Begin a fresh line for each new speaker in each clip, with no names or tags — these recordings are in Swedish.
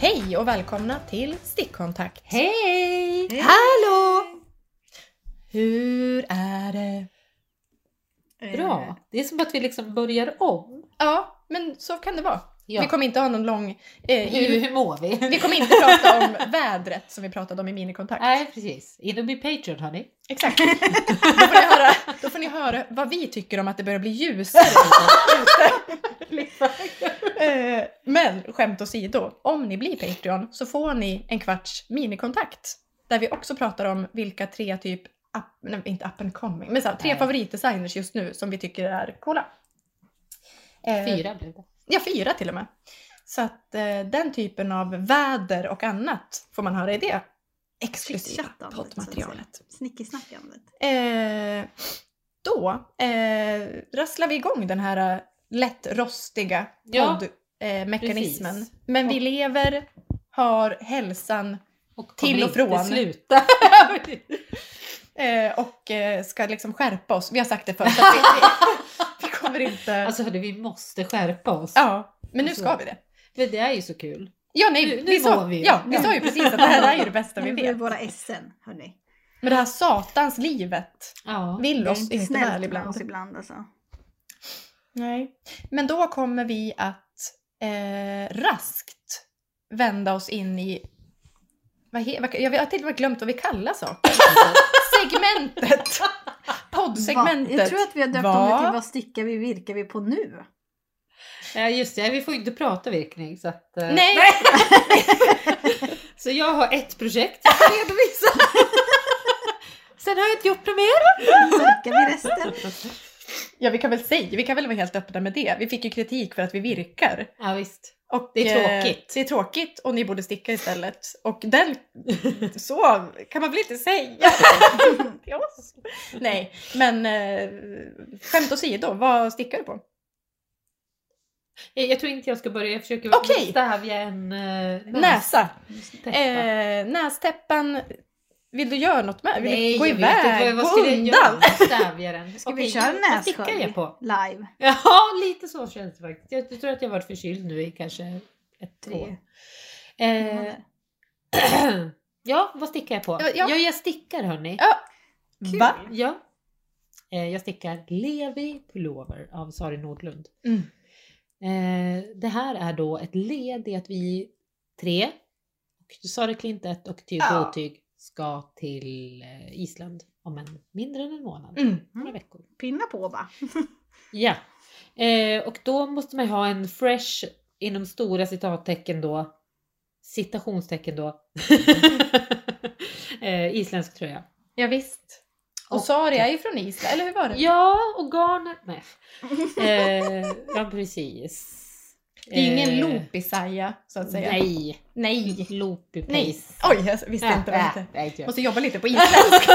Hej och välkomna till Stickkontakt.
Hej!
Hallå! Hur är det?
Bra. Det är som att vi liksom börjar om.
Ja, men så kan det vara.
Ja.
Vi kommer inte ha någon lång... Eh,
hur,
i,
hur mår vi?
vi kommer inte prata om vädret som vi pratade om i minikontakt.
Nej, precis. In och bli Patreon, hörni.
Exakt. Då får, ni höra, då får ni höra vad vi tycker om att det börjar bli ljusare ute. Eh, Men skämt åsido, om ni blir Patreon så får ni en kvarts minikontakt. Där vi också pratar om vilka tre typ, up, nej, inte up and coming, men så här, tre
Nej.
favoritdesigners just nu som vi tycker är coola. Eh,
Fyra blev det.
Ja, fyra till och med. Så att eh, den typen av väder och annat får man höra i det exklusiva
Chicktjatandet, så
liksom.
att säga.
poddmaterialet.
Snickisnackandet.
Eh, då eh, rasslar vi igång den här eh, lätt rostiga
Ja,
poddmekanismen.
precis.
Men vi
Och-
lever, har hälsan
Och
Till
kommer
och från.
inte sluta.
eh, och eh, ska liksom skärpa oss. Vi har sagt det förut. att Vi, vi, vi kommer inte...
alltså hörni, vi måste skärpa oss.
ja, men nu ska vi det.
För det är ju så kul.
Ja, nej,
Nu- nu
vi, sa,
mår vi ju.
ja, vi sa ju precis att det här är ju det bästa vi
Det blir
vet.
våra SN, hörni.
Men det här satans livet
Ja.
vill
Det är
oss inte
snällt
väl
med
ibland.
oss ibland alltså.
Nej. Men då kommer vi att eh, raskt vända oss in i... Vad he, vad, jag har till och med glömt vad vi kallar saker. Segmentet!
Va, jag
Poddsegmentet.
tror att vi har döpt
Va?
om det till vad stickar vi virkar vi på nu?
Ja, just det. Vi får ju inte prata virkning. Så, att, eh,
Nej!
så jag har ett projekt jag ska redovisa. Sen har jag inte gjort något mer.
Virkar vi resten?
Ja, vi kan väl säga, vi kan väl vara helt öppna med det. Vi fick ju kritik för att vi virkar.
Ja, visst.
Och,
Det är
eh,
tråkigt.
det är tråkigt och ni borde sticka istället. Och den... Så kan man väl inte säga till oss? Nej, men eh, skämt åsido, vad stickar du på?
Jag, jag tror inte jag ska börja. Jag försöker
Okej.
stävja en eh, näs-
Näsa.
nästäppa.
Eh, nästäppan, vill du göra något med? Vill du gå
jag vet inte.
iväg?
Vad, vad
Gå
skulle jag göra?
undan?
Stävja den.
Ska
Okej,
vi köra
Vad stickar
nässkölj
jag på?
live?
Ja, lite så känns det faktiskt. Jag, tror att jag har varit förkyld nu i kanske ett, två
Tre.
Eh, ja, vad stickar jag på?
Ja,
Ja,
ja.
jag stickar hörni.
Ja.
Kul.
Va?
Ja. Eh, jag stickar Levi Pullover av Sari Nordlund.
Mm.
Eh, det här är då ett led i att vi tre, och Sari Klintet och Tyg
Ja.
och Otyg, ska till eh, Island om en mindre än en månad.
Mm.
Några veckor.
Pinna på va?
Ja, eh, och då måste man ju ha en fresh inom stora citattecken då, citationstecken då, eh, isländsk tröja.
Ja, visst. Och,
Och-
Sari är ju från Island, eller hur var det?
Ja, och garnet med. Eh, ja, precis.
Det är ingen
Eh,
lopisaja, så att säga.
Nej,
Nej. Äh,
loopy
Nej.
pace.
Oj, jag visste inte vad det hette.
hette.
Måste jobba lite på isländska.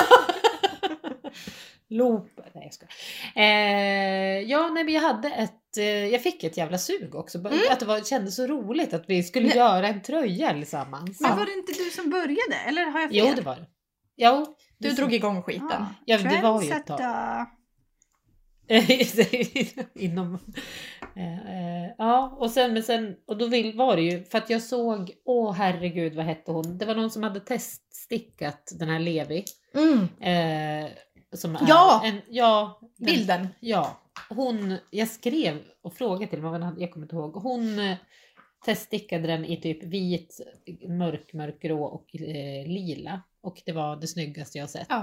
Loop. Nej jag skojar. Eh, ja nej men jag hade ett, eh, jag fick ett jävla sug också. Bara- Att det var, kändes så roligt att vi skulle
Mm. Nej.
göra en tröja tillsammans.
Men var det inte du som började? Eller har jag fel?
Jo det var det. Jo.
Du
det-
drog igång skiten.
Ja, det var ju ett tag.
Trendsetter.
Inom... Eh, eh, ja och sen, men sen, och då vill, var det ju för att jag såg, åh herregud vad hette hon, det var någon som hade teststickat den här Levi.
Mm.
Eh, som är
Ja!
En, ja! den-
Bilden.
Ja, hon, jag skrev och frågade till mig vad hon hade, jag kommer inte ihåg. Hon eh, teststickade den i typ vit, mörk, mörkgrå och eh, lila. Och det var det snyggaste jag har sett.
Ja.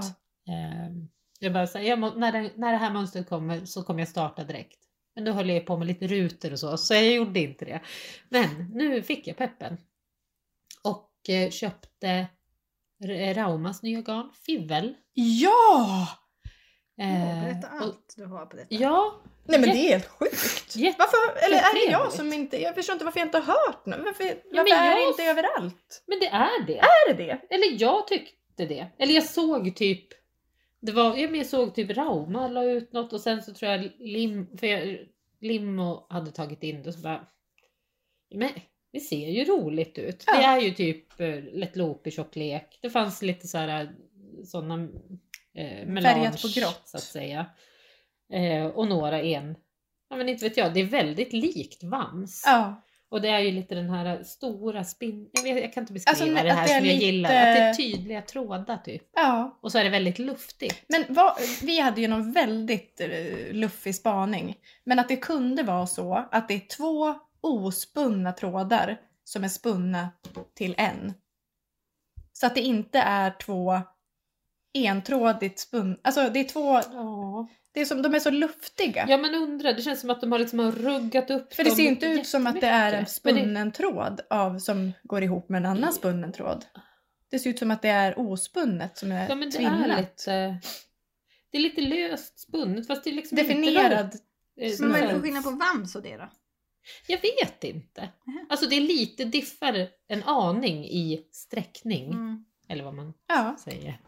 Eh, jag bara så här, jag må, när, den, när det här mönstret kommer så kommer jag starta direkt. Men då höll jag på med lite rutor och så, så jag gjorde inte det. Men nu fick jag peppen. Och eh, köpte R- Raumas nya garn, Fivel.
Ja!
Åh,
Eh,
Berätta
och,
allt du har på detta.
ja,
Nej men det är helt sjukt.
Jätte-
Varför, eller är det jag
jättetrevligt.
som inte, jag förstår inte varför jag inte har hört något. Varför,
men
varför är
jag-
det inte överallt?
men det är det.
Är det det?
Eller jag tyckte det. Eller jag såg typ det var, ja, men jag såg typ Rauma la ut något och sen så tror jag Lim, för jag, Limo hade tagit in det och så bara Men det ser ju roligt ut.
Ja.
Det är ju typ eh, lätt loop i tjocklek. Det fanns lite så här sådana eh, melange,
Färgat på grått.
så att säga. Eh, och några en. Ja men inte vet jag, det är väldigt likt Vams.
Ja.
Och det är ju lite den här stora spinn... Jag, vet, jag kan inte beskriva
Alltså,
det här
att det är
som jag
lite-
gillar. Att det är tydliga trådar typ.
Ja.
Och så är det väldigt luftigt.
Men vad, vi hade ju någon väldigt eh, luffig spaning. Men att det kunde vara så att det är två ospunna trådar som är spunna till en. Så att det inte är två entrådigt spunna. Alltså det är två,
Ja.
det är som, de är så luftiga.
ja men undra, det känns som att de har liksom har ruggat upp
För det
dem
ser ju inte ut som att det är en
jättemycket. Men det-
spunnen tråd av, som går ihop med en annan spunnen tråd. Det ser ut som att det är ospunnet som är
Ja men det
tvinnat.
är lite... Det är lite löst spunnet fast det är liksom
Definierad.
inte...
Men vad är det för
någon-
skillnad på vams och det då?
Jag vet inte.
Mhm.
Alltså det är lite diffar en aning i sträckning.
Mm.
Eller vad man
Ja.
säger.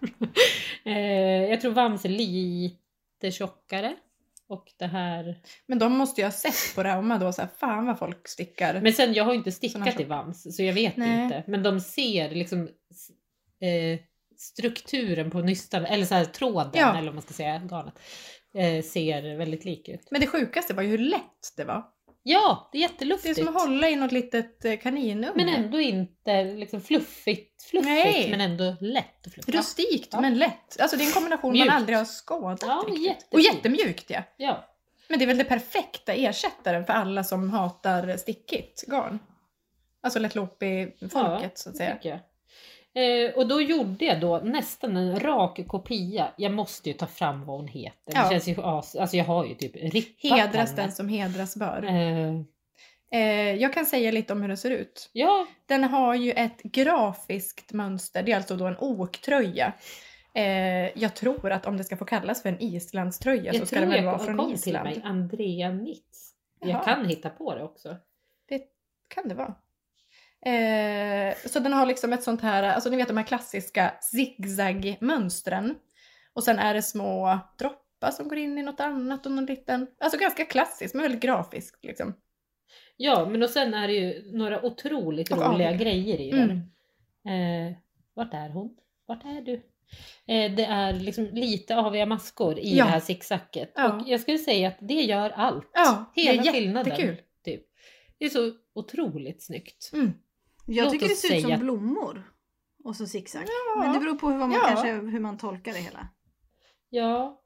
eh, jag tror vams är lite tjockare. Och det här...
Men de måste ju ha sett på Rauma då, så här, fan vad folk stickar.
Men sen jag har ju inte
Sån här
stickat
tjock-
i vams så jag vet
Nej.
inte. Men de ser liksom s- eh, strukturen på nystan eller så här tråden
Ja.
eller vad man ska säga, garnet. Eh, ser väldigt lik ut.
Men det sjukaste var ju hur lätt det var.
Ja, det är
Det är
jätteluftigt.
som att hålla i något litet eh, kaninunge.
Men ändå inte liksom fluffigt, fluffigt
Nej.
men ändå lätt och fluffigt.
Rustikt
Ja.
men lätt. Alltså det är en kombination
Mjukt.
man aldrig har skådat
Ja,
riktigt.
jättefint.
Och jättemjukt ja.
Ja.
Men det är väl det perfekta ersättaren för alla som hatar stickigt garn. Alltså lättlopi-folket så att
det
säga.
tycker jag. Eh, och då gjorde jag då nästan en rak kopia. Jag måste ju ta fram vad hon heter. Det
Ja.
känns ju as... Alltså jag har ju typ rippat
Hedras den
henne.
som hedras bör.
Eh,
Eh, jag kan säga lite om hur den ser ut.
ja,
Den har ju ett grafiskt mönster, det är alltså då en oktröja. Eh, jag tror att om det ska få kallas för en islandströja
jag,
så ska
tror
den väl
jag
vara
kom,
från
kom till
Island.
mig Andrea Nitz. Jag
Jaha.
kan hitta på det också.
Kan det vara. Eh, så den har liksom ett sånt här, alltså ni vet de här klassiska zigzag-mönstren. Och sen är det små droppar som går in i något annat och någon liten, alltså ganska klassiskt men väldigt grafiskt liksom.
Ja, men och sen är det ju några otroligt
Och
roliga
avig.
grejer i
Mm.
den. Eh, vart är hon? Vart är du? Eh, det är liksom lite aviga maskor i
Ja.
det här zigzacket.
Ja.
Och jag skulle säga att det gör allt.
Ja, det är
Hela skillnaden.
jättekul.
Typ. Det är så otroligt snyggt.
Mm.
Jag
Låt
tycker
oss
det ser ut
säga-
som blommor. Och så zigzag.
Ja.
Men det beror på hur man,
Ja.
kanske, hur man tolkar det hela.
Ja,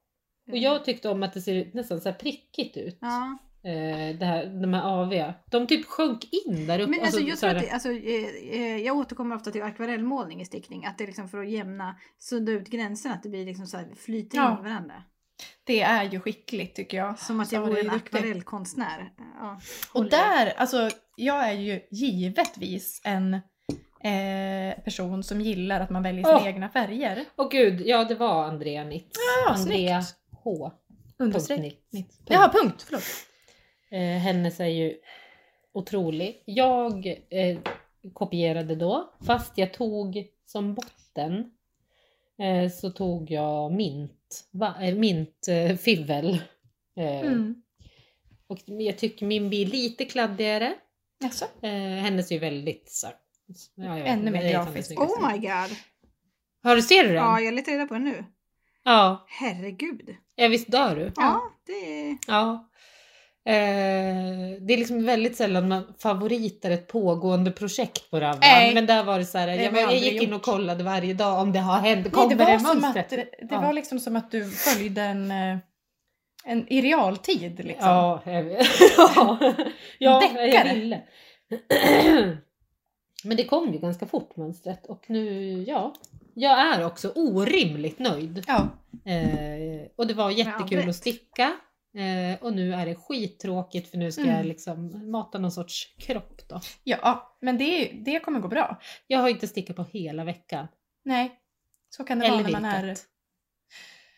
och
Eh.
jag tyckte om att det ser ut nästan så här prickigt ut.
Ja.
Eh, det här, de här aviga. De typ sjönk in där uppe.
Men alltså, jag,
så
tror
här-
att det, alltså, eh, eh, jag återkommer ofta till akvarellmålning i stickning. Att det är liksom för att jämna, sudda ut gränserna. Att det blir liksom så här, flyter in
Ja.
i varandra.
Det är ju skickligt tycker jag.
Som att jag
Sara
vore
är
en
duktig.
akvarellkonstnär. Ja.
Och
håller jag.
där, alltså jag är ju givetvis en eh, person som gillar att man väljer sina
Åh!
egna färger.
Åh gud, ja det var Andrea Nitz.
Ja,
Andrea
snyggt.
H.
Understreck.
Punkt
Punkt.
nitt.
Jaha, punkt, förlåt.
Eh, hennes är ju otrolig. Jag eh, kopierade då, fast jag tog som botten eh, så tog jag mint, va, eh, mint eh, fivel. Eh,
Mm.
Och jag tycker min blir lite kladdigare.
Jaså?
Eh, hennes är ju väldigt så, ja, jag vet
Ännu
inte,
mer
det är fan
grafisk.
det snyggaste.
Oh my god!
Har du ser du den?
Ja,
Ja.
jag letar reda på den nu.
ja.
Herregud.
visst dör du?
Ja, det är...
Ja. Eh, det är liksom väldigt sällan man favoritar ett pågående projekt på Ravvan.
Nej.
Men där var det så här,
Det
jag,
har jag
jag
aldrig
gick in
gjort.
och kollade varje dag om det har hänt.
Nej,
Kommer
det
det,
var, som att,
mönstret?
det det
Ja.
var liksom som att du följde en, eh, en i realtid. Liksom.
Ja, jag, vet. ja, ja jag
Deckare.
ville. Men det kom ju ganska fort mönstret och nu, ja. Jag är också orimligt nöjd.
Ja.
Eh, och det var jättekul
rätt.
att sticka. Eh, och nu är det skittråkigt för nu ska
Mm.
jag liksom mata någon sorts kropp då.
ja, men det, det kommer gå bra.
Jag har inte stickat på hela veckan.
Nej, så kan det
Eller
vara när man är...
vikat.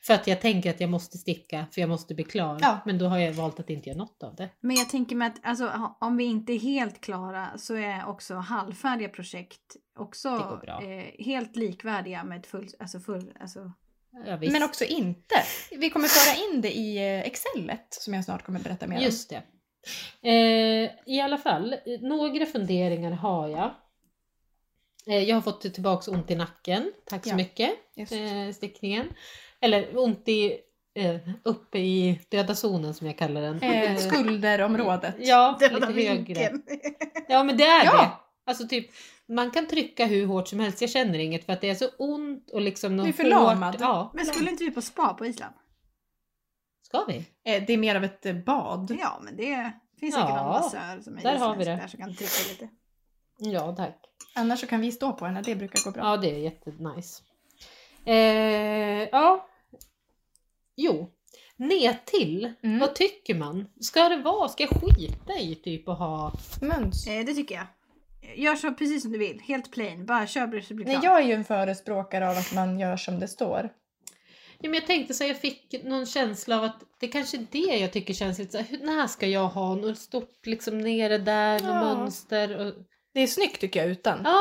För att jag tänker att jag måste sticka för jag måste bli klar.
Ja.
Men då har jag valt att inte göra något av det.
Men jag tänker mig att alltså, om vi inte är helt klara så är också halvfärdiga projekt
Det går
också
bra.
eh, helt likvärdiga med ett full, alltså full, alltså,
Ja, visst.
Men också inte. Vi kommer föra in det i eh, excelet som jag snart kommer berätta mer om.
Just det. Eh, I alla fall, eh, några funderingar har jag. Eh, jag har fått tillbaka ont i nacken, tack så
Ja.
mycket,
Just.
eh, stickningen. eh, Eller ont i eh, uppe i döda zonen som jag kallar den.
Eh, skulderområdet.
Ja,
Det
lite
var
högre.
vinkeln.
Ja men det är
Ja.
det. Alltså typ, man kan trycka hur hårt som helst, jag känner inget för att det är så ont och liksom något
Du är förlamad.
hårt- Ja,
Men skulle inte vi på spa på Island?
ska vi?
Eh, det är mer av ett eh, bad.
Ja, men det finns
Ja,
säkert någon massör som är
där har vi det.
isländsk där som kan dricka lite.
Ja tack.
Annars så kan vi stå på henne, det brukar gå bra.
Ja det är jättenice. Eh, ja. Jo. Ned till.
Mm.
Vad tycker man? Ska det vara? Ska jag skita i typ och ha?
Möns.
Eh, det tycker jag. Gör så precis som du vill, helt plain. Bara kör så blir det
Nej,
klart.
jag är ju en förespråkare av att man gör som det står.
Ja, men jag tänkte så här, jag fick någon känsla av att det kanske är det jag tycker känns lite så här, hur- när ska jag ha något stort liksom nere där,
Ja.
något mönster och...
Det är snyggt tycker jag utan.
Ja,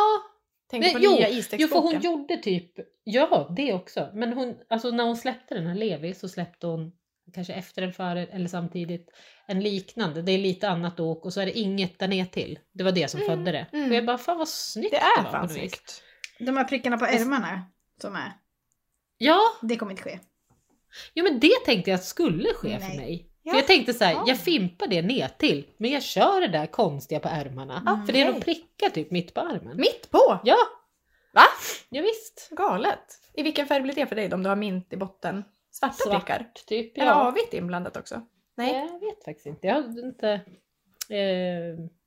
Tänk
Nej,
på
jo,
nya
Jo för hon
isdäcksboken.
gjorde typ, ja det också. Men hon, alltså när hon släppte den här Levi så släppte hon kanske efter eller före eller samtidigt en liknande. Det är lite annat åk och så är det inget där ner till. Det var det som
Mm,
födde det.
mm.
Och jag bara fan vad snyggt
Det är
var
fan
på något vis.
snyggt.
De här prickarna på ärmarna som är,
Ja,
det kommer inte ske.
jo men det tänkte jag skulle ske för
Nej.
mig.
Ja.
För jag tänkte så här,
Ja.
jag fimpar det ner till men jag kör det där konstiga på ärmarna.
Ah,
Mm.
För det är
Okej.
nog prickar typ mitt på armen.
Mitt på!
Ja,
Va?
ja visst.
Galet! I vilken färg blir det för dig då, om du har mint i botten? Svarta
Svart.
prickar?
Typ, ja.
Eller avigt inblandat också? Nej.
Jag vet faktiskt inte. Jag hade inte... Eh,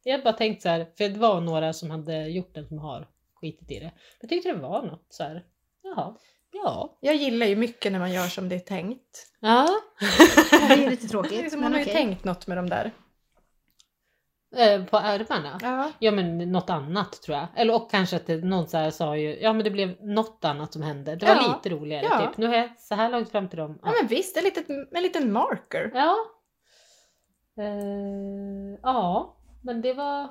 jag hade bara tänkt så här, för det var några som hade gjort den som har skitit i det. Jag tyckte det var något så här. Jaha. Ja.
Jag gillar ju mycket när man gör som det är tänkt.
Ja.
Det är ju lite
Det är
tråkigt,
liksom, hon
men
har ju
okej.
tänkt något med de där.
Eh, på ärmarna.
Ja.
Ja men något annat tror jag. Eller och kanske att det, någon så här sa ju, ja men det blev något annat som hände. Det var
Ja.
lite roligare
Ja.
typ. Nu är jag så här långt fram till dem.
ja men visst, en liten, en liten marker.
Ja. Eh, ja, men det var...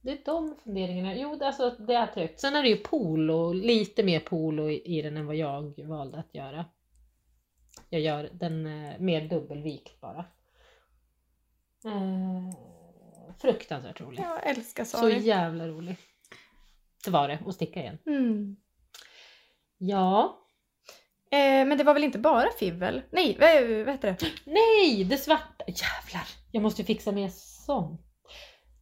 Det är de funderingarna. Jo, det- alltså det är tryggt. Sen är det ju polo, lite mer polo i i den än vad jag valde att göra. Jag gör den eh, mer dubbelvikt bara. Eh, fruktansvärt rolig.
Jag älskar
Så
sorg.
jävla rolig. Det var det, och sticka igen.
Mm.
Ja.
Eh, men det var väl inte bara fibbel? Nej, vad, vad heter det?
Nej, det svarta. Jävlar, jag måste ju fixa mer sånt.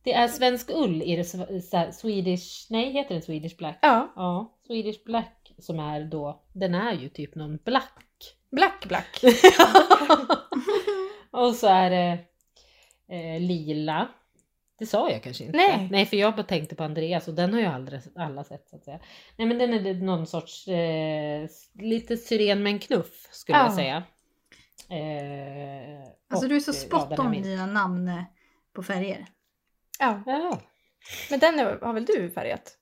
Det är svensk ull i det sv- så här, Swedish, nej heter den Swedish Black?
Ja,
Ja, Swedish Black som är då, den är ju typ någon black.
black black.
Och så är det eh, lila. Det sa jag kanske inte.
Nej.
nej, för jag bara tänkte på Andreas och den har ju aldrig alla sett så att säga. Nej men den är det någon sorts, eh, s- lite syren med en knuff skulle
Ja.
jag säga. Eh,
Alltså
och,
du är så
eh, ja,
spot
den här
on
min-
dina namn eh, på färger.
Ja,
Ja,
men den är- har väl du färgat?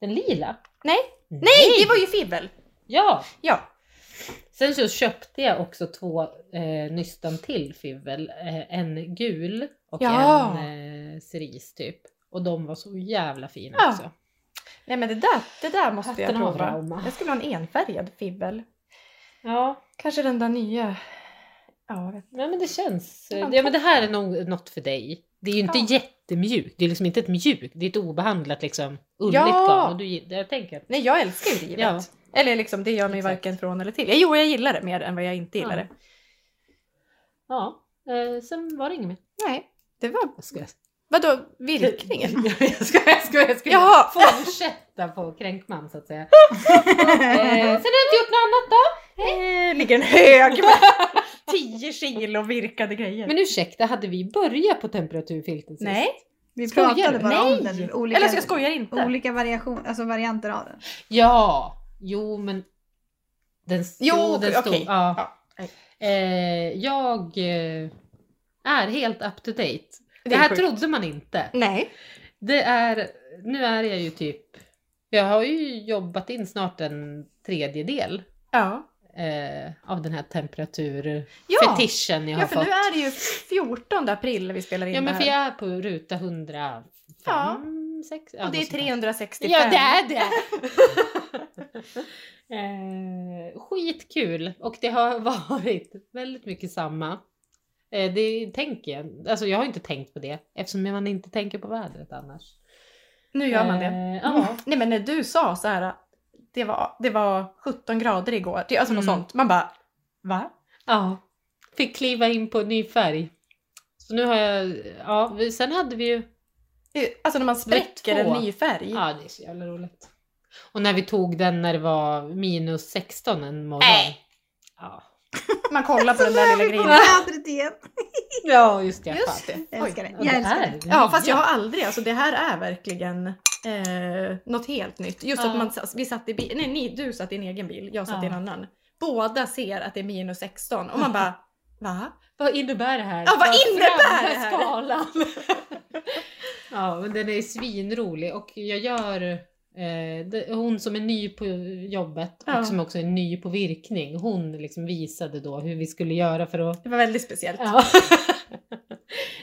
den lila?
Nej. Nej, det var ju fibbel!
Ja!
Ja.
Sen så köpte jag också två eh, nystan till fivel. Eh, en gul och
Ja.
en eh, cerise typ. Och de var så jävla fina
Ja.
också.
Nej men det där, det där måste jag
Hatten av
prova.
Rauma.
Jag skulle ha en enfärgad fibbel.
Ja,
Kanske den där nya. Ja, jag vet.
nej, men det känns.
Ja,
eh, Ja men det här är nog något för dig. Det är ju inte
Ja.
jättemjukt. Det är liksom inte ett mjukt. Det är ett obehandlat liksom ulligt
Ja.
garn. Och du, jag tänker att
Nej, jag älskar ju rivet.
Ja.
Eller liksom, det gör mig
Exakt.
varken från eller till. Ja, Jo, jag gillar det mer än vad jag inte gillar
Ja.
det.
ja. Eh, sen var det inget mer.
Nej, det var...
Jag skojar.
Vadå, virkningen?
jag skojar, jag skojar. Jag skojar.
Jaha!
Fortsätta på kränkman så att säga. Eh, sen har jag inte gjort något annat då.
Eh, ligger en hög med 10 kilo virkade grejer.
Men ursäkta, hade vi börjat på temperaturfilten sist?
Nej,
Vi
Skojar
pratade
du?
bara om
Nej!
den. Olika,
eller så jag skojar inte.
Olika variation, alltså varianter av den.
Ja, jo men... Den stod,
Jo,
den
okej.
stod. Ja.
Ja, nej.
Eh, jag eh, är helt up to date. Det,
är
här
sjukt.
trodde man inte.
Nej.
Det är, nu är jag ju typ, jag har ju jobbat in snart en tredjedel
Ja.
eh, av den här temperaturfetischen
Ja.
jag har
ja, för
fått.
nu är det ju 14 april vi spelar in
ja men
det
för
här.
jag är på ruta 105,
Ja.
6,
Och det är 365.
Ja det är det! eh, skitkul och det har varit väldigt mycket samma. Eh, det tänker jag, alltså jag har inte tänkt på det eftersom man inte tänker på vädret annars.
Nu gör man det. Mm.
Eh, ja.
Nej men när du sa så här, det var, det var 17 grader igår, det, alltså något
Mm.
sånt. Man bara, Va?
Ja. Fick kliva in på en ny färg. Så nu har jag, ja, vi- sen hade vi ju,
Alltså när man
Det var
spräcker
två.
en ny färg.
ja det är så jävla roligt. Och när vi tog den när det var minus 16 en morgon.
Nej.
Ja.
Man kollar på den där lilla grejen.
vädret igen.
ja, just det.
Just det.
Jag älskar det.
Ja,
Jag älskar det.
är
Ja fast jag
nya.
har aldrig, alltså det här är verkligen eh, något helt nytt. Just
Ja.
att man, vi satt i bil, nej ni, du satt i en egen bil, jag satt i en
Ja.
annan. Båda ser att det är minus 16 och man bara va?
Vad innebär det här?
Ja, vad innebär
fram
det här?
med skalan? ja, men den är svinrolig och jag gör eh, det, hon som är ny på jobbet
Ja.
och som också är ny på virkning. Hon liksom visade då hur vi skulle göra för att
Det var väldigt speciellt.
Ja.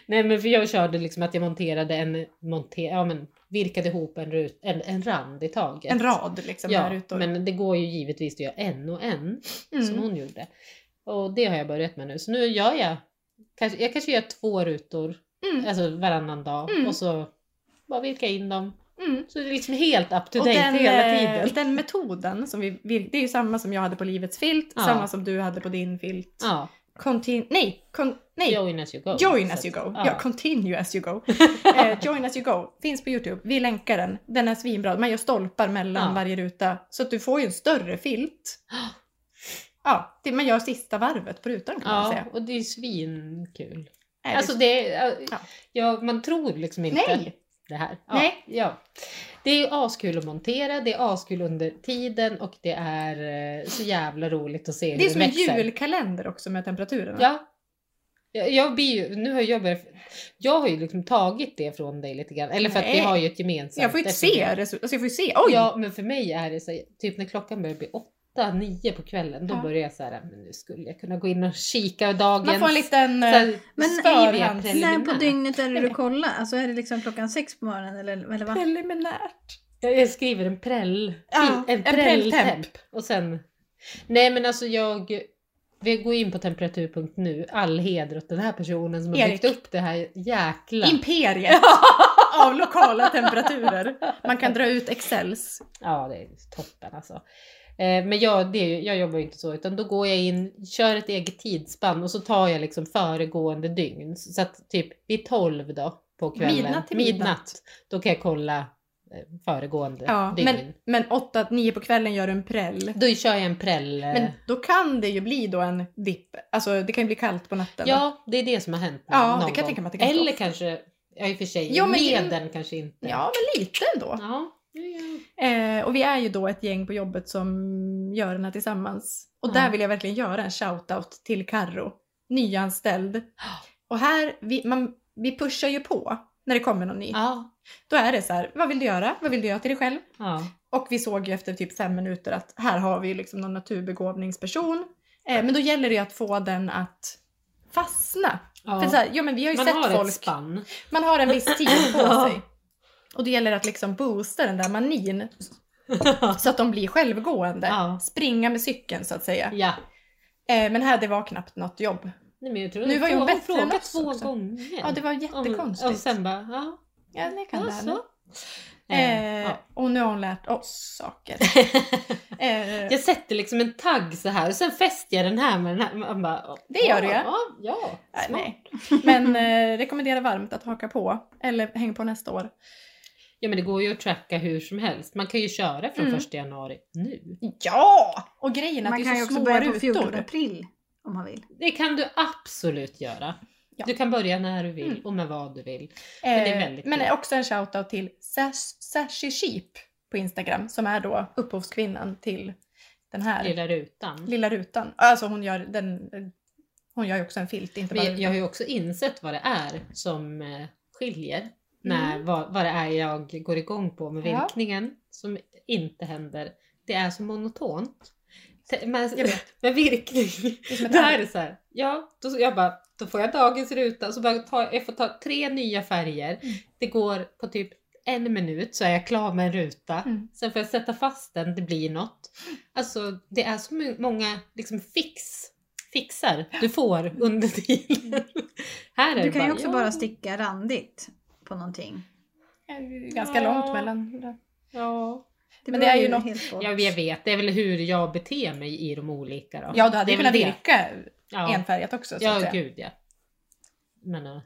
Nej men för jag körde liksom att jag monterade en, monter, ja men virkade ihop en, rut, en, en rand i taget.
En rad liksom här
Ja,
ute. och-
men det går ju givetvis att göra en och en som
Mm.
hon gjorde. Och det har jag börjat med nu. Så nu gör jag, kanske, jag kanske gör två rutor,
Mm.
alltså varannan dag
Mm.
och så bara virka in dem.
Mm.
Så det är liksom helt up to
Och
date hela
eh,
tiden.
den metoden som vi, vi- det är ju samma som jag hade på livets filt,
Ja.
samma som du hade på din filt.
Ja,
Contin- nej, kon- nej,
join as you go.
Join
Så
as you
att-
go.
Ja.
Ja, continue as you go. Eh, join as you go. Finns på Youtube. Vi länkar den. Den är svinbra. Man gör stolpar mellan
Ja.
varje ruta. Så att du får ju en större filt. Ja, det, man gör sista varvet på rutan kan man
ja,
säga.
och det är svinkul.
Är
Alltså
det...
det är,
Ja.
ja. man tror liksom inte
Nej!
det här. Ja,
Nej.
Ja. Det är ju askul att montera, det är askul under tiden och det är eh, så jävla roligt att se hur
Det är som en
växer.
julkalender också med temperaturerna.
Ja. Jag, jag blir ju, nu har jag börjat, jag har ju liksom tagit det från dig lite grann. Eller för att
Nej.
vi har ju ett gemensamt.
jag får ju inte
eftersom-
se. resu- Alltså jag får ju se. Oj!
Ja, men för mig är det så här, typ när klockan börjar bli åtta, nio på kvällen, då
Ja.
börjar jag så här, men nu skulle jag kunna gå in och kika dagens.
man får en liten...
så
eh,
här,
Men
förhands-
När på
preliminär.
dygnet är det du kollar? Alltså är det liksom klockan sex på morgonen eller, eller vad?
Preliminärt.
Jag jag skriver en präll.
Ja,
en
en prelltemp.
prälltemp. Och sen... Nej men alltså jag... Vi går in på temperatur.nu. All heder åt den här personen som har
Erik.
byggt upp det här jäkla...
Imperiet av lokala temperaturer. Man kan dra ut excels.
Ja, det är toppen alltså. Eh, Men jag, det, är ju- jag jobbar ju inte så, utan då går jag in, kör ett eget tidsspann och så tar jag liksom föregående dygn. Så att typ vid 12 då på kvällen,
Midnatt till midnatt.
då kan jag kolla eh, föregående
Ja,
dygn.
men, men 8-9 på kvällen gör du en präll.
Då kör jag en präll. eh,
Men då kan det ju bli då en dipp. Alltså det kan ju bli kallt på natten.
Ja, det är det som har hänt.
Ja, det
någon
kan jag
gång.
tänka mig att det ganska
Eller
ofta.
kanske, ja i och för sig,
Jo, men-
leden kanske inte.
Ja, men lite ändå.
Ja. Ja, ja.
Eh, och vi är ju då ett gäng på jobbet som gör den här tillsammans. Och där
Ja.
vill jag verkligen göra en shoutout till Karro, nyanställd. Och här, vi, man, vi pushar ju på när det kommer någon ny.
Ja.
Då är det så här, vad vill du göra? Vad vill du göra till dig själv?
ja.
Och vi såg ju efter typ fem minuter att här har vi ju liksom någon naturbegåvningsperson. Eh, men då gäller det ju att få den att fastna.
ja.
För så här, ja, men vi har ju
Man
sett
har
folk.
ett spann.
Man har en viss tid på
Ja.
sig. Och det gäller att liksom boosta den där manin så att de blir självgående.
Ja.
Springa med cykeln så att säga.
ja.
Eh, men det var knappt något jobb.
Nej, men jag tror
Nu var ju hon bättre
frågat
än oss
två
också.
gånger.
Ja, det var
Om-
jättekonstigt.
Och sen bara, ja.
Ja, ni kan
ja,
det här nu.
så. Eh,
Eh,
ja.
och nu har hon lärt oss saker. Eh,
Jag sätter liksom en tagg så här och sen fäster jag den här med den här. Man bara,
Det gör
ja,
du, ja.
Ja, ja.
nej,
smart.
nej. Men eh, rekommenderar varmt att haka på. Eller häng på nästa år.
Ja men det går ju att tracka hur som helst. Man kan ju köra från
Mm.
första januari nu.
Ja! Och grejen är att
Man
det är
kan
så
ju också
små
börja på 14
rutor.
april om man vill.
Det kan du absolut göra.
Ja.
Du kan börja när du vill
Mm.
och med vad du vill.
Men,
det är väldigt
men
kul.
också en shoutout till Sash- Sashi Sheep på Instagram som är då upphovskvinnan till den här lilla,
Lilla rutan.
rutan. Alltså hon gör den... Hon gör ju också en filt, inte
Men
bara...
jag, jag har ju också insett vad det är som eh, skiljer. När, vad, vad det är jag går igång på med
Mm. Ja.
virkningen som inte händer. Det är så monotont. Te- Med,
Jag vet.
med virkning.
Det är som ett
Då
här.
är det så här. Ja, då, jag bara, då får jag dagens ruta så bara ta, jag får ta tre nya färger.
Mm.
Det går på typ en minut så är jag klar med en ruta.
Mm.
Sen får jag sätta fast den, det blir något. Alltså det är så mu- många liksom fix, fixar du får under tiden. Här är det
Du kan ju
bara,
också
ja.
bara sticka randigt på någonting.
Mm. Ganska
Ja.
långt mellan.
Ja.
Men det är
beror
ju något-
helt på. Mm,
Jag, jag vet, det är väl hur jag beter mig i de olika då.
Ja, du hade
Det är
ju kunnat
väl det.
virka
Ja.
enfärgat också. Så att
Ja,
säga.
gud ja. Men, eh,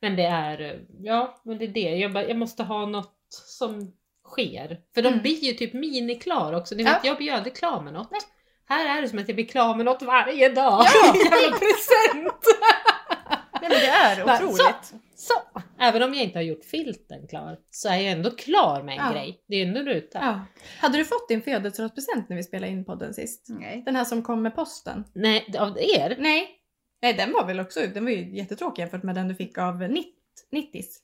men det är, eh, ja, men det är det. Jag, bara, jag måste ha något som sker. För de
Mm.
blir ju typ miniklar också. Ni
Ja.
vet, jag blir ju aldrig klar med något. Här är det som att jag blir klar med något varje dag.
Ja.
Jävla present!
Nej, men det är
Bara,
otroligt.
Så, även om jag inte har gjort filten klar så är jag ändå klar med en
Ja.
grej. Det är ändå en ruta.
Ja. Hade du fått din födelsedagspresent när vi spelade in podden sist?
Mm.
Nej.
Den här som kom med posten?
Nej, av er?
Nej. Nej, den var väl också, den var ju jättetråkig jämfört med den du fick av nitt, Nittis.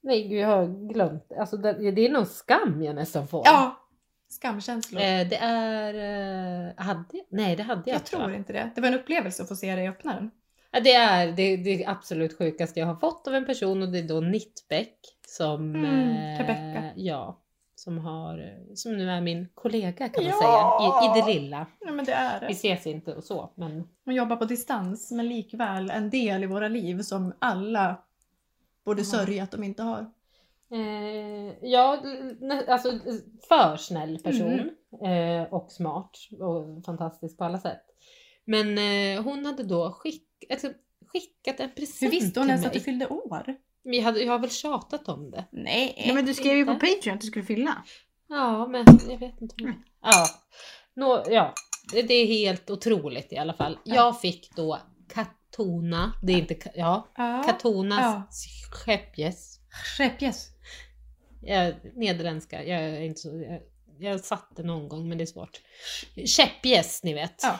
Nej, gud, jag har glömt. Alltså, det, det är någon skam jag nästan får.
Ja. Skamkänslor.
Eh, det är... Eh, hade jag? Nej, det hade jag,
jag
inte, va?
tror inte det. Det var en upplevelse att få se dig öppna den.
Ja, det är det, det absolut sjukaste jag har fått av en person och det är då Nittbäck som,
Mm,
eh,
Rebecca.
ja, som, har, eh, som nu är min kollega kan man
Ja!
säga i, i det lilla.
Ja, men det är
Vi
det.
ses inte och så men
Hon jobbar på distans men likväl en del i våra liv som alla borde
Ja.
sörja att de inte har.
eh, ja, nä- alltså för snäll person
Mm-hmm.
eh, och smart och fantastisk på alla sätt. Men eh, hon hade då skick, alltså, skickat en present
Hur visste hon
till
ens
mig.
att du fyllde år?
Men jag, hade, jag har väl tjatat om det.
Nej.
Ja, men du skrev ju på
Inte.
Patreon att du skulle fylla.
Ja, men jag vet inte. om-
Mm.
Ja, Nå, ja. Det, det är helt otroligt i alla fall.
Ja.
Jag fick då Katona, det är inte, ka- ja,
ja.
Katonas
Ja.
skeppjes.
Skeppjes.
Jag, nederländska, jag är inte så, jag, jag satt det någon gång men det är svårt. Käppjes, ni vet.
Ja.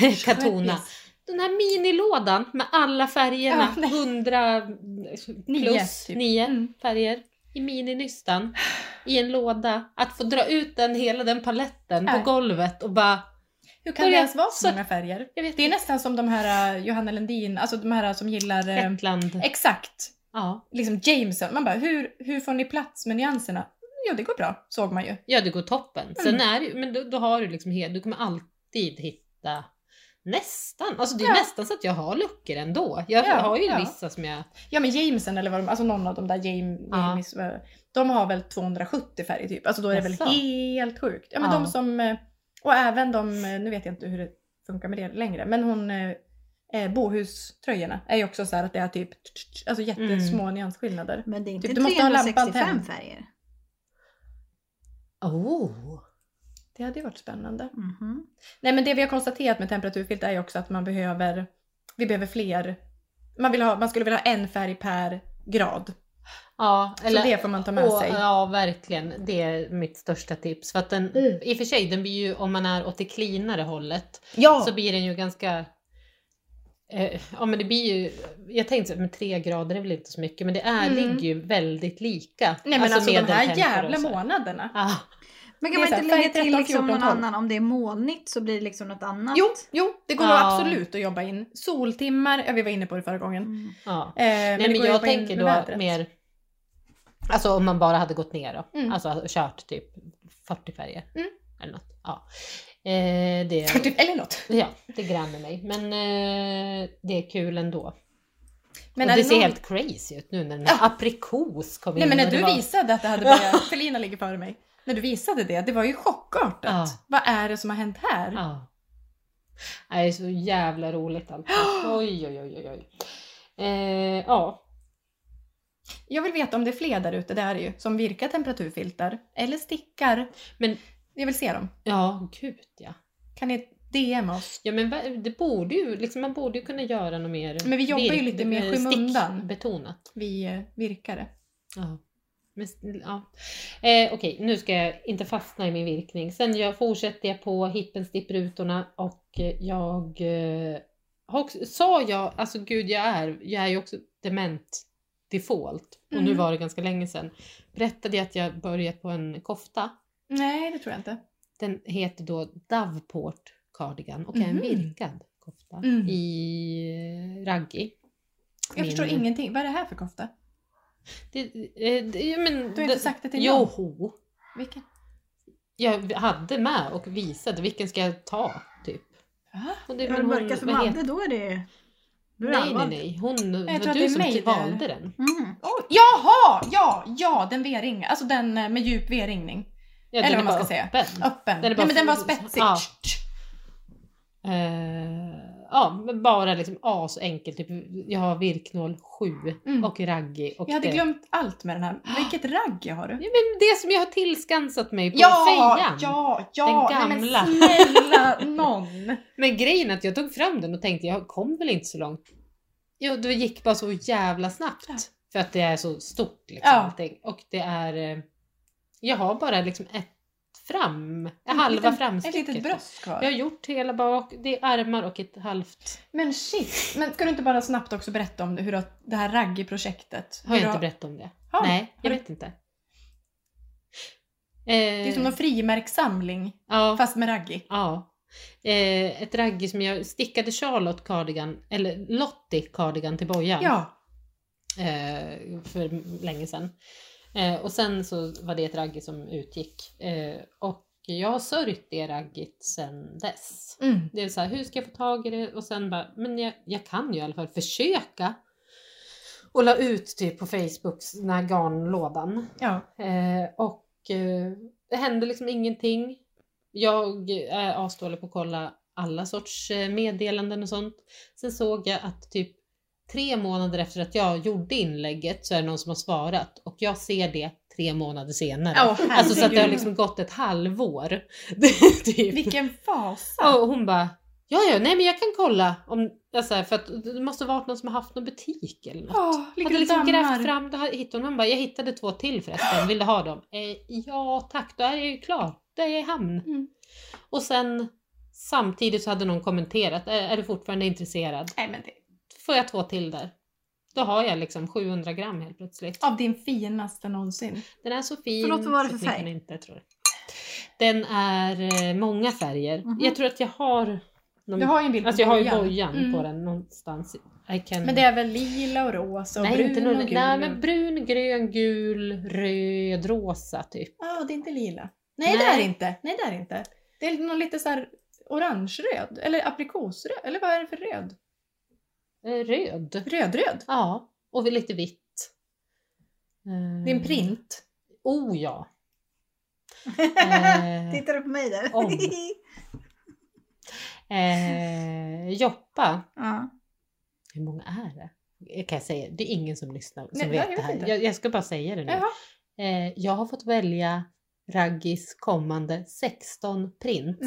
Katona. Den här minilådan med alla färgerna,
Ja, nej.
100
Nio,
plus
typ.
nio
Mm.
färger i mininystan i en låda. Att få dra ut den, hela den paletten
Nej.
på golvet och bara,
Hur kan det
Börja-
ens vara så
så-
många färger?
jag vet
Det är
inte,
nästan som de här eh, Johanna Lundin, alltså de här som gillar... eh,
Shetland.
Exakt!
Ja.
Liksom Jameson. Man bara, hur, hur får ni plats med nyanserna? Jo, det går bra, såg man ju.
ja, det går toppen. Sen
Mm.
är det, men då, då har du liksom, he- du kommer alltid hitta nästan, alltså det är
Ja.
nästan så att jag har luckor ändå. Jag
Ja,
har ju
ja.
vissa som jag,
Ja men Jameson eller vad de, alltså någon av de där James,
Ja.
James vad- de har väl 270 färger typ. Alltså då är det
Jaså?
väl helt sjukt. Ja men
Ja.
de som, eh, och även de, eh, nu vet jag inte hur det funkar med det längre, men hon eh, eh, Bohuströjorna är ju också så här att det är typ alltså jättesmå
Mm.
nyansskillnader.
Men det är inte
Typ, du måste ha lampan
365
tänd.
färger.
oh,
Det hade ju varit spännande.
Mhm.
Nej men det vi har konstaterat med temperaturfilt är ju också att man behöver, vi behöver fler, man, vill ha, man skulle vilja ha en färg per grad.
ja, eller,
Så det får man ta med
och,
sig.
Ja, verkligen. Det är mitt största tips. För att den,
Mm.
i och för sig, den blir ju, om man är åt det cleanare hållet,
Ja!
så blir den ju ganska... Eh, ja men det blir ju, jag tänkte så här, men tre grader är väl inte så mycket men det är,
Mm.
ligger ju väldigt lika.
Nej men alltså, de här
medeltemperatur och
jävla
så här. Ah,
månaderna.
Ja,
Men
Det är
kan man
så här,
inte lägga
färg
till
13, 14,
liksom någon
12?
annan? Om det är molnigt så blir det liksom något annat.
Jo, jo, det går
Ja.
absolut att jobba in. Soltimmar, ja vi var inne på det förra gången. Eh,
Mm.
ja.
men
Nej
det
men
går att
jag
jobba in
tänker
med
då
vädret.
mer, alltså om man bara hade gått ner då,
Mm.
alltså kört typ 40 färger
Mm.
eller något. Ja. Eh, det,
40, eller något.
ja, det grannar mig men eh, det är kul ändå.
Men
och
är
det
det
ser
någon-
helt crazy ut nu när den här aprikos kom in.
Nej men när
och det
du
var-
visade att det hade börjat, Felina ligger före mig. När du visade det, det var ju chockartat.
Ja.
Vad är det som har hänt här?
Ja. Nej, Det är så jävla roligt allt. Oj, oj, oj, oj, oj. Eh, ja.
Jag vill veta om det är fler där ute, det är det ju, som virkar temperaturfiltar eller stickar.
Men-
Jag vill se dem.
ja, gud ja.
Kan ni DM oss?
ja men va- det borde ju, liksom, man borde ju kunna göra något mer
Men vi jobbar ju
virk-
lite mer
eh,
skymundan.
stickbetonat.
Vi eh, virkare.
Ja. Men, s- ja. Eh, Okej, nu ska jag inte fastna i min virkning. Sen jag, fortsätter jag på hippenstipprutorna och eh, jag eh, har också, sa jag, alltså gud jag är, jag är ju också dement default och nu
Mm.
var det ganska länge sedan. Berättade jag att jag börjat på en kofta.
Nej, det tror jag inte.
Den heter då Daveport Cardigan och är en
Mhm.
virkad kofta
Mm.
i eh, raggi.
Jag förstår
Min-
ingenting. Vad är det här för kofta?
Det, eh, det, ja, men,
Du har inte sagt det till någon.
Joho!
Vilken?
jag hade med och visade vilken ska jag ta typ.
Va?
Och
Är det
men hon-
mörka som
vad
hade,
heter-
då är det Då är det
Nej, nej,
allvar.
nej. Hon, det
tror
var
att
du
det är
som
mig
t-
det-
valde den.
Mm.
Oh, jaha! Ja, ja, den V-ring. Alltså den eh, med djup V-ringning.
Ja,
Eller
den är
vad man
bara
ska säga.
öppen.
Öppen.
Mm. Den
Den
är
Nej,
bara-
men den var spetsig.
Ja.
Tsch,
Eh, ja, men bara liksom asenkel. Typ, jag har virknål 7
Mm.
och raggi. Och
Jag hade
det.
glömt allt med den här. Vilket ragg jag har.
Ja, men det som jag har tillskansat mig på
Ja,
fejan.
ja, ja.
Den
Nej,
gamla.
men snälla någon.
Men grejen är att jag tog fram den och tänkte jag kom väl inte så långt. Jo, det gick bara så jävla snabbt.
Ja.
För att det är så stort. Liksom,
Ja.
allting. Och det är... eh, Jag har bara liksom ett fram,
En
halva
liten- Ett
framstycket.
litet bröst kvar.
Jag har gjort hela bak, det är armar och ett halvt.
Men shit. Men ska du inte bara snabbt också berätta om hur du- det här raggprojektet.
Har jag inte berättat om det?
Har du?
Nej, jag
Har du-
vet inte. Eh,
Det är som någon frimärkssamling
ja,
fast med raggi.
ja. Eh, ett raggi som jag stickade Charlotte Cardigan, eller Lottie Cardigan till bojan.
Ja.
eh, för länge sedan. Eh, och sen så var det ett raggi som utgick eh, och jag har sörjt det raggit sedan dess.
Mm.
Det är så här, hur ska jag få tag i det? Och sen bara, men jag, jag kan ju i alla fall försöka. Och la ut typ på Facebook, den här garnlådan.
ja.
Eh, och eh, det hände liksom ingenting. Jag är asdålig på att kolla alla sorts eh, meddelanden och sånt. Sen såg jag att typ tre månader efter att jag gjorde inlägget så är det någon som har svarat och jag ser det tre månader senare.
Åh,
alltså så att det har
herregud.
liksom gått ett halvår. Det är typ.
Vilken fasa.
Ja, Och hon bara, ja ja, nej men jag kan kolla om, alltså, för att det måste ha varit någon som har haft någon butik eller något.
Oh, ligger
Hade
och
liksom grävt
dammar.
fram, då hittade hon, hon bara, jag hittade två till förresten, vill du ha dem? Eh, ja tack, då är jag ju klar, då är jag i hamn.
Mm.
Och sen samtidigt så hade någon kommenterat, är, är du fortfarande intresserad?
Nej, men det...
Får jag två till där? Då har jag liksom 700 gram helt plötsligt.
Av din finaste någonsin.
Den är så fin.
Förlåt, vad var det
så
för
att ni
färg?
kan Inte, tror jag. Den är eh, många färger.
Mhm.
Jag tror att jag har någon
Du har ju en bild på
Alltså jag har ju
bojan.
bojan
Mm.
på den någonstans. I can...
Men det är väl lila och rosa och
nej,
brun
inte någon...
och gul?
nej men brun, grön, gul, röd, rosa typ.
Ja, det är inte lila. Nej, det
Nej.
är det inte. Nej, det är det inte. Det är någon lite så här orange-röd. Eller aprikosröd. Eller vad är det för röd?
Eh, Röd.
Röd-röd.
Ja, och lite vitt. Eh,
Det är en print.
Oh ja. Eh,
Tittar du på mig där?
Om. eh, joppa.
ja.
Hur många är det? Eh, Kan jag säga? Det är ingen som lyssnar som
Nej, nej,
vet
jag
det
vet
här.
inte.
Jag, jag ska bara säga det nu.
Jaha.
Eh, jag har fått välja Raggis kommande 16 print.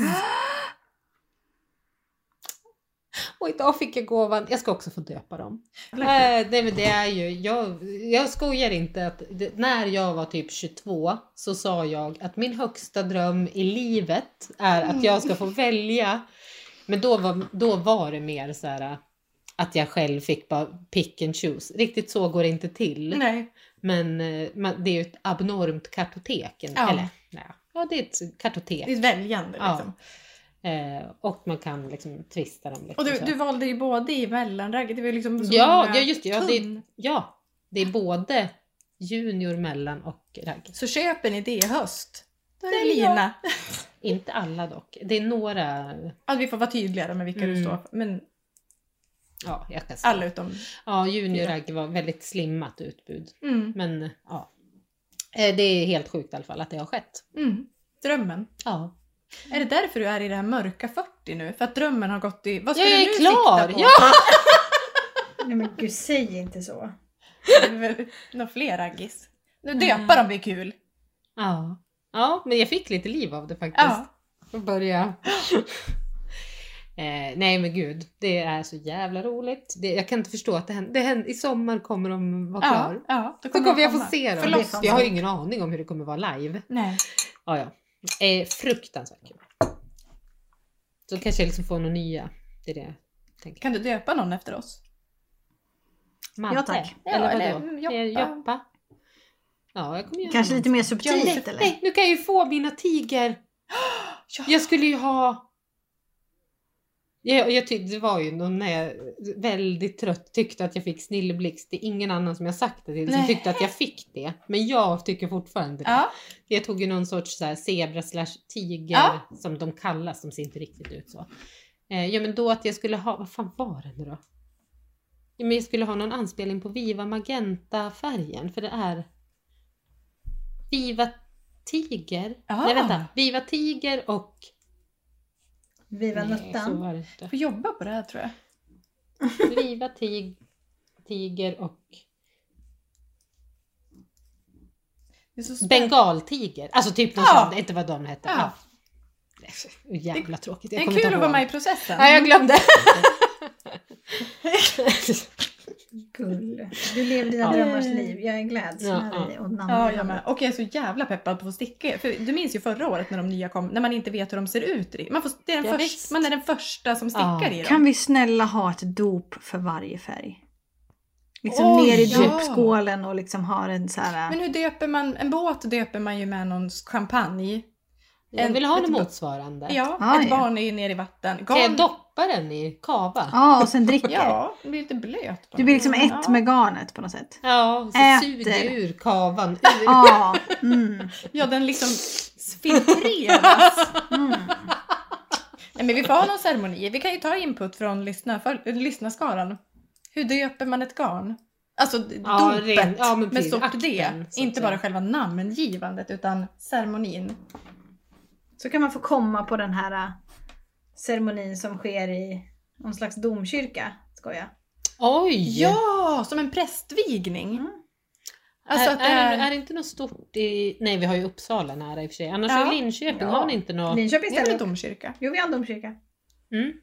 Och idag fick jag gåvan, jag ska också få döpa dem. Eh, nej men det är ju, jag, jag skojar inte att det, när jag var typ 22 så sa jag att min högsta dröm i livet är att jag ska få välja. Men då var, då var det mer så här att jag själv fick bara pick and choose. Riktigt så går det inte till.
Nej.
Men eh, man, det är ju ett abnormt kartotek. en-
Ja.
Eller, ja. ja, det är ett kartotek.
Det är ett väljande
Ja.
liksom.
Eh, och man kan liksom twista dem. Liksom,
Och du,
så.
du valde ju både i mellanragget. Det var ju liksom så
Ja,
många
ja, just det. Ja, det-
tunn.
Ja, det är både junior, mellan och ragg.
Så köper ni det i höst. Då är det
Nej, ja.
lila.
Inte alla dock. Det är några,
Alltså, vi får vara tydligare med vilka
Mm.
du står för. Men
ja jag kan säga.
alla utom...
Ja, junior ragg var väldigt slimmat utbud.
Mm.
Men ja, eh, det är helt sjukt i alla fall att det har skett.
Mm. Drömmen.
Ja,
Är det därför du är i det här mörka 40 nu? För att drömmen har gått i... Vad ska
jag
du
är
nu
klar!
sikta på?
Ja!
Nej men gud, säg inte så.
Det är väl Några fler raggis. Nu Döpa dem blir kul.
Ja. ja, men jag fick lite liv av det faktiskt.
Ja.
Och börja. eh, nej men gud, det är så jävla roligt. Det, jag kan inte förstå att det händer. Det händer I sommar kommer de vara klara.
Ja, ja, då
Då kommer
de
jag få
komma.
se dem.
Förlossning.
Jag har ju ingen aning om hur det kommer vara live.
Nej.
Ja, ja. Eh, fruktansvärt kul. Så kanske jag liksom får några nya. Det är det jag tänker.
Kan du döpa någon efter oss?
Madde.
Ja, tack.
Ja,
Eller
eller,
vadå?
mm,
Joppa.
Joppa.
Joppa. Ja, jag kommer göra
Kanske
någon.
lite mer
Ja, nej,
subtilt eller?
nej, nu kan jag ju få mina tiger.
Ja.
Jag skulle ju ha... Jag, jag tyckte det var ju någon när jag väldigt trött tyckte att jag fick snilleblixt. Det är ingen annan som jag sagt det till som
Nej.
tyckte att jag fick det. Men jag tycker fortfarande det.
Ja.
Jag tog ju någon sorts så här zebra slash tiger
Ja.
som de kallas. De ser inte riktigt ut så. Eh, ja men då att jag skulle ha, vad fan var det nu då? Ja, Men jag skulle ha någon anspelning på Viva Magenta-färgen, för det är Viva Tiger.
Ah.
Nej vänta, Viva Tiger och...
Viva
Nej, så
Nuttan.
var det inte.
Får jobba på det här tror jag.
Viva tig, Tiger och
Det är så spännande.
Bengaltiger. Alltså typ någon
Ja.
sån, inte vad de hette.
Ja.
Ja. Hur Jävla tråkigt.
Det
Jag
är
kommer
kul
inte
att vara
ihåg.
med i processen.
Nej, jag glömde.
Gull. Du lever dina
Ja.
drömmars liv. Jag är glad
Ja, ja.
ja, och namn.
Ja, jag med. Och jag är så jävla peppad på att få sticka. För du minns ju förra året när de nya kom, när man inte vet hur de ser ut. i- Man, får, det är den
Ja,
först,
visst.
man är den första som stickar
Ja.
i dem.
Kan vi snälla ha ett dop för varje färg? Liksom
Oj,
ner i
ja.
dopskålen och liksom ha en så här...
Men hur döper man, en båt döper man ju med någon champagne.
Jag vill ha
En-
något motsvarande.
Ja,
Ah,
ett
ja.
barn är ju nere i vatten.
Ska jag
Garn-
doppa den i kava?
Ja, och sen dricker.
Ja, det blir lite blöt. bara. Mm,
Du blir liksom ett
Ja.
med garnet på något sätt.
Ja, och så
Äter.
suger jag ur kavan. Ur.
Ja. Mm.
Ja, den liksom filtreras.
Mm.
Nej, men vi får ha någon ceremoni. Vi kan ju ta input från lyssna, för, eh, lyssnarskaran. Hur döper man ett garn? Alltså d-
Ja,
dopet
ren- ja, men
med
precis.
stort D.
Akten, så att
Inte
säga.
bara själva namngivandet utan ceremonin.
Så kan man få komma på den här äh, ceremonin som sker i någon slags domkyrka. Skoja.
Oj!
Ja, som en prästvigning.
Mm.
Alltså
är,
att det
är, det-
är...
är det inte något stort i... Nej, vi har ju Uppsala nära i och för sig. Annars
Ja.
i Linköping
Ja.
har ni inte något...
Linköping
Det är väl en
ställer upp.
domkyrka?
Jo, vi har en domkyrka.
Mm.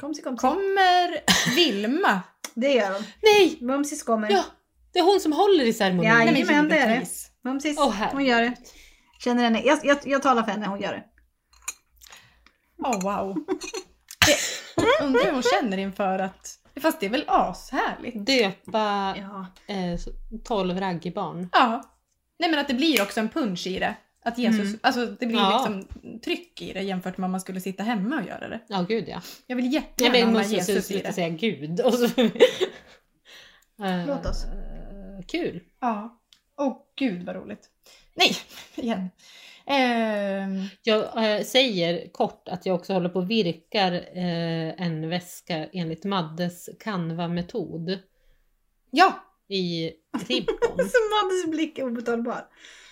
Komsi, komsi.
Kommer Vilma?
Det gör de.
Nej!
Mumsis kommer.
Ja, det är hon som håller i ceremonin.
Ja,
Nej, men-
Jajamän, det är det.
givetvis.
Mumsis,
Åh, herregud.
hon gör det. Känner henne. Jag, jag, jag talar för henne, hon gör det.
Åh wow. Det, undrar hur hon känner inför att... Fast det är väl ashärligt?
Döpa
Ja.
eh, så- 12 raggebarn.
Ja. Nej men att det blir också en punch i det. Att Jesus,
Mm.
alltså det blir
Ja.
liksom tryck i det jämfört med om man skulle sitta hemma och göra det.
Ja, gud ja.
Jag vill
Nej,
jättegärna
men jag
ha med
måste
Jesus i
sluta
det.
säga gud. Och så... Eh,
Låt oss.
Kul.
Ja. Åh gud vad roligt. Nej, igen. Ehm,
Jag eh, säger kort att jag också håller på och virkar eh, en väska enligt Maddes Canva-metod
ja,
i ribbon.
Så Maddes blick är obetalbar.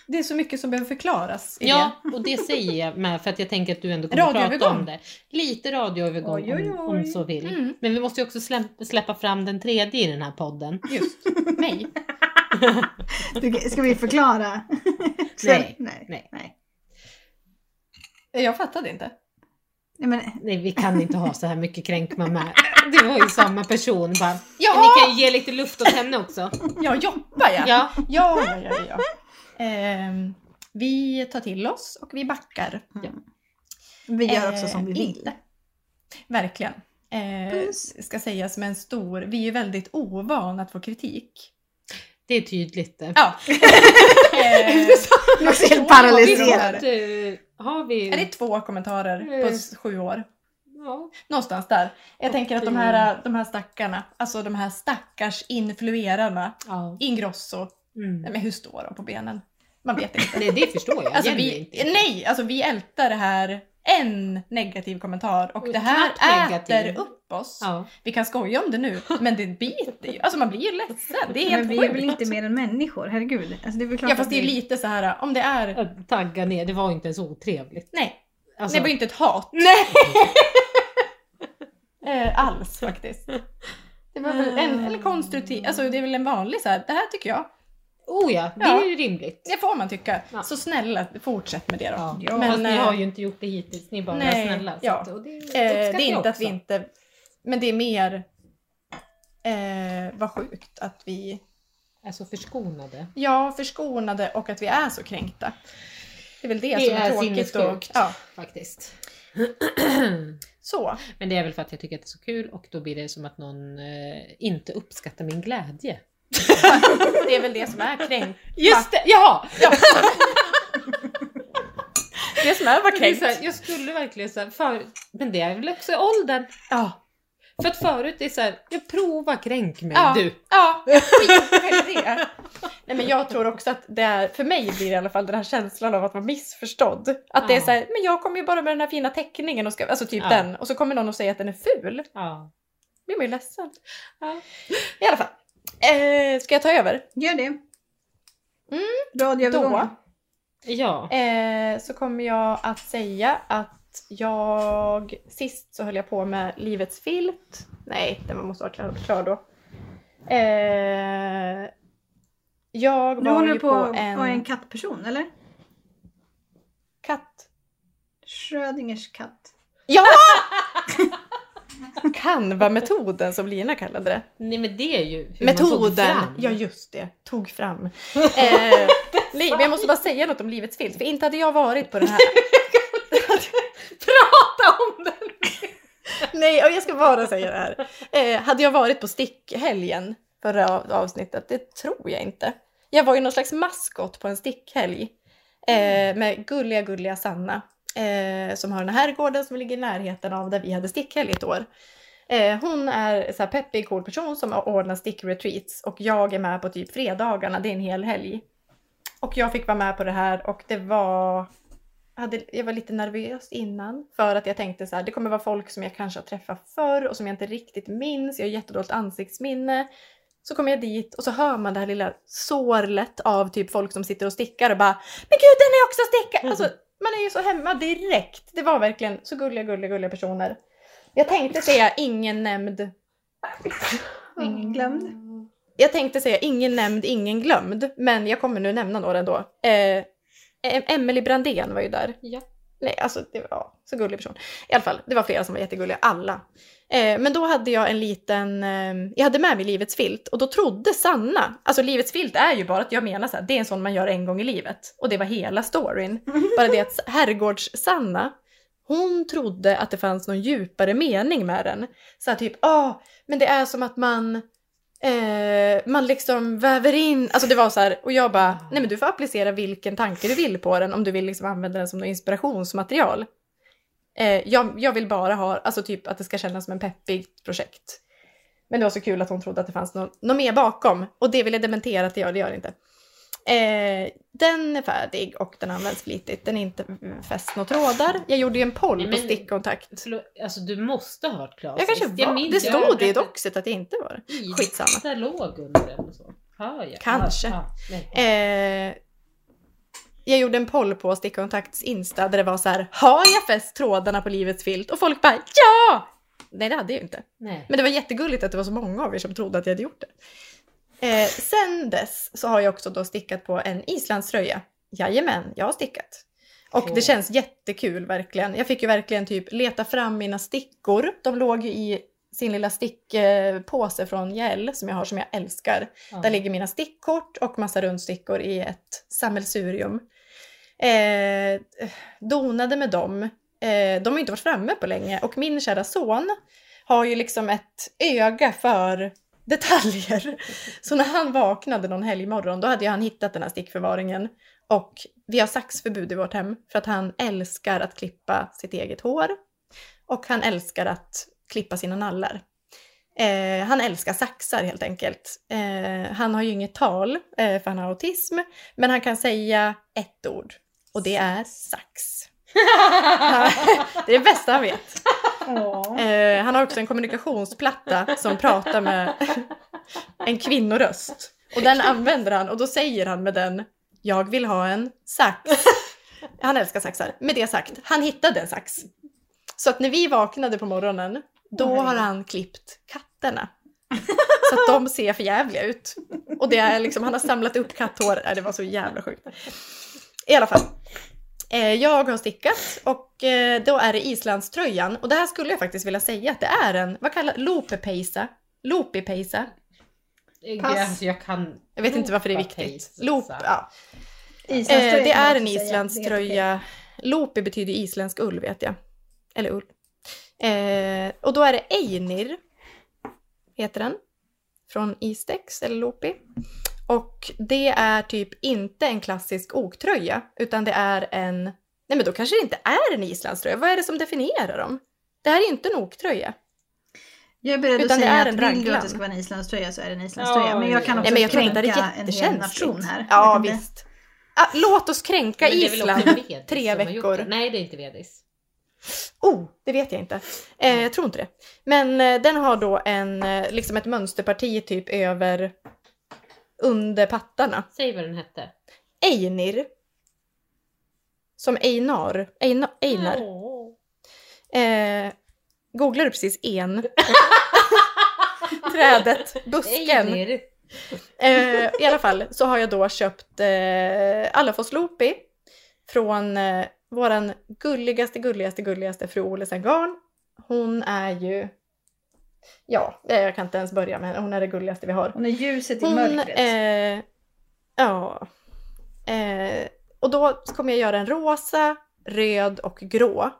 det är så mycket som behöver förklaras i
Ja, och det säger jag med för att jag tänker att du ändå kommer att prata
Radioövergång.
om det. Lite radioövergång
Oj, oj,
Om, om
oj.
så vill.
Mm.
Men vi måste ju också släppa, släppa fram den tredje i den här podden.
det. Just mig.
Du, Ska vi förklara?
Nej,
Nej.
nej.
Nej.
Jag fattade inte.
Nej, men,
Nej, vi kan inte ha så här mycket kränkma med. Det var ju samma person bara. Ni
Jaha!
kan ju ge lite luft åt henne också.
Ja, jobba ja. Ja,
Ja,
ja, ja. ja, Ehm, vi tar till oss och vi backar.
Mm. vi gör också
Eh,
som vi vill.
inte. Verkligen. Eh,
Puss.
ska sägas med en stor, vi är ju väldigt ovana att få kritik.
det är tydligt det.
Ja. eh,
Du var så helt
Visst.
paralyserad.
Visst, eh, Har vi...
är det två kommentarer på
Mm.
s- sju år?
Ja.
Någonstans där. Jag tänker att de här, de här stackarna, alltså de här stackars influerarna,
ja.
Ingrosso,
Mm.
nej men hur står de på benen? Man vet inte.
Nej, det förstår jag.
Alltså
Jenny är
vi,
inte.
nej, alltså vi ältar det här en negativ kommentar och
Och
det här
knappt negativ.
äter upp oss.
Ja.
Vi kan skoja om det nu, men det biter ju. Alltså man blir ju ledsen. Det är helt
Men vi
sjukt.
är väl inte mer än människor, herregud. Alltså, det är väl klart
Ja fast
att
det är
vi-
lite så här om det är...
Att Tagga ner, det var inte ens otrevligt.
Nej,
Alltså,
det var ju inte ett hat
Nej!
eh, alls faktiskt. Det var väl en, en konstruktiv, alltså det är väl en vanlig så här, det här tycker jag.
Oh ja, det
Ja.
är ju rimligt.
Det får man tycka.
Ja.
Så snälla, fortsätt med det då.
Ja.
Ja.
Men, Fast ni
eh,
har ju inte gjort det hittills, ni är bara
nej,
snälla. Så
ja.
att- och det,
Eh,
uppskattar
det är
jag
inte att vi
också.
inte... Men det är mer... Eh, vad sjukt att vi...
är så Alltså förskonade.
Ja, förskonade och att vi är så kränkta. Det är väl det,
Det
som är,
är
tråkigt. Och,
sinnessjukt.
ja,
Faktiskt.
så.
Men det är väl för att jag tycker att det är så kul och då blir det som att någon eh, inte uppskattar min glädje.
Det är väl det som är kränkt.
Just det! Jaha!
Det som är var
Det är
kränkt.
så här, jag skulle verkligen säga för... Men det är väl också åldern.
Ja.
För att förut är det så här, jag provar kränk mig
Ja.
du.
Ja, skit i det. Nej men jag tror också att det är, för mig blir det i alla fall den här känslan av att vara missförstådd. Att det är
Ja.
så här, men jag kommer ju bara med den här fina teckningen och ska, alltså typ
Ja.
den, och så kommer någon och säger att den är ful.
Ja.
blir man ju ledsen.
Ja.
I alla fall. Eh, ska jag ta över?
Gör det.
Mm,
Radioövergången.
då.
Ja.
Eh, så kommer jag att säga att jag sist så höll jag på med Livets filt. Nej, den måste vara klar, klar då. Eh, jag
Du
var
håller
ju
på
på,
att
en,
vara en kattperson eller?
katt.
Schrödingers katt.
Ja! Canva-metoden som Lina kallade det.
Nej men det är ju hur man tog
Metoden!
fram.
Ja just det, tog fram. Eh, li- men jag måste bara säga något om Livets filt, för inte hade jag varit på den här
Prata om den!
Nej, och jag ska bara säga det här. Eh, hade jag varit på stickhelgen förra av- avsnittet? Det tror jag inte. Jag var ju någon slags maskot på en stickhelg eh, med gulliga, gulliga Sanna eh, som har den här gården som ligger i närheten av där vi hade stickhelg ett år. Eh, hon är så här peppig, cool person som ordnar stickretreats och jag är med på typ fredagarna, det är en hel helg. Och jag fick vara med på det här och det var hade, jag var lite nervös innan för att jag tänkte så här, det kommer vara folk som jag kanske har träffat förr och som jag inte riktigt minns. Jag har jättedåligt ansiktsminne. Så kommer jag dit och så hör man det här lilla sorlet av typ folk som sitter och stickar och bara “Men gud, den är också stickad!” Alltså, man är ju så hemma direkt. Det var verkligen så gulliga, gulliga, gulliga personer. Jag tänkte säga ingen nämnd
Ingen glömd.
jag tänkte säga ingen nämnd, ingen glömd, men jag kommer nu nämna några ändå. Eh, Em- Emily Brandén var ju där.
Ja.
Nej, alltså det var ja, så gullig person. I alla fall, det var flera som var jättegulliga, alla. Eh, men då hade jag en liten, eh, jag hade med mig Livets filt och då trodde Sanna, alltså Livets filt är ju bara att jag menar så här, det är en sån man gör en gång i livet. Och det var hela storyn. Bara det att herrgårds-Sanna, hon trodde att det fanns någon djupare mening med den. Så här, typ, ah, men det är som att man Eh, man liksom väver in, alltså det var så här, och jag bara, nej men du får applicera vilken tanke du vill på den om du vill liksom använda den som något inspirationsmaterial. Eh, jag, jag vill bara ha, alltså typ att det ska kännas som en peppigt projekt. Men det var så kul att hon trodde att det fanns något, något mer bakom och det vill jag dementera att det gör, det gör det inte. Eh, den är färdig och den används flitigt, den är inte mm, fäst några trådar. Jag gjorde ju en poll
Nej,
på
men-
stickkontakt.
Förlåt, Alltså du måste ha hört Klas
Jag kanske
sist.
var,
minns-
det
jag
stod det i
berättade-
doxet att jag inte var det.
i
Skitsamma.
Där låg under den och så. Ah, ja.
Kanske.
Ah, ah, nej.
Eh, jag gjorde en poll på Stickkontakts Insta där det var så här, har jag fäst trådarna på livets filt? Och folk bara, ja! Nej det hade jag ju inte.
nej.
Men det var jättegulligt att det var så många av er som trodde att jag hade gjort det. Eh, sen dess så har jag också då stickat på en islandströja. Jajamän, jag har stickat. Och
Åh.
det känns jättekul verkligen. Jag fick ju verkligen typ leta fram mina stickor. De låg ju i sin lilla stickpåse från Gäll som jag har som jag älskar.
Ja.
Där ligger mina stickkort och massa rundstickor i ett sammelsurium. Eh, donade med dem. Eh, de har ju inte varit framme på länge och min kära son har ju liksom ett öga för detaljer. Så när han vaknade någon helgmorgon då hade ju han hittat den här stickförvaringen och vi har saxförbud i vårt hem för att han älskar att klippa sitt eget hår och han älskar att klippa sina nallar. Eh, han älskar saxar helt enkelt. Eh, han har ju inget tal eh, för han har autism, men han kan säga ett ord och det är sax. det är det bästa han vet.
Åh.
Eh, han har också en kommunikationsplatta som pratar med en kvinnoröst. Och den använder han och då säger han med den “Jag vill ha en sax”. Han älskar saxar. Med det sagt, han hittade en sax. Så att när vi vaknade på morgonen, då
Åh,
har
herregud.
han klippt katterna. Så att de ser för jävliga ut. Och det är liksom, han har samlat upp katthår. Nej, det var så jävla sjukt. I alla fall. Eh, jag har stickat och eh, då är det islandströjan. Och det här skulle jag faktiskt vilja säga att det är en, vad kallar looppeisa? Loopipejsa?
Pass.
Pass.
Alltså, jag kan...
Jag vet inte varför det är viktigt.
Loopapejsa.
Loop, ja.
Islandströja
eh, det
kan
är
man
en
också säga. Det är
islandströja. Lopi betyder isländsk ull vet jag. Eller ull. Eh, och då är det Einir. Heter den. Från Istex eller Lopi. Och det är typ inte en klassisk oktröja. Utan det är en... Nej men då kanske det inte är en islandströja. Vad är det som definierar dem? Det här är inte en oktröja.
Jag är beredd
Utan
att
det
säga
är
att
en
vill du
raglan.
att det ska vara en islandströja så är det en islandströja.
Ja,
men jag kan
ja.
Nej
också
men jag tror inte det
kränka
är
en hel nation
jättekänsligt.
här.
Ja
Jag kan
visst. Ah, låt oss kränka
Men det är väl också
Island.
Vedis
tre
som har gjort
veckor.
det. Nej, det är inte Vedis.
Oh, det vet jag inte. Eh, jag tror inte det. Men eh, den har då en, eh, liksom ett mönsterparti typ över, under pattarna.
Säg vad den hette.
Einir. Som Einar. Einar. Einar.
Åh.
Eh, googlade precis en. Trädet, busken.
Einar.
Eh, I alla fall så har jag då köpt eh, Allafoslopi från eh, våran gulligaste, gulligaste, gulligaste fru Olesen Garn. Hon är ju, ja, eh, jag kan inte ens börja med henne. Hon är det gulligaste vi har.
Hon är ljuset i
Hon,
mörkret.
eh, ja. Eh, och då kommer jag göra en rosa, röd och grå.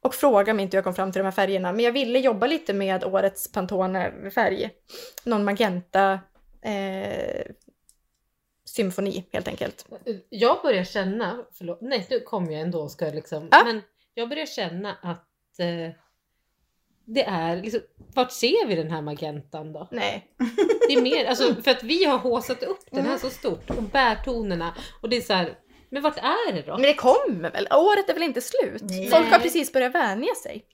Och fråga mig inte hur jag kom fram till de här färgerna, men jag ville jobba lite med årets Pantone-färg. Någon magenta eh, symfoni helt enkelt.
Jag börjar känna, förlåt, nej nu kom jag ändå och ska liksom,
Ja.
men jag börjar känna att eh, det är liksom, vart ser vi den här magentan då?
Nej.
Det är mer, alltså för att vi har håsat upp den här så stort och bärtonerna och det är så här, men vart är det då?
Men det kommer väl? Året är väl inte slut?
Nej.
Folk har precis börjat vänja sig.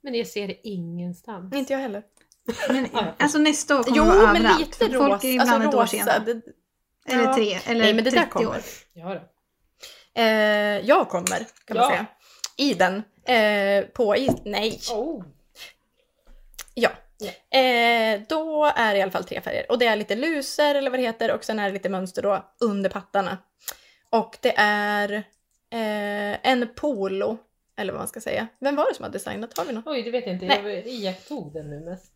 Men jag ser det ingenstans.
Inte jag heller.
Men,
Ja.
alltså nästa år kommer
Jo,
vara
men
överallt.
lite
Folk
rosa.
är ibland
Alltså
ett år
rosa.
senare.
Det,
Eller
ja.
tre, eller
Nej men det där
30
kommer.
år.
Ja, då.
Eh, jag kommer, kan man
Ja.
säga. I den. Eh, på is... Nej.
Oh.
Ja. Eh, då är det i alla fall tre färger. Och det är lite luser eller vad det heter och sen är det lite mönster då under pattarna. Och det är eh, en polo, eller vad man ska säga. Vem var det som hade designat? Har vi någon?
Oj, det vet jag inte.
Nej.
Jag iakttog den nu mest.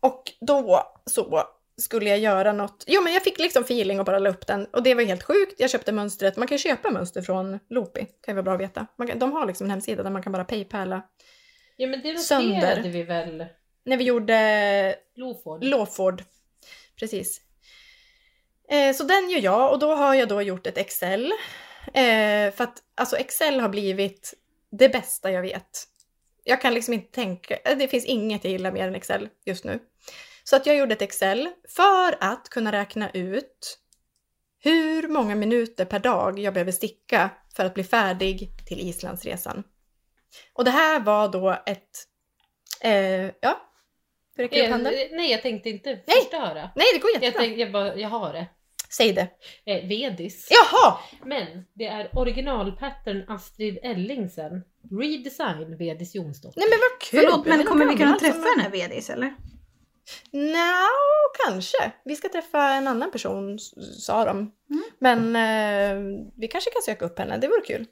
Och då så skulle jag göra något. Jo men jag fick liksom feeling och bara la upp den. Och det var helt sjukt. Jag köpte mönstret. Man kan ju köpa mönster från Loopy. Kan ju vara bra att veta. Man kan, de har liksom en hemsida där man kan bara paypala
Ja, men det
Sönder.
noterade vi väl?
När vi gjorde
Loford.
Lawford. Precis. Eh, så den gör jag och då har jag då gjort ett Excel. Eh, för att alltså Excel har blivit det bästa jag vet. Jag kan liksom inte tänka, eh, det finns inget jag gillar mer än Excel just nu. Så att jag gjorde ett Excel för att kunna räkna ut hur många minuter per dag jag behöver sticka för att bli färdig till Islandsresan. Och det här var då ett... Eh, ja? Hur räcker du upp
Eh,
handen?
nej, jag tänkte inte
Nej.
förstöra.
Nej, det går jättebra.
Jag, tänkte, jag, bara, jag har det.
Säg det.
Eh, vedis.
Jaha!
Men det är originalpattern Astrid Ellingsen. Redesign Vedis Jonsdotter.
Nej men vad kul!
Förlåt
Är
men
det
kommer
någon
vi kunna
annan
träffa
som-
den här VDs eller?
Nja, kanske. Vi ska träffa en annan person, s- sa de.
Mm.
Men eh, vi kanske kan söka upp henne, det vore kul.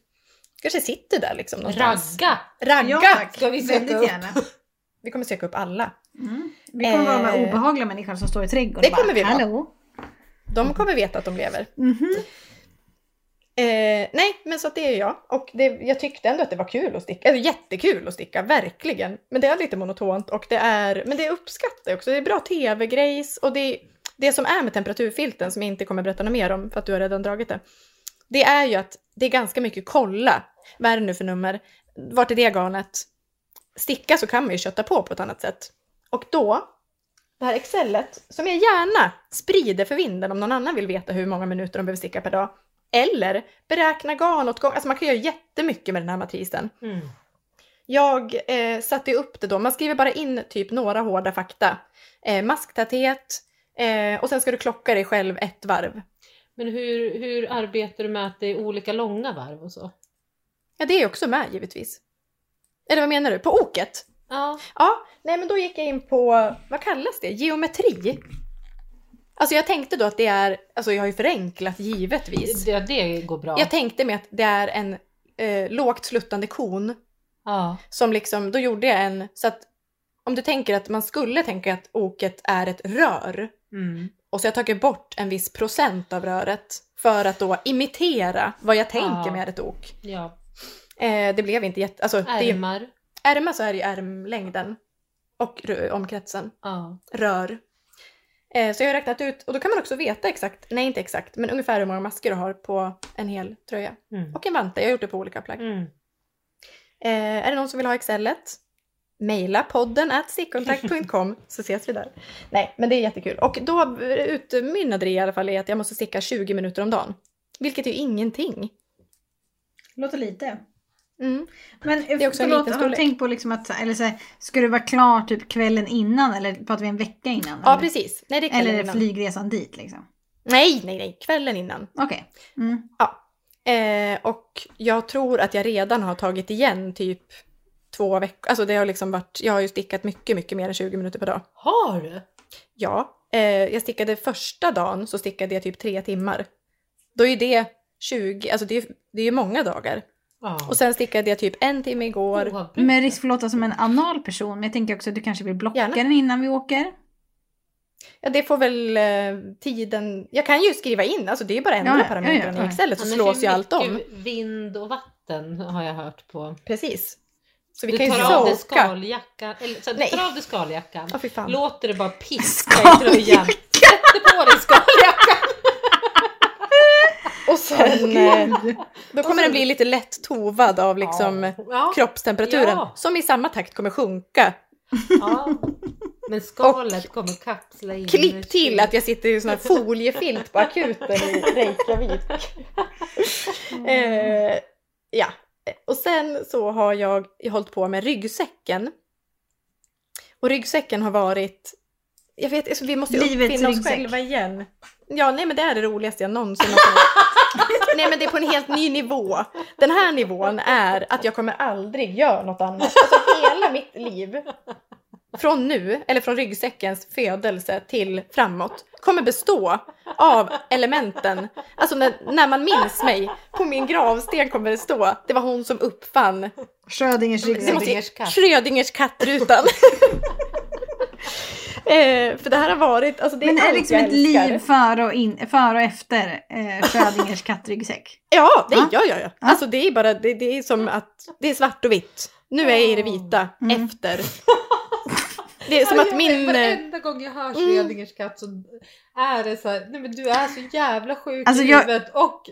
Kanske sitter där liksom någonstans.
Ragga!
Ragga!
Ja tack,
Ska vi söka
väldigt
upp?
gärna.
Vi kommer söka upp alla.
Mm. Vi kommer vara de här
Eh,
obehagliga människorna som står i trädgården
det
och bara,
kommer vi vara.
Hallå?
De kommer veta att de lever.
Mhm.
Eh, nej, men så att det är jag. Och det, jag tyckte ändå att det var kul att sticka. Alltså, jättekul att sticka, verkligen. Men det är lite monotont och det är, men det uppskattar jag också. Det är bra tv-grejs och det, det som är med temperaturfilten som jag inte kommer berätta något mer om för att du har redan dragit det. Det är ju att det är ganska mycket kolla. Vad är det nu för nummer? Vart är det garnet? Sticka så kan man ju kötta på på ett annat sätt. Och då, det här excelet som jag gärna sprider för vinden om någon annan vill veta hur många minuter de behöver sticka per dag. Eller beräkna garnåtgång. Alltså man kan göra jättemycket med den här matrisen.
Mm.
Jag eh, satte ju upp det då. Man skriver bara in typ några hårda fakta. Eh, masktäthet eh, och sen ska du klocka dig själv ett varv.
Men hur, hur arbetar du med att det är olika långa varv och så?
Ja, det är också med givetvis. Eller vad menar du? På oket?
Ja.
Ja, nej men då gick jag in på, vad kallas det? Geometri? Alltså jag tänkte då att det är, alltså jag har ju förenklat givetvis.
Det, det går bra.
Jag tänkte mig att det är en eh, lågt sluttande kon
ja.
som liksom, då gjorde jag en, så att om du tänker att man skulle tänka att oket är ett rör
Mm.
och så jag tagit bort en viss procent av röret för att då imitera vad jag tänker
Ja.
med ett ok.
ja.
Eh, det blev inte jätte, alltså det är ju,
Ärmar.
ärmar så är det ju ärmlängden och rö- omkretsen.
Ja.
rör. Eh, så jag har räknat ut, och då kan man också veta exakt, nej inte exakt, men ungefär hur många masker du har på en hel tröja.
Mm.
Och en vante, jag har gjort det på olika plagg.
Mm.
Eh, är det någon som vill ha Excelet? Mejla podden at stickkontakt.com så ses vi där. Nej, men det är jättekul. Och då utmynnade det i alla fall i att jag måste sticka 20 minuter om dagen. Vilket är ju ingenting.
Låter lite.
Mm.
Men det
är också en liten
förlåt, har du
storlek.
tänkt på liksom att, eller så här, ska du vara klar typ kvällen innan eller pratar vi en vecka innan?
Ja,
eller?
precis. Nej, det är
Eller
kvällen
är det
innan.
flygresan dit liksom?
Nej, nej, nej. Kvällen innan.
Okej. Mm.
Eh, och jag tror att jag redan har tagit igen typ två veckor. Alltså det har liksom varit, jag har ju stickat mycket, mycket mer än 20 minuter per dag.
Har du?
Ja, eh, jag stickade första dagen så stickade jag typ tre timmar. Då är ju det 20, alltså det är ju det är ju många dagar.
Ja.
Och sen stickade jag typ en timme igår.
Oavbrutet.
Med risk för att låta som en anal person, men jag tänker också att du kanske vill blocka
Gärna.
den innan vi åker.
Ja, det får väl eh, tiden... Jag kan ju skriva in, alltså det är ju bara att ändra
Ja, ja,
parametrarna
ja,
i
ja.
Excel så
Annars är
slås ju
det
allt om.
mycket Vind och vatten har jag hört på.
Precis. Så vi
Du
kan ju
tar av dig
soka.
skaljackan. Eller, så, du
Nej.
tar av dig skaljackan.
Ja, fy fan.
Låter det bara piska i
Skaljackan.
tröjan. Sätter på dig skaljackan.
Och sen... eh, Då kommer den bli lite lätt tovad av liksom
ja.
kroppstemperaturen
Ja.
som i samma takt kommer sjunka.
Ja. Men skalet kommer kapsla in.
Klipp till att jag sitter i sån här foliefilt på akuten i Reykjavik.
Mm.
Eh, ja, och sen så har jag hållit på med ryggsäcken. Och ryggsäcken har varit, jag vet, alltså, vi måste ju
Livets
uppfinna oss
ryggsäck.
själva igen. Ja, nej men det är det roligaste jag någonsin har fått. Nej men det är på en helt ny nivå. Den här nivån är att jag kommer aldrig göra något annat. Alltså hela mitt liv, från nu, eller från ryggsäckens födelse till framåt, kommer bestå av elementen. Alltså när, när man minns mig, på min gravsten kommer det stå, det var hon som uppfann
Schrödingers
det måste
ryggsäck.
Schrödingers katt.
Schrödingers kattrutan. eh, för det här har varit, alltså det är
Men det är
allt
liksom
jag
ett
älskar.
liv före och, in, före och efter eh, Schrödingers kattryggsäck.
Ja, det,
Ja.
ja, ja, ja. Alltså det är bara, det, det är som att det är svart och vitt. Nu är jag i det vita,
Mm.
efter. Det är som att min... eh,
Varenda gång jag hör
Mm.
Schrödingers katt så är det så här, nej men du är så jävla sjuk
Alltså
i
jag-
huvudet och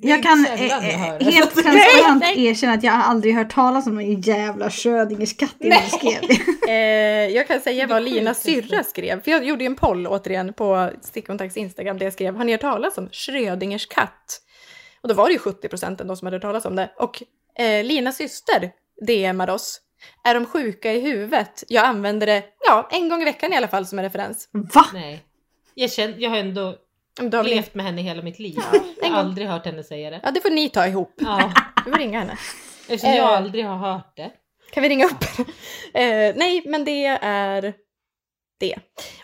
det är
Jag kan
sällan
eh,
jag hör
eh,
det.
helt
Så-
transparent
Nej,
erkänna att jag har aldrig hört talas om någon jävla Schrödingers katt innan du skrev det.
Eh, jag kan säga
Det
vad
sjukaste.
Linas syrra skrev. För jag gjorde ju en poll återigen på Stickkontakts Instagram där jag skrev “Har ni hört talas om Schrödingers katt?” Och då var det ju 70% ändå som hade hört talas om det. Och eh, Linas syster DMade oss. Är de sjuka i huvudet? Jag använder det ja, en gång i veckan i alla fall som en referens.
Va?
Nej. Jag, känner, jag har ändå
Men då har vi...
levt med henne hela mitt liv. jag
en
har
gång.
aldrig hört henne säga det.
Ja, det får ni ta ihop.
Ja,
Du får ringa henne.
eftersom jag
Eh.
aldrig har hört det.
Kan vi ringa upp? eh, nej, men det är det.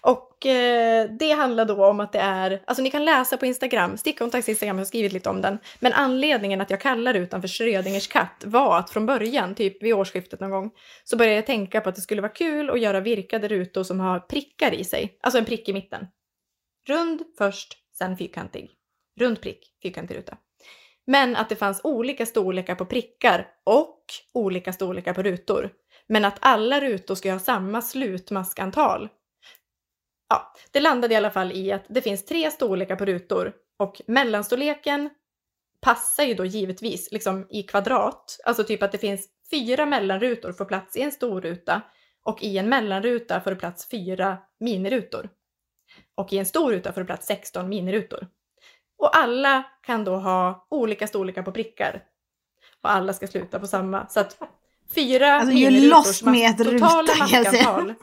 Och eh, det handlar då om att det är, alltså ni kan läsa på Instagram, Stickkontakts Instagram har skrivit lite om den, men anledningen att jag kallar rutan för Schrödingers katt var att från början, typ vid årsskiftet någon gång, så började jag tänka på att det skulle vara kul att göra virkade rutor som har prickar i sig, alltså en prick i mitten. Rund först, sen fyrkantig. Rund prick, fyrkantig ruta. Men att det fanns olika storlekar på prickar och olika storlekar på rutor. Men att alla rutor ska ha samma slutmaskantal. Ja, det landade i alla fall i att det finns tre storlekar på rutor och mellanstorleken passar ju då givetvis liksom i kvadrat. Alltså typ att det finns fyra mellanrutor får plats i en stor ruta och i en mellanruta får det plats fyra minirutor. Och i en stor ruta får det plats 16 minirutor. Och alla kan då ha olika storlekar på prickar. Och alla ska sluta på samma. Så att fyra
Alltså, ju
minirutor
loss
som har
med ett
totala
ruta, kan jag säga.
maskantal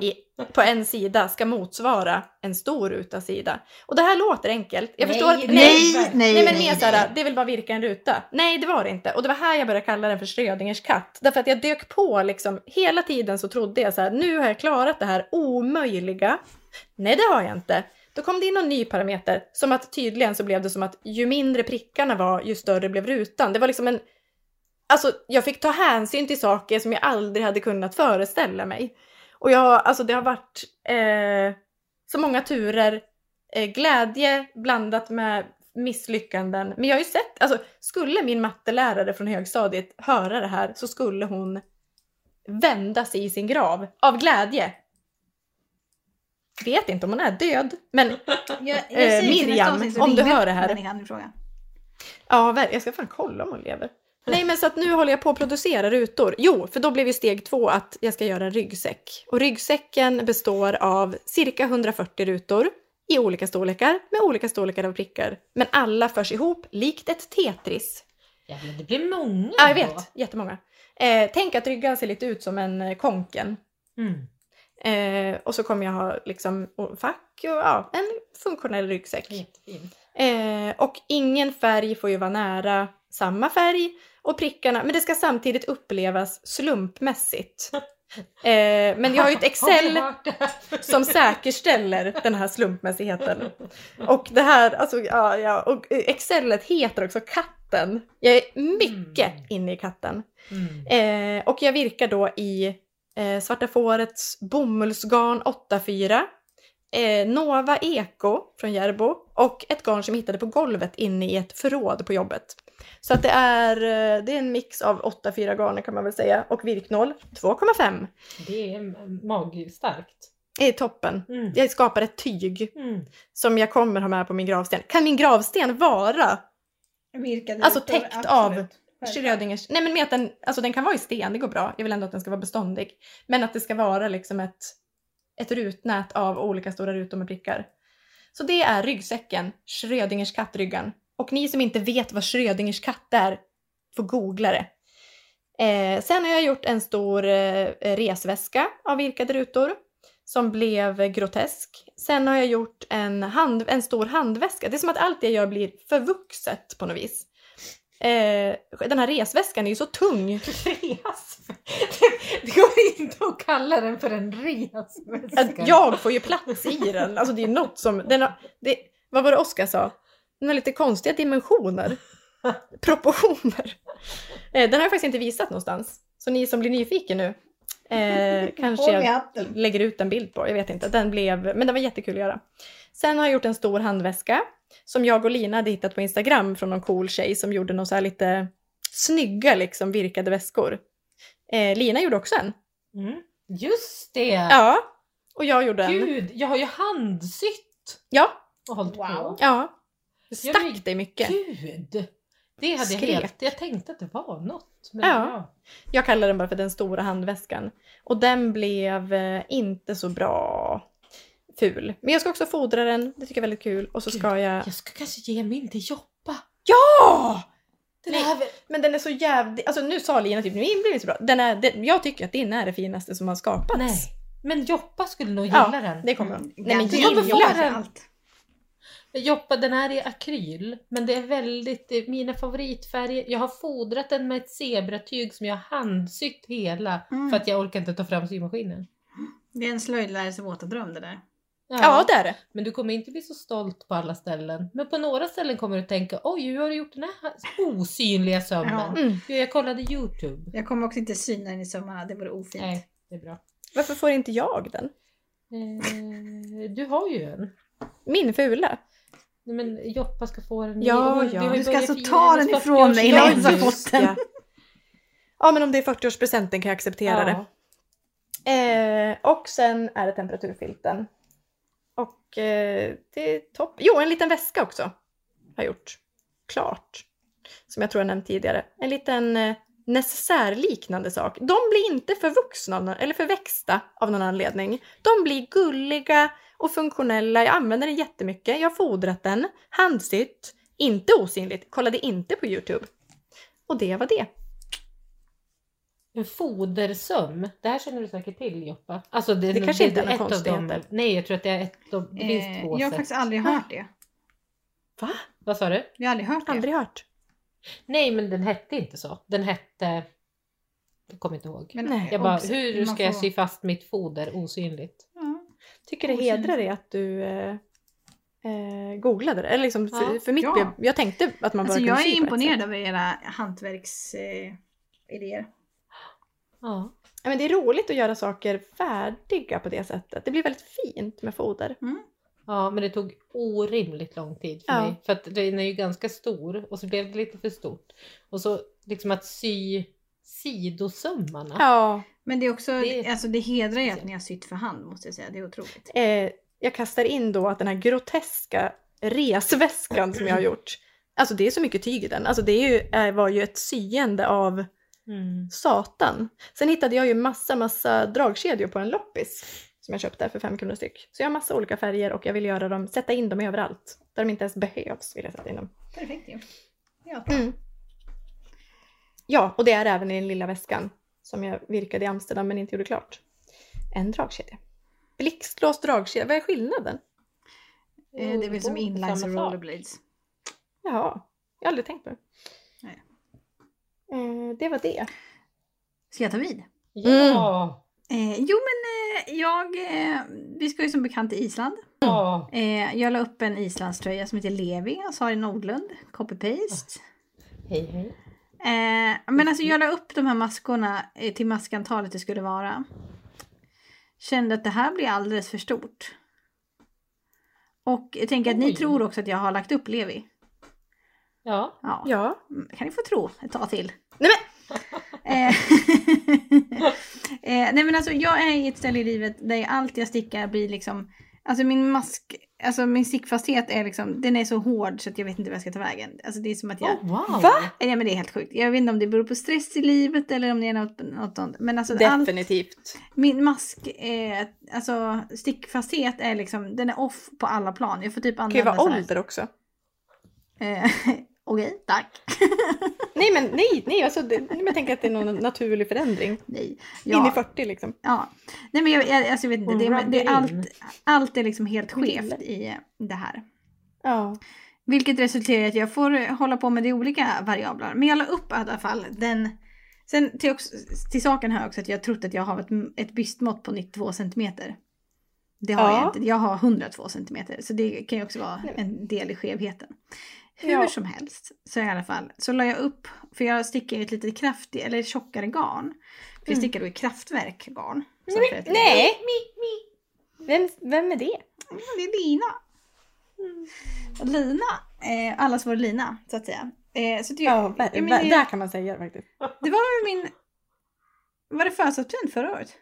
i, på en sida ska motsvara en stor rutas sida. Och det här låter enkelt. Jag
Nej,
förstår att...
det-
Nej, nej,
Nej,
nej.
men mer såhär,
nej.
det vill bara virka en ruta. Nej det var det inte. Och det var här jag började kalla den för Schrödingers katt. Därför att jag dök på liksom, hela tiden så trodde jag så här, nu har jag klarat det här omöjliga. Nej det har jag inte. Då kom det in någon ny parameter. Som att tydligen så blev det som att ju mindre prickarna var ju större blev rutan. Det var liksom en... Alltså jag fick ta hänsyn till saker som jag aldrig hade kunnat föreställa mig. Och jag, alltså det har varit eh, så många turer, eh, glädje blandat med misslyckanden. Men jag har ju sett, alltså skulle min mattelärare från högstadiet höra det här så skulle hon vända sig i sin grav av glädje. Vet inte om hon är död, men
Jag,
Eh, Miriam, om du hör det här. Ja, ver- jag ska fan kolla om hon lever. Nej, men så att nu håller jag på att producera rutor. Jo, för då blev ju steg två att jag ska göra en ryggsäck. Och ryggsäcken består av cirka 140 rutor i olika storlekar med olika storlekar av prickar. Men alla förs ihop likt ett Tetris.
Jävlar, det blir många
Ja, jag
då.
vet. Jättemånga. Eh, tänk att ryggan ser lite ut som en eh, konken.
Mm.
Eh, och så kommer jag ha liksom och fack och ja, en funktionell ryggsäck.
Jättefint.
Eh, och ingen färg får ju vara nära samma färg och prickarna, men det ska samtidigt upplevas slumpmässigt. Eh, men jag har ju ett
vi
Excel
hört det här?
som säkerställer den här slumpmässigheten. Och det här, alltså ja, ja och Excelet heter också katten. Jag är mycket
Mm.
inne i katten.
Mm.
Eh, och jag virkar då i eh, Svarta Fårets bomullsgarn 84, eh, Nova Eko från Järbo och ett garn som jag hittade på golvet inne i ett förråd på jobbet. Så att det är, eh, det är en mix av 84 garner kan man väl säga och virknål 2,5.
Det är magstarkt.
Det är toppen.
Mm.
Jag skapar ett tyg
Mm.
som jag kommer ha med på min gravsten. Kan min gravsten vara
Virkade
Alltså,
rutor,
täckt
absolut. Självklart.
Schrödingers... Nej men med att den, alltså den kan vara i sten, det går bra. Jag vill ändå att den ska vara beståndig. Men att det ska vara liksom ett, ett rutnät av olika stora rutor med prickar. Så det är ryggsäcken, Schrödingers kattryggan. Och ni som inte vet vad Schrödingers katt är, får googla det. Eh, sen har jag gjort en stor eh, resväska av virkade rutor som blev grotesk. Sen har jag gjort en, hand, en stor handväska. Det är som att allt det jag gör blir förvuxet på något vis. Eh, den här resväskan är ju så tung.
Res. Det går inte att kalla den för en
Att
resväska.
jag får ju plats i den. Alltså det är något som... Den har, det, vad var det Oskar sa? Den har lite konstiga dimensioner. Proportioner. Eh, den har jag faktiskt inte visat någonstans. Så ni som blir nyfiken nu eh, kanske...
Håll i hatten.
lägger ut en bild på. Jag vet inte. Den blev, men den var jättekul att göra. Sen har jag gjort en stor handväska som jag och Lina hade hittat på Instagram från någon cool tjej som gjorde någon så här lite snygga liksom virkade väskor. Eh, Lina gjorde också en.
Mm. Just det!
Ja. Och jag gjorde en.
Gud, jag har ju handsytt
Ja.
och hållit
Wow.
på.
Ja. Du
Ja, men
stack dig mycket.
Gud! Det hade jag
Skrek.
helt... Jag tänkte att det var något. Men
Ja. Jag kallar den bara för den stora handväskan. Och den blev eh, inte så bra ful. Men jag ska också fodra den. Det tycker jag är väldigt kul. Och så ska jag...
Jag ska kanske ge mig in till jobba.
Åh!
Den
Nej.
här...
Men den är så jävligt... Alltså nu sa Lina typ, min blev inte så bra. Den är, den, jag tycker att din är det finaste som har skapats.
Nej. Men Joppa skulle nog
Ja,
gilla den.
Det kommer
Mm.
hon. Nej men
Garanterat.
Du kommer få
gilla!
den.
Allt.
Joppa, den här är akryl, men det är väldigt, det är mina favoritfärger. Jag har fodrat den med ett zebratyg som jag har handsytt hela
Mm.
för att jag orkar inte ta fram symaskinen.
Det är en slöjdlärares våta dröm det där.
Ja det är det.
Men du kommer inte bli så stolt på alla ställen. Men på några ställen kommer du tänka, oj hur har du gjort den här osynliga sömmen?
Ja.
Mm.
Ja. Jag kollade YouTube.
Jag kommer också inte syna den i sömmarna, det vore ofint.
Nej, det är bra.
Varför får inte jag den?
Eh, du har ju en.
Min fula.
Nej, Men Joppa ska få den.
Ja,
Hon-
ja.
har ju
Du ska
börjat
alltså
fira
ta
hennes
den ifrån mig
40-årsdag.
innan
Ja,
jag ens har
just
fått den.
ja. Ja men om det är 40-årspresenten kan jag acceptera det. Eh, och sen är det temperaturfilten. Och eh, det är topp. Jo, en liten väska också har jag gjort. Klart. Som jag tror jag nämnt tidigare. En liten eh, necessärliknande sak. De blir inte förvuxna av någon- eller förväxta av någon anledning. De blir gulliga och funktionella. Jag använder den jättemycket. Jag har fodrat den. Handsytt. Inte osynligt. Kollade inte på Youtube. Och det var det.
En fodersöm, det här känner du säkert till Joppa. Alltså, det,
Det kanske inte är några
ett av
konstigheter.
dem- Nej, jag tror att det är ett av, det finns
Eh,
två
jag
sätt.
har faktiskt aldrig hört det.
Va?
Vad sa du?
Jag har aldrig hört det.
Aldrig hört.
Nej, men den hette inte så. Den hette... Jag kommer inte ihåg.
Men, eh,
Nej.
Jag bara,
obs,
hur
man
ska jag
får-
sy fast mitt foder osynligt?
Ja.
tycker det hedrar dig att du eh, eh, googlade det. Eller liksom, för,
Ja,
för mitt
ja.
blev, jag tänkte att man bara
Alltså,
kunde
jag
sy på
är
ett sätt.
imponerad över era hantverksidéer. Eh, idéer.
Ja.
Ja, men det är roligt att göra saker färdiga på det sättet. Det blir väldigt fint med foder.
Mm.
ja, men det tog orimligt lång tid för
Ja.
mig. För att den är ju ganska stor och så blev det lite för stort. Och så liksom att sy sidosömmarna.
Ja.
Men det är också,
Det-
alltså det hedrar ju att ni har sytt för hand måste jag säga, det är otroligt.
Eh, jag kastar in då att den här groteska resväskan som jag har gjort. Alltså det är så mycket tyg i den. Alltså det är ju, eh, var ju ett syende av
Mm.
satan. Sen hittade jag ju massa, massa dragkedjor på en loppis som jag köpte för 5 kronor styck. Så jag har massa olika färger och jag vill göra dem, sätta in dem överallt. Där de inte ens behövs vill jag sätta in dem.
Perfekt ju. Ja.
Mm. Ja, och det är även i den lilla väskan som jag virkade i Amsterdam men inte gjorde klart. En dragkedja. Blixtlås dragkedja, vad är skillnaden?
Eh, Det är väl som
Oh,
inlines och
samma sak.
rollerblades.
Jaha, jag har aldrig tänkt på det.
Nej.
Eh, det var det.
Ska jag ta vid?
Ja!
Eh, jo men eh, jag, eh, vi ska ju som bekant till Island.
ja.
Eh, jag la upp en islandströja som heter Levi och Sari Nordlund, copy-paste.
Hej hej.
Eh, men alltså jag la upp de här maskorna eh, till maskantalet det skulle vara. Kände att det här blir alldeles för stort. Och jag tänker att ni
Oj.
tror också att jag har lagt upp Levi.
Ja.
Ja,
Ja.
Mm, kan ni få tro ett tag till.
Nej,
Eh, eh, nej men alltså jag är i ett ställe i livet där allt jag stickar blir liksom, alltså min mask, alltså min stickfasthet är liksom, den är så hård så att jag vet inte vad jag ska ta vägen. Alltså det är som att jag,
Oh, wow!
Va?
nej men det är helt sjukt. Jag vet inte om det beror på stress i livet eller om det är något, något sånt. Men alltså allt,
Definitivt.
min mask, eh, alltså stickfasthet är liksom, den är off på alla plan. Jag får typ
Det kan ju
använda
vara
så här.
ålder också.
Eh, Okej, tack.
Nej men nej, nej alltså, det, men jag tänker att det är någon naturlig förändring.
Nej.
In i
Ja.
40 liksom.
Ja. Nej men jag, jag, alltså, jag vet inte,
Hon
det, är- det
rubbade
är
in.
allt, allt är liksom helt
Hon
skevt
ville.
i det här.
Ja.
Vilket resulterar i att jag får hålla på med de olika variabler. Men jag la upp i alla fall den. Sen till, också, till saken hör också att jag trott att jag har ett, ett bystmått på 92 cm. Det har
Ja.
jag inte. Jag har 102 cm. Så det kan ju också vara en del i skevheten. Hur
Ja.
som helst så i alla fall så la jag upp, för jag stickar ju ett lite kraftigt eller tjockare garn. För jag
Mm.
stickar då i kraftverk garn. Så för att-
Nej! Vem, vem är det?
Ja, det är Lina.
Mm.
Och Lina, eh, allas vår Lina så att säga. Eh, så det,
Ja, där,
men
där,
det-
där kan man säga det faktiskt.
det var väl min... Var det födelsedagspresent förra året?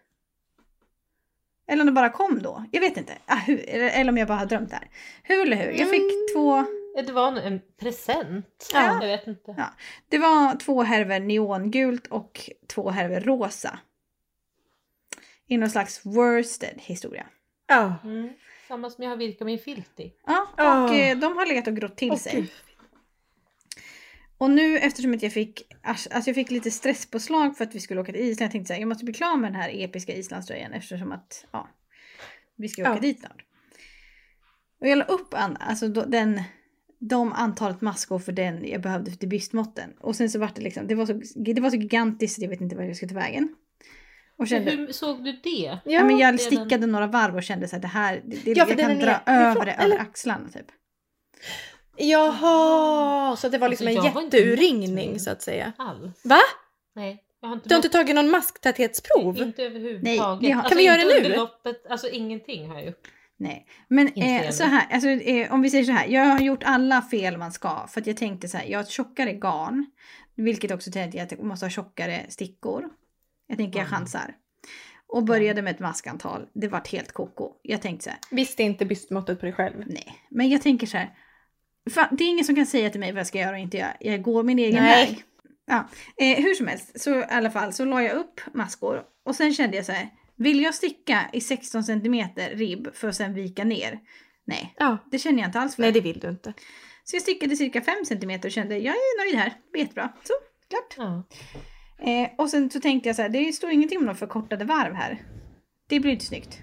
Eller om det bara kom då? Jag vet inte. Ah, hur, eller, eller om jag bara har drömt det här. Hur eller hur? Jag fick
Mm.
två...
Det var en, en present.
Ja.
Jag vet inte.
Ja. Det var två härvor neongult och två härvor rosa. I någon slags worsted historia.
Ja.
Mm. Samma som jag har virkat min filt i.
Ja, och
Ah.
eh, de har legat och grott till
Åh,
sig.
gud.
Och nu eftersom att jag fick, asch, alltså jag fick lite stresspåslag för att vi skulle åka till Island. Jag tänkte såhär, jag måste bli klar med den här episka Islandströjan eftersom att ja, vi ska åka
Ja.
dit snart. Och jag la upp an, alltså då, den, de antalet maskor för den jag behövde till bystmåtten. Och sen så vart det liksom, det var så, det var så gigantiskt så jag vet inte vad jag skulle ta vägen. Och kände,
Hur såg du det?
Ja,
ja, men
det är
jag stickade
den-
några varv och kände såhär, det här, det, det,
Ja, för
jag
den
kan
är
dra
ner-
över det
nerifrån,
över
eller?
axlarna typ.
Jaha, så det var liksom
Alltså, jag har
en
inte mätt
jätteuringning
mig.
så att säga.
Alls.
Va?
Nej. Jag har inte
Du har inte
mätt-
tagit någon masktäthetsprov?
Inte
Nej,
överhuvudtaget. Alltså,
det har-
Kan vi göra
inte
det nu?
under Loppet, alltså ingenting har jag gjort.
Nej, men
Inte
eh,
jag
så
heller.
här, alltså, eh, om vi säger så här, jag har gjort alla fel man ska för att jag tänkte så här, jag har ett tjockare garn, vilket också tänkte att jag måste ha tjockare stickor. Jag tänker jag
Mm.
chansar. Och började med ett maskantal, det vart helt koko. Jag tänkte så här,
Visste inte bystmåttet på dig själv.
nej, men jag tänker så här, fan, det är ingen som kan säga till mig vad jag ska göra och inte göra, jag går min egen
Nej.
väg. Ja, eh, hur som helst, så i alla fall så la jag upp maskor och sen kände jag så här, vill jag sticka i 16 cm ribb för att sen vika ner? Nej,
Ja.
det känner jag inte alls för.
Nej, det vill du inte.
Så jag stickade cirka 5 cm och kände jag är nöjd här, det är jättebra. Så, klart.
Ja.
Eh, och sen så tänkte jag så här, det står ingenting om några förkortade varv här. Det blir inte snyggt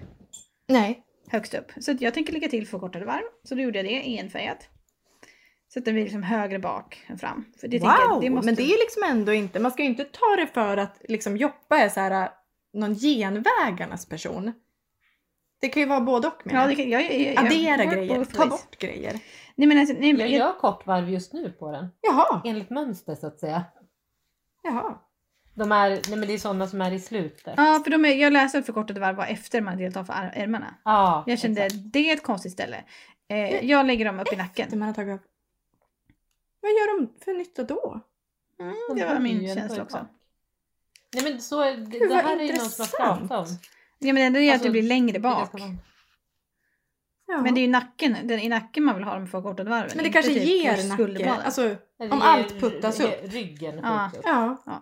Nej.
högst upp. Så att jag tänker lägga till förkortade varv. Så då gjorde jag det enfärgat. Så att den blir liksom högre bak än fram. För det tänker
wow!
jag, det måste...
Men det är liksom ändå inte, man ska ju inte ta det för att liksom Joppa är så här äh, någon genvägarnas person. Det kan ju vara både och menar
Ja,
jag.
det kan, jag, jag, jag,
Addera
jag-
grejer,
both
ta
ways.
bort grejer.
Nej men alltså, nej, men
Jag
jag,
gör kortvarv just nu på den.
Jaha,
Enligt mönster så att säga.
jaha.
De är, nej men det är sådana som är i slutet.
ja, för de är, jag läser att förkortade varv var efter man delat av ar- ärmarna.
Ja,
Jag kände
exakt.
det är ett konstigt ställe. Eh, jag lägger dem upp i nacken.
Det man har tagit av. Vad gör de för nytta då?
Mm,
De
det var
höll
min
ju en
känsla
bra
också.
bak. Nej men så, är- det,
Gud,
det
vad
här är ju någon som har
intressant.
pratat om.
Ja, men det är ju att
Alltså,
det blir längre
Det är
bak.
ganska vanligt.
Ja.
Men det är ju nacken, den, i nacken man vill ha dem förkortade varven.
Men det
inte
kanske
typ på
ger nacke.
skulderbladen.
Alltså,
Nej,
Om
det är
allt puttas
ry-
upp.
Ryggen
Ja.
skjuts upp.
ja.
ja,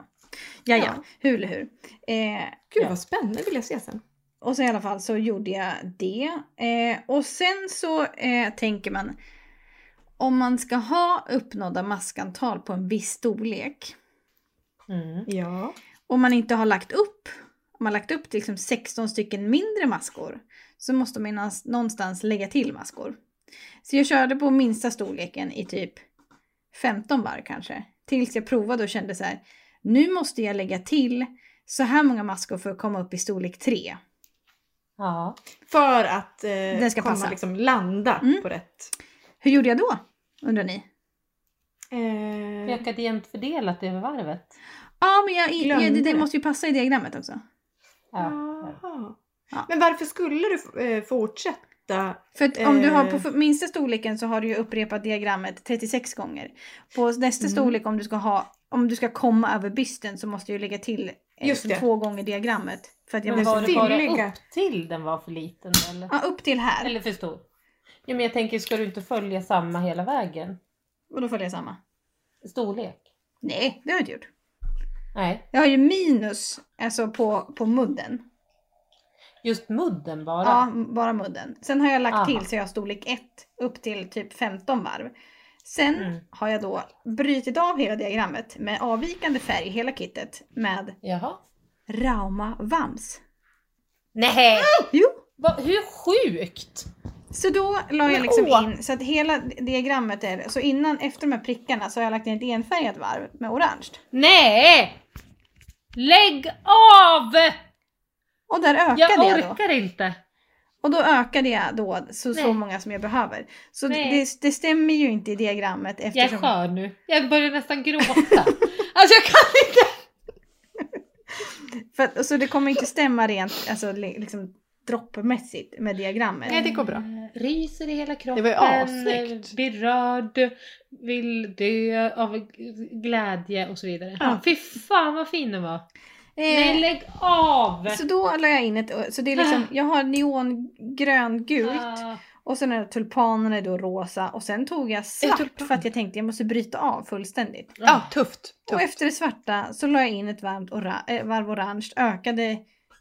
ja,
ja.
hur eller hur. Eh,
Gud
Ja.
vad spännande, vill jag se sen.
och så i alla fall så gjorde jag det. Eh, och sen så eh, tänker man, om man ska ha uppnådda maskantal på en viss storlek
Mm.
Ja.
Om man inte har lagt upp, om man har lagt upp till liksom 16 stycken mindre maskor så måste man någonstans- någonstans lägga till maskor. Så jag körde på minsta storleken i typ 15 varv kanske. Tills jag provade och kände så här, nu måste jag lägga till så här många maskor för att komma upp i storlek 3.
Ja.
För att eh,
Den ska
komma
passa.
liksom landa
Mm.
på rätt.
Hur gjorde jag då? Undrar ni?
Eh,
Ökat jämnt fördelat över varvet.
Ja, men jag, jag,
Glömde
det, det
det.
måste ju passa i diagrammet också.
Ja.
jaha.
Ja.
Men varför skulle du eh, fortsätta?
För att om du har på
Eh.
f- minsta storleken så har du ju upprepat diagrammet 36 gånger. På nästa
Mm.
storlek om du ska ha, om du ska komma över bysten så måste du ju lägga till eh,
Just
som
det.
två gånger diagrammet. För att jag
Men
måste
var det bara
fylliga.
upp till den var för liten eller?
Ja, upp till här.
Eller för stor? Ja, men jag tänker, ska du inte följa samma hela vägen?
Och då följer jag samma.
Storlek?
Nej, det har jag inte gjort.
Nej,
Jag har ju minus alltså på, på mudden.
just mudden bara.
Ja, m- bara mudden. Sen har jag lagt
Aha.
till så jag har storlek 1 upp till typ 15 varv. Sen
Mm.
har jag då brutit av hela diagrammet med avvikande färg, hela kittet, med
Jaha.
Rauma Vams.
Nej!
Jo!
Va, hur sjukt!
Så då la jag
Men
liksom
åh!
in, så att hela diagrammet är, så innan, efter de här prickarna så har jag lagt in ett enfärgat varv med orange.
Nej! Lägg av!
Och där ökade
Jag
jag, då.
orkar inte.
Och då ökade jag då så, så
Nej.
många som jag behöver. Så
Nej.
det, det stämmer ju inte i diagrammet
Jag är
eftersom...
skör nu. Jag börjar nästan gråta. alltså jag kan inte!
för, att- så det kommer inte stämma rent, alltså li- liksom droppmässigt med diagrammet.
Nej, det går bra.
Eh, Ryser i hela kroppen.
var ju assnyggt.
Berörd. Vill dö av glädje och så vidare.
Ja.
Fy fan vad fin den var. Nej
Eh,
lägg av!
så då la jag in ett, så det är liksom, jag har neongröngult.
Ah,
Och sen är tulpanerna då rosa och sen tog jag svart för att jag tänkte jag måste bryta av fullständigt.
Ja, tufft.
Och
tufft.
efter det svarta så la jag in ett varmt ora- äh, varv orange, ökade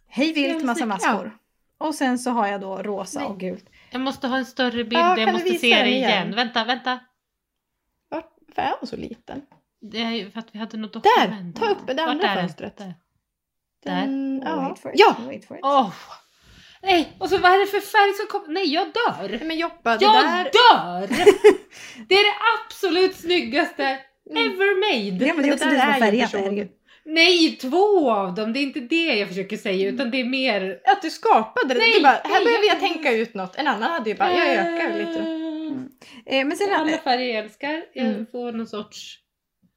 hej
Ja,
vilt
men
massa
så-
maskor. Och sen så har jag då rosa
Nej.
och gult.
Jag måste ha en större bild,
Ja,
jag
kan du
måste
visa
se det
den
igen.
igen?
Vänta, vänta.
Varför är hon så liten?
Det är ju för att vi hade något
Där!
dokument.
Ta upp det
Vart
andra
är den?
fönstret.
Där. Där.
Den, ja.
Oh, Wait for it,
ja!
wait for it.
Åh! Nej, och så vad är det för färg som kommer? Nej, jag dör!
Nej, Men Joppa, det
Jag
där...
dör! Det är det absolut snyggaste
Mm.
ever made!
Ja men det är också du som har
där är ju
färgat det,
person-
herregud.
Nej, två av dem! Det är inte det jag försöker säga utan det är mer...
Att du skapade det.
Nej,
du bara, här
nej,
behöver
jag-
jag tänka ut något. En annan hade ju bara, jag ökar lite.
Eh, men sen,
Alla färger jag älskar. Jag
Mm.
får någon sorts...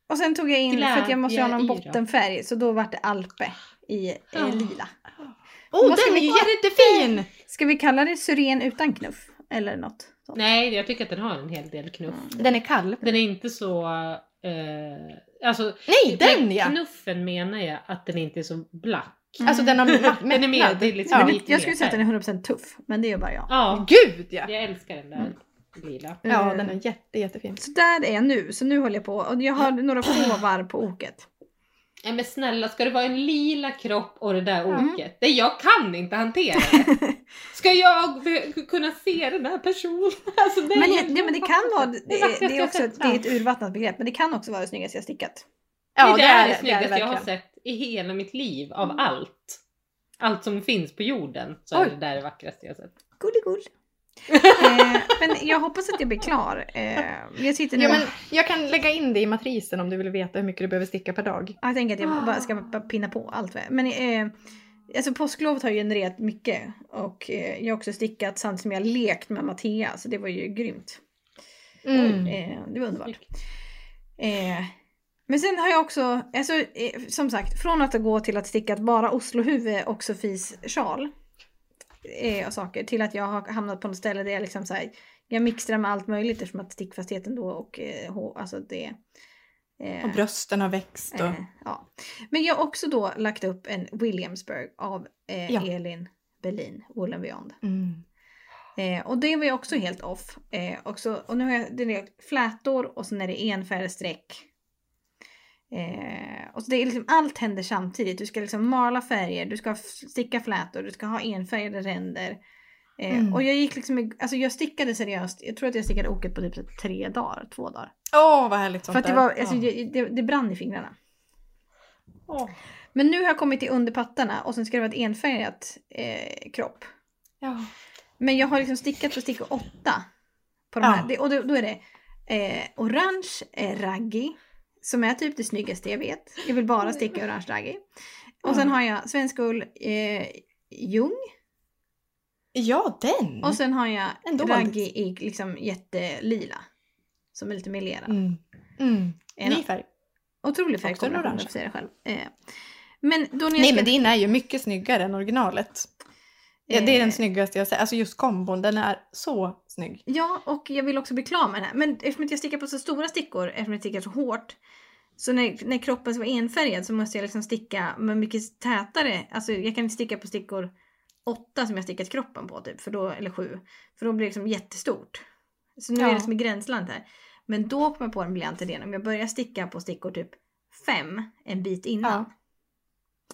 och sen tog jag in, för att jag måste ju ha någon
Glädje i då.
bottenfärg, så då vart det alpe i eh,
Ah.
lila.
Oh,
Vad ska
den är
vi-
ju jättefin!
Ska vi kalla det syren utan knuff? Eller något sånt?
Nej, jag tycker att den har en hel del knuff.
Mm.
Den är kall.
Den är inte så... eh, alltså,
Nej, den
med
ja!
Knuffen menar jag att den inte är så black.
Alltså den har mättnad.
Mm. Den är mer, det är liksom
Ja.
Men
lite
jag skulle
mer
säga att
färg.
den är 100% tuff, men det är bara jag.
Ja, Mm.
Gud ja!
jag älskar den där lila.
Ja,
Eh,
den är jätte, jättefin.
Så där är jag nu, så nu håller jag på och jag har några få varv på oket.
Nej men snälla, ska det vara en lila kropp och det där
Mm.
oket? Det jag kan inte hantera det. Ska jag be- kunna se den här personen? Alltså, nej,
Men, det, nej, men det kan vara, det,
Det vackraste
det är
jag
också
sett.
ett, det är ett urvattnat begrepp, men det kan också vara det snyggaste jag stickat.
Ja,
det, är det
det
snyggaste jag har
verkligen.
sett i hela mitt liv av
Mm.
allt. Allt som finns på jorden så är
Oj.
det där det vackraste jag har sett.
Goodigull. eh, men jag hoppas att jag blir klar. Eh, jag sitter nu
Jo, men jag kan lägga in det i matrisen om du vill veta hur mycket du behöver sticka per dag.
jag tänker att jag bara ska bara pinna på allt. vad jag- Men eh, alltså påsklovet har ju genererat mycket och eh, jag har också stickat samtidigt som jag lekt med Mattia så det var ju grymt.
Mm.
Eh, det var underbart.
Snyggt.
Eh, men sen har jag också, alltså, eh, som sagt, från att gå till att sticka ett bara Oslohuvud och Sofies sjal eh, och saker till att jag har hamnat på något ställe där jag liksom så här, jag mixtrar med allt möjligt eftersom att stickfastheten då och eh, hå- alltså det eh,
Och brösten har växt och...
eh, ja. Men jag har också då lagt upp en Williamsburg av eh,
Ja.
Elin Berlin, Woolen Beyond.
Mm.
Eh, och det var ju också helt off. Eh, och, så, och nu har jag det är flätor och sen är det enfärgade streck. Eh, och så det är liksom, allt händer samtidigt. Du ska liksom mala färger, du ska f- sticka flätor, du ska ha enfärgade ränder. Eh,
Mm.
Och jag gick liksom, i- alltså jag stickade seriöst, jag tror att jag stickade oket på typ så här tre dagar, två dagar.
Åh, vad härligt sånt
För att det
där.
var, alltså,
ja.
det, det, det brann i fingrarna.
Åh.
Men nu har jag kommit till underpattarna och sen ska det vara ett enfärgat eh, kropp.
Ja.
Men jag har liksom stickat på stickor åtta. På de
Ja.
här. Det, och då, då är det eh, orange eh, raggi. Som är typ det snyggaste jag vet. Jag vill bara sticka orange raggi. Och sen
Ja.
har jag svensk ull eh, ljung.
ja, den!
Och sen har jag
Ändå
raggi i liksom jättelila. Som är lite mer lera.
mm. Mm.
En
Ny färg.
otrolig färgkombination,
orange.
om jag får säga det själv. Eh, men då när jag
Nej
ska-
men din är ju mycket snyggare än originalet. Ja, det är den
eh,
snyggaste jag sett. Alltså just kombon, den är så snygg.
Ja, och jag vill också bli klar med den här. Men eftersom att jag stickar på så stora stickor, eftersom jag stickar så hårt. Så när, när kroppen ska vara enfärgad så måste jag liksom sticka med mycket tätare. Alltså jag kan inte sticka på stickor åtta som jag stickat kroppen på typ, för då, eller sju. För då blir det liksom jättestort. Så nu är
Ja.
det liksom i gränsland här. Men då kom jag på den briljanta idén om jag börjar sticka på stickor typ fem en bit innan.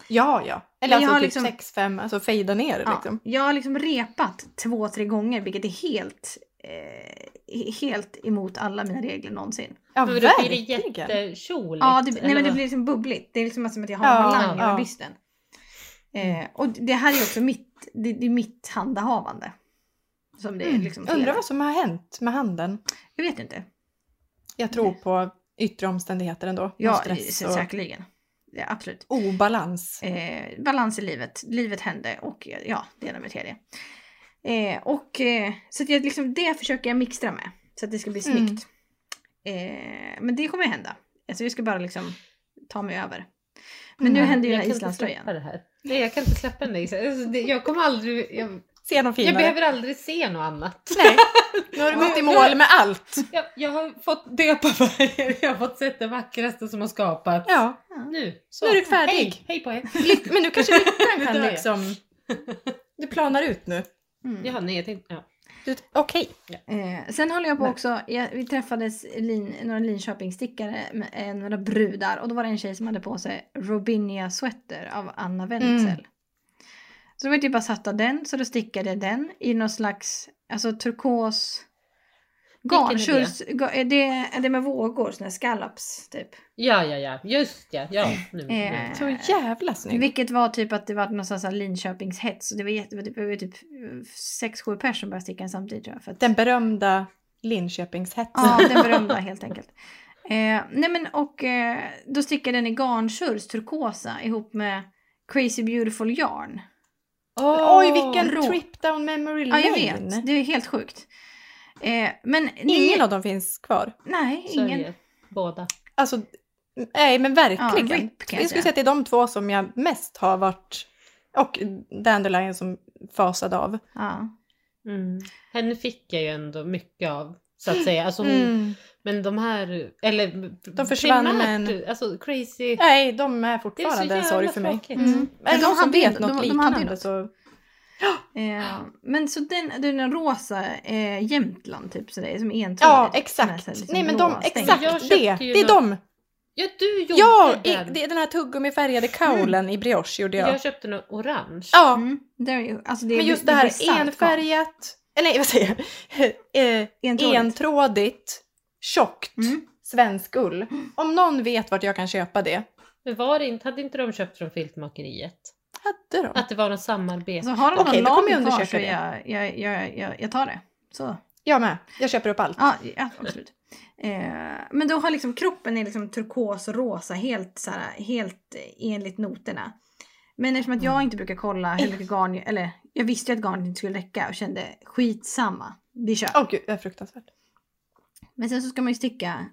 Ja, ja.
Men
Eller
jag
alltså
har
typ
liksom-
6-5, alltså fejda ner det
Ja,
liksom.
Jag har liksom repat två, tre gånger vilket är helt, eh, helt emot alla
Mm.
mina regler någonsin.
Ja,
Men då blir det
verkligen.
jättekjoligt.
Ja, det, nej
eller
men det
vad?
blir liksom bubbligt. Det är liksom som att jag har
Ja,
en lang
ja.
över bysten. Eh, och det här är också mitt, det, det är mitt handahavande. Som det är
Mm.
liksom fel.
Undrar vad som har hänt med handen.
Jag vet inte.
Jag tror på yttre omständigheter ändå.
Ja,
Och stress
så,
och
säkerligen. Ja, absolut.
obalans.
Eh, balans i livet. Livet hände och ja, det ena med det tredje. Eh, och eh, så att jag, liksom, det försöker jag mixtra med. Så att det ska bli
Mm.
snyggt. Eh, men det kommer hända. Alltså jag ska bara liksom ta mig över. Men nu
Mm.
händer ju
Jag
den
kan
här
inte släppa
islandströjan.
det här. Nej, jag kan inte släppa den där island- alltså, det- Jag kommer aldrig... Jag,
Se någon finare.
jag behöver aldrig se något annat.
Nej, nu har du gått i mål med allt.
Jag, jag har fått döpa färger, jag har fått sett det vackraste som har skapats.
Ja,
Nu, så.
nu är du färdig.
Hej, hej på er.
Lyck- Men nu kanske lyckan
Nu
kan
dör jag.
liksom... Du planar ut nu.
Mm.
Ja, nej, jag tänkte... Ja.
Du- Okej.
Eh, sen håller jag på
Nej.
också, jag, vi träffades lin, några Linköpingsstickare, med, eh, några brudar och då var det en tjej som hade på sig Robinia Sweater av Anna Wenzel.
Mm.
Så då var jag typ bara satt av den, så då stickade jag den i någon slags, alltså turkos
Vilken är
garn. Kjurs, ga- är det, är det med vågor, sådana här scallops typ.
ja, ja, ja, just ja. ja nu,
Eh,
nu.
Så jävla snygg.
Vilket var typ att det var någon sån här Linköpingshets och det var, jätte, det var typ 6-7 personer som började sticka den samtidigt tror jag. För att,
Den berömda Linköpingshetsen.
Ja, den berömda helt enkelt. Eh, nej men och eh, då stickar den i garnsurs turkosa ihop med Crazy Beautiful Yarn.
Åh,
Oj, vilken
rå.
trip down memory
Ja
lane.
jag vet, det är helt sjukt. Eh, men
Ingen
ni,
av dem finns kvar.
Nej, ingen.
Sörjer. Båda.
Alltså, nej men verkligen.
Ja, RIP kan jag
jag skulle
säga.
säga att det är de två som jag mest har varit, och Dandelion som fasade av.
Ja.
Mm.
Henne fick jag ju ändå mycket av. Så att säga. Alltså hon, Men de här, eller
Mm. De försvann,
primärt, alltså crazy.
Nej, de är
Det är så
fortfarande
jävla
en sorg för mig.
tråkigt.
Mm.
Är det
de
någon som
hade ju-
vet något
de- de hade ju
liknande
något.
så...
Eh, men så den, den är rosa eh, Jämtland typ sådär, som entrådig.
Ja,
Som är
exakt.
så här liksom
Nej men
blå
de,
stänger.
exakt
Jag köpte
det.
ju
Det är
något-
de.
Ja du gjorde
Ja, i,
den!
det är den här tuggummifärgade kaulen i brioche gjorde jag.
Jag köpte något orange.
Ja,
Mm, det är ju, alltså det är
men just
bi-
det här
bisarrt garn.
enfärgat, eller nej vad säger jag? Eh,
Entrådigt.
Entrådigt, tjockt,
Mm.
svensk ull. Om någon vet vart jag kan köpa det,
Men var det inte, hade inte de köpt från filtmakeriet?
hade de.
Att det var något samarbete?
Så har de
Okej,
någon
då kommer jag
lager kvar
undersöka
så
det.
jag, jag, jag, jag, jag tar det. Så.
Jag med, jag köper upp allt.
Ja, ja absolut. Eh, men då har liksom kroppen är liksom turkos och rosa helt, så här, helt eh, enligt noterna. Men eftersom att jag
Mm.
inte brukar kolla hur mycket garn, eller jag visste ju att garnet inte skulle räcka och kände skitsamma, vi kör.
Åh gud, det är fruktansvärt.
Men sen så ska man ju sticka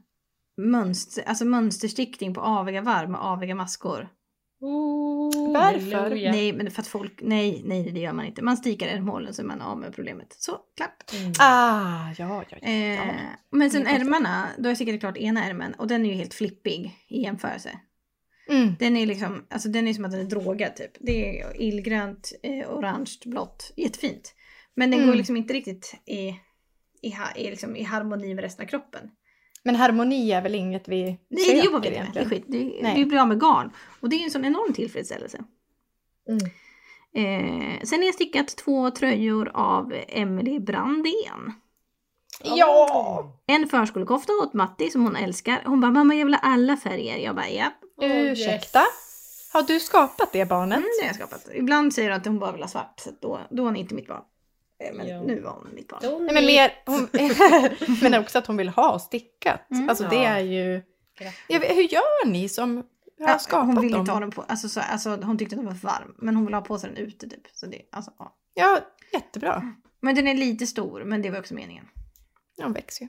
mönster, alltså mönsterstickning på aviga varv med aviga maskor.
Oh,
Varför?
halleluja.
Nej, men för att folk, nej, nej det gör man inte. Man stickar en hålen så är man av med problemet. Så, klapp.
Mm.
Ah, ja, ja, ja.
Eh,
ja.
men sen
det är konstigt.
ärmarna, då har jag stickat klart ena ärmen och den är ju helt flippig i jämförelse.
Mm.
Den är liksom, alltså den är som att den är drogad typ. Det är illgrönt, eh, orange, blått. Jättefint. Men den
Mm.
går liksom inte riktigt i, i, ha- i, liksom, i harmoni med resten av kroppen.
Men harmoni är väl inget vi
Nej, det jobbar vi inte med. Det är skit. Det,
Nej.
vi blir av med garn. Och det är ju en sån enorm tillfredsställelse.
Mm.
Eh, sen har jag stickat två tröjor av Emily Brandén.
Ja!
En förskolekofta åt Matti som hon älskar. Hon bara, mamma jag vill ha alla färger. Jag bara, japp.
Oh,
Ursäkta?
yes.
Har du skapat det barnet?
Mm, det har jag skapat. Ibland säger hon att hon bara vill ha svart, så att då, då är hon inte mitt barn. Eh, Men
Ja.
nu var hon mitt barn.
Nej, men mer, hon, men också att hon vill ha stickat.
Mm.
Alltså det
Ja.
är ju... Jag vet, hur gör ni som har
Ja,
skapat
hon ville
dem?
inte ha den på, alltså, så, alltså hon tyckte den var för varm. Men hon ville ha på sig den ute typ. Så det, alltså, ja.
Ja, jättebra.
Men den är lite stor, men det var också meningen.
De växer ju.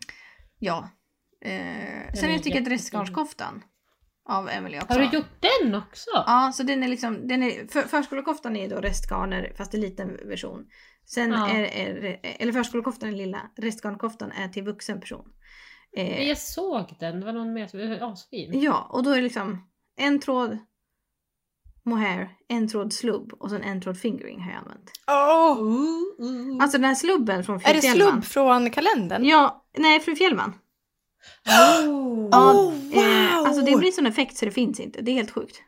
Ja. Eh,
är
sen har jag stickat
jättefin.
restgarnskoftan. Av Emelie också.
Har du gjort den också?
Ja, så den är liksom, den är, för, förskolekoftan är då restgarner fast i liten version. Sen
Ja.
är, är, eller förskolekoftan är lilla, restgarnkoftan är till vuxen person.
Men
Eh,
Jag såg den, det var någon mer som var
Mm.
asfin.
ja, och då är det liksom en tråd mohair, en tråd slubb och sen en tråd fingering har jag använt.
Åh!
Alltså den här slubben från
Mm. Är det
Fru Fjällman.
slubb från kalendern?
Ja, nej Fru Fjällman.
Oh.
Ja,
Oh,
Eh,
wow!
alltså det blir sån effekt så det finns inte, det är helt sjukt.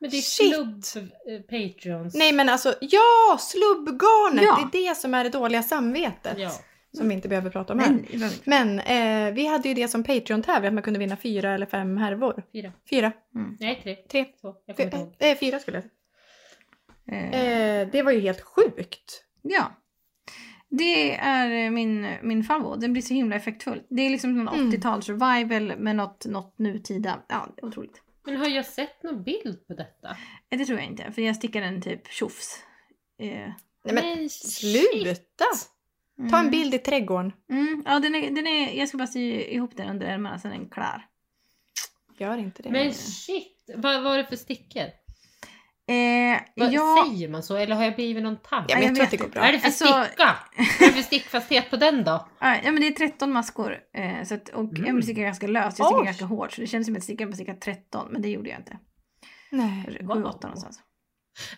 Men det är
Shit.
slubb för eh, Patreons.
Nej men alltså, ja! Slubbgarnet!
Ja.
Det är det som är det dåliga samvetet.
Ja.
Som vi inte behöver prata om här.
Men,
Men eh, vi hade ju det som Patreon-tävling, att man kunde vinna fyra eller fem härvor.
Fyra.
Fyra.
Nej, tre.
Tre.
Två. Jag kommer
Fy,
inte ihåg.
eh, fyra skulle jag säga.
eh,
Eh, det var ju helt sjukt.
Ja. Det är eh, min, min favorit. Den blir så himla effektfull. Det är liksom någon
Mm.
80-tals survival med något, något nutida. Ja, det är otroligt.
Men har jag sett någon bild på detta?
Eh, Det tror jag inte, för jag stickar en typ tjofs. Eh,
Nej men
shit.
sluta! Ta en bild i trädgården.
Mm, ja, den är, den är, jag ska bara sy ihop den under ärmarna så den är klar.
Gör inte det.
Men shit! Vad var det för stickor?
Eh,
Vad,
ja,
Säger man så eller har jag blivit någon tant?
Ja, men
jag
jag, tror
vet
att det går bra.
Vad är det för
Alltså-
sticka? Vad är det för stickfasthet på den då?
ja, men det är 13 maskor. Eh, så att, och
Mm.
jag stickar ganska löst, jag stickar
Oj.
ganska hårt. Så det känns som att jag stickade på cirka 13, men det gjorde jag inte.
Nej.
7-8
Wow.
någonstans.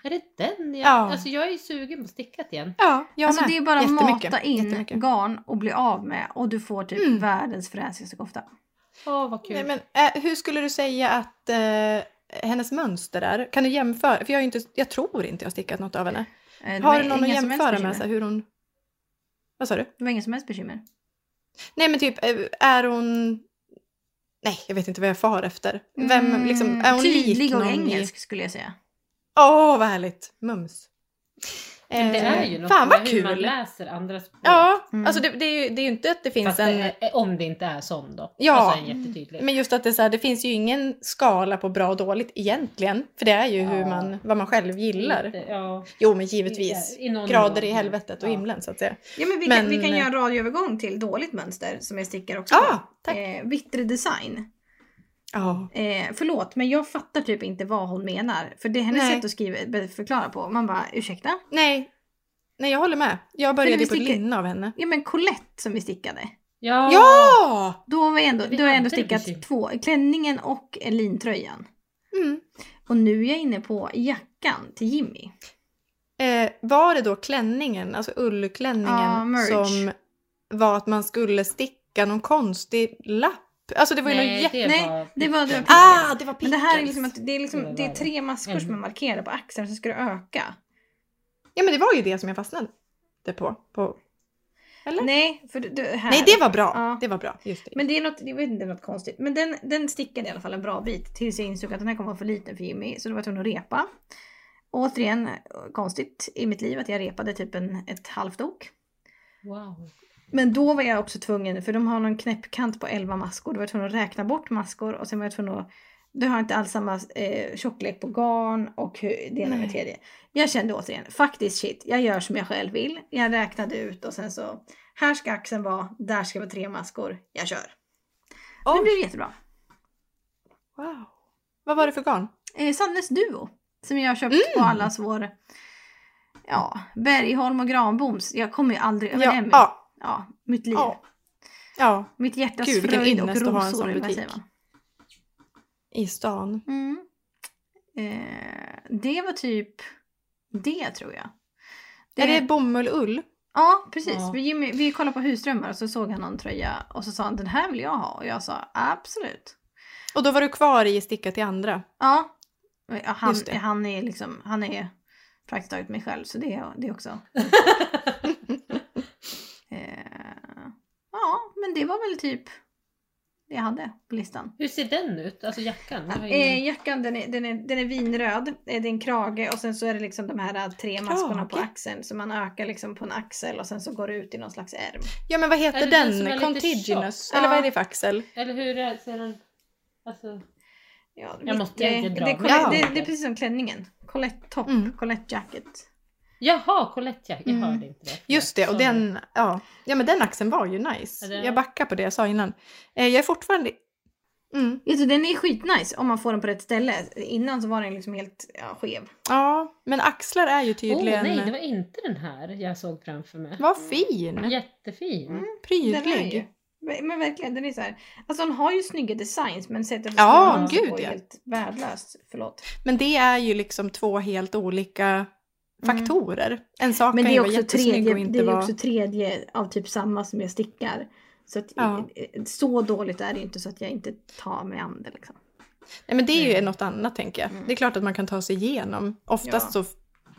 Är det den jag...
Ja.
Alltså jag är ju sugen på att sticka igen.
Ja, jag
Alltså
med.
det är bara att
Jättemycket.
mata in
Jättemycket.
garn och bli av med och du får typ
Mm.
världens fräsigaste kofta. Eh,
Åh vad kul.
Nej, men, eh, hur skulle du säga att eh, hennes mönster är? Kan du jämföra? För jag, är ju inte, jag tror inte jag har stickat något av henne.
Eh, det var
Har du någon att
inga som helst
jämföra med?
bekymmer.
Så här, hur hon... Vad sa du?
Det var inga som helst bekymmer.
Nej men typ, eh, är hon... Nej, jag vet inte vad jag far efter. Vem,
Mm,
liksom, är hon lik
Tydlig
någon
och
i-
engelsk skulle jag säga.
Åh, vad härligt! Mums.
Men det
Eh,
är ju något
Fan
med
vad
hur man
kul!
läser andra språk.
Ja,
Mm.
alltså det, det, är ju, det är ju inte att det finns
Fast
en...
det är, om det inte är sån då.
Ja.
Alltså en jättetydlig.
Men just att det, är så här, det finns ju ingen skala på bra och dåligt egentligen. För det är ju hur
Ja.
man, vad man själv gillar.
Lite, Ja.
Jo men givetvis.
I någon
Grader i
mån.
helvetet och
Ja.
himlen så att säga.
Ja men vi,
Men-
kan, vi kan göra en radioövergång till dåligt mönster som jag stickar också
Ja, ah,
på.
tack. Ah.
Eh, vittre design.
Ja.
Eh, förlåt men jag fattar typ inte vad hon menar. För det är hennes
Nej.
sätt att skriva, förklara på. Man bara ursäkta?
Nej. Nej jag håller med. Jag började
vi
på ett
sticker-
linne av henne.
Ja men Colette som vi stickade.
Ja!
Ja!
Då har vi ändå,
Vi
då har jag
hade
ändå
det
stickat
precis.
två, klänningen och eh, lintröjan.
Mm.
Och nu är jag inne på jackan till Jimmy.
Eh, var det då klänningen, alltså ullklänningen
Ja, merge.
som var att man skulle sticka någon konstig lapp? Alltså det var ju någon
Nej,
jätte...
det
Nej,
var...
det var-
picken.
Ah, det var
Men
pickles!
det här är liksom, att, det är, liksom det är
Eller
tre maskor som är
Mm.
markerade på axeln som ska det öka.
Ja men det var ju det som jag fastnade på. på... Eller?
Nej, för det, här.
Nej, det var bra.
Ja.
Det var bra. Just det.
Men det är något, jag vet inte, något konstigt. Men den, den stickade i alla fall en bra bit tills jag insåg att den här kommer vara för liten för Jimmy. Så då var jag tvungen att repa. Återigen konstigt i mitt liv att jag repade typ en, ett halvt ok.
Wow.
Men då var jag också tvungen, för de har någon knäppkant på 11 maskor, då var jag tvungen att räkna bort maskor och sen var jag tvungen att du har jag inte alls samma eh, tjocklek på garn och hur, det ena med
Nej.
tredje. Jag kände återigen, faktiskt shit, jag gör som jag själv vill. Jag räknade ut och sen så, här ska axeln vara, där ska vara tre maskor, jag kör. Det
Oj.
blev jättebra.
Wow. Vad var det för garn?
Eh, Sannes Duo, som jag har köpt på
Mm.
allas vår, ja, Bergholm och Granboms. Jag kommer ju aldrig över det
Ja,
med, ja.
ja,
mitt liv.
ja. ja,
Mitt hjärtas
Gud, vilken
fröjd och
ynnest att ha en
rosor,
sån
eller vad
butik.
säger man?
i stan.
Mm. Eh, det var typ det tror jag. Det,
Är det bomull-ull?
Ja, precis.
Ja.
Vi, Jimmy, vi kollade på husdrömmar och så såg han någon tröja och så sa han den här vill jag ha och jag sa absolut.
Och då var du kvar i sticka till andra?
Ja, Ja, han,
Just det.
han är liksom, han är praktiskt taget mig själv så det är det är också. eh, ja, men det var väl typ det jag hade på listan.
Hur ser den ut? Alltså jackan? Det var
Eh,
ingen...
jackan den är, den, är, den är vinröd, eh, det är en krage och sen så är det liksom de här eh, tre maskorna på
Krage?
axeln. Så man ökar liksom på en axel och sen så går det ut i någon slags ärm.
Ja men vad
Är
heter
det den som är
den?
lite
Contiginous?
tjock?
Eller vad är
Ja.
det för axel?
Eller hur är- ser den... Alltså...
Ja,
Jag måste egentligen dra
det,
mig.
Colette-
Ja.
det, det är precis som klänningen. Colette top,
Mm.
Colette jacket.
Jaha, Colettejack. Jag
Mm.
hörde inte det.
Just det, och
Sorry.
den, ja. ja men den axeln var ju nice.
Ja, det-
Jag backar på det jag sa innan. Eh, jag är fortfarande... Mm.
Vet du, den är skitnice om man får den på rätt ställe. Innan så var den liksom helt ja, skev.
Ja, men axlar är ju
Åh
tydligen...
nej, det var inte den här jag såg framför mig.
Vad fin!
Jättefin.
Mm. Den är ju,
Prydlig.
men men verkligen, den är så här. Alltså hon har ju snygga designs men sättet
Ja,
den
gud,
på är
ja.
helt värdelöst. Förlåt.
Men det är ju liksom två helt olika faktorer. En sak
Mm. Men
kan
det är
ju vara
också
jättesnygg
tredje,
och
det
inte
är
vara...
också tredje av typ samma som jag stickar. Så att,
Ja.
eh, så dåligt är det ju inte så att jag inte tar mig an det liksom.
Nej men det är ju
Mm.
något annat tänker jag.
Mm.
Det är klart att man kan ta sig igenom. Oftast
Ja.
så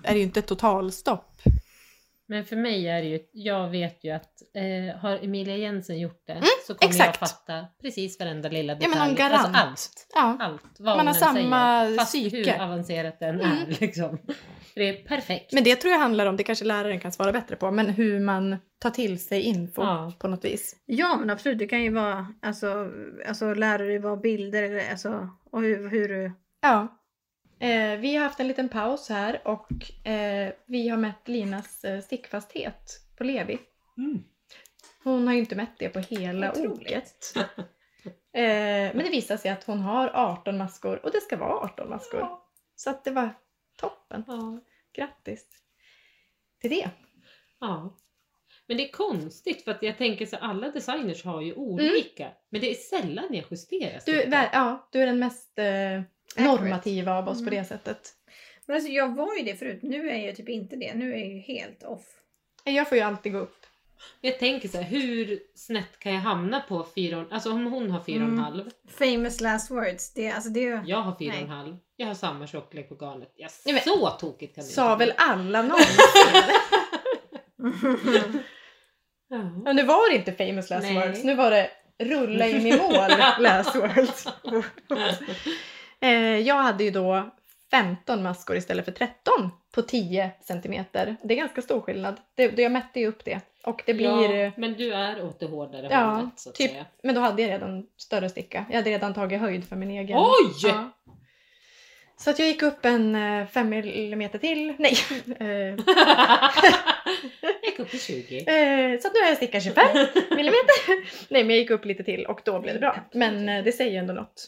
är det ju inte totalstopp.
Men för mig är det ju, jag vet ju att eh, har Emilia Jensen gjort det så kommer
Mm, exakt.
jag fatta precis varenda lilla
Ja
detalj.
men någon garant.
Alltså
Ja.
allt, allt vad
Man
hon
har
än
samma
säger, fast hur
psyke.
avancerat den
Mm.
är liksom. Det är perfekt.
Men det tror jag handlar om, det kanske läraren kan svara bättre på, men hur man tar till sig info
Ja.
på något vis.
Ja men absolut, det kan ju vara alltså, alltså lära dig vad bilder eller alltså och hur, hur du...
Ja. Eh, vi har haft en liten paus här och eh, vi har mätt Linas eh, stickfasthet på Levi.
Mm.
Hon har ju inte mätt det på hela
Otroligt.
oket. eh, men det visar sig att hon har 18 maskor och det ska vara 18 maskor. Så att det var toppen.
Ja.
Grattis till det.
ja. Men det är konstigt för att jag tänker så alla designers har ju olika. Men det är sällan jag justerar.
Mm. Du,
stickor.
vä- ja, du är den mest eh, normativa av oss på
Mm.
det sättet.
Men alltså jag var ju det förut, nu är jag typ inte det. Nu är jag ju helt off.
Jag får ju alltid gå upp.
Jag tänker så här, hur snett kan jag hamna på fyra Alltså om hon har fyra och en
Mm.
halv.
Famous last words, det, alltså det är ju...
Jag har fyra och
Nej.
en halv. Jag har samma tjocklek på garnet. Ja,
Nej, men-
så tokigt kan det
Sa
inte
väl
bli.
alla någon?
Ja.
Men nu var det inte famous last
Nej.
words, nu var det rulla in i mål last words. eh, jag hade ju då 15 maskor istället för 13 på 10 centimeter. Det är ganska stor skillnad. Det, det, jag mätte ju upp det. Och det blir...
ja, men du är åt det hårdare
Ja,
hållet så att
typ.
säga.
Men då hade jag redan större sticka. Jag hade redan tagit höjd för min egen.
Oj!
Ja. Så att jag gick upp en 5 millimeter till. Nej! Eh,
jag gick upp i 20.
Eh, så att nu har jag stickat 25 millimeter. Nej men jag gick upp lite till och då blev det bra. Men eh, det säger ju ändå något.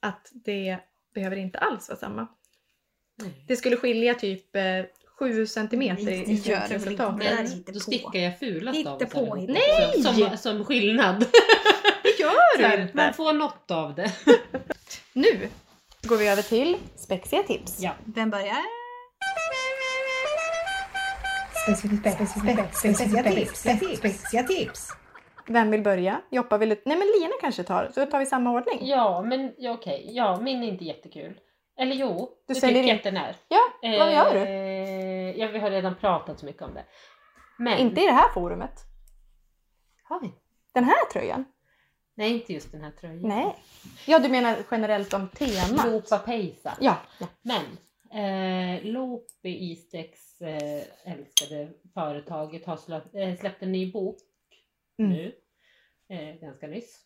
Att det behöver inte alls vara samma.
Nej.
Det skulle skilja typ 7 centimeter i
Det gör det väl inte.
slutresultatet.
där hittar
Då
på.
stickar jag fulast av
Hitta
oss
på,
allihop
hitta
också.
på.
Som, som skillnad.
Det gör
Så
du
här, Man
inte!
får något av det.
Nu går vi över till spexiga tips.
Ja.
Vem börjar?
Specifica tips. Specifica tips. Specifica tips.
Vem vill börja? Joppa vill... Nej men Lina kanske tar, så tar vi samma ordning.
Ja, men ja, okej. Ja, min är inte jättekul. Eller jo,
Du
det
säljer
tycker jag
in-
att den är.
Ja, vad gör du?
Eh, ja, vi har redan pratat så mycket om det. Men...
Inte i det här forumet.
Har vi?
Den här tröjan?
Nej, inte just den här tröjan.
Nej. Ja du menar generellt om tema?
Lopa Pejsa.
Ja, ja.
Men eh, Loop i Istex eh, älskade företaget har släppt, eh, släppt en ny bok
Mm.
nu, eh, ganska nyss.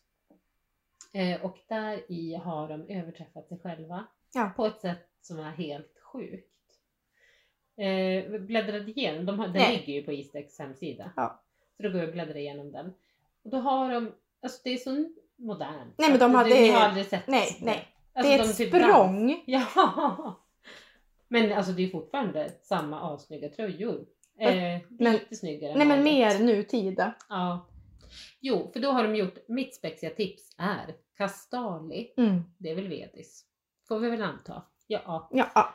Eh, och där i har de överträffat sig själva
Ja.
på ett sätt som är helt sjukt. Eh, vi bläddrade igenom, de har, den
Nej.
ligger ju på Istex hemsida.
Ja.
Så då går jag och bläddrar igenom den. Och då har de, alltså det är så modernt.
Nej, men de
Alltså, det-
hade-
ni har aldrig sett
Nej, nej.
Alltså,
det är
de
ett
typ dans-
språng.
Ja! Men alltså det är fortfarande samma assnygga tröjor. Eh,
Men-
lite snyggare. än
Nej men
vanligt.
mer nutida.
Ja. Jo, för då har de gjort, mitt spexiga tips är Castali,
Mm.
det är väl vedis. Får vi väl anta. Ja.
Ja, ja.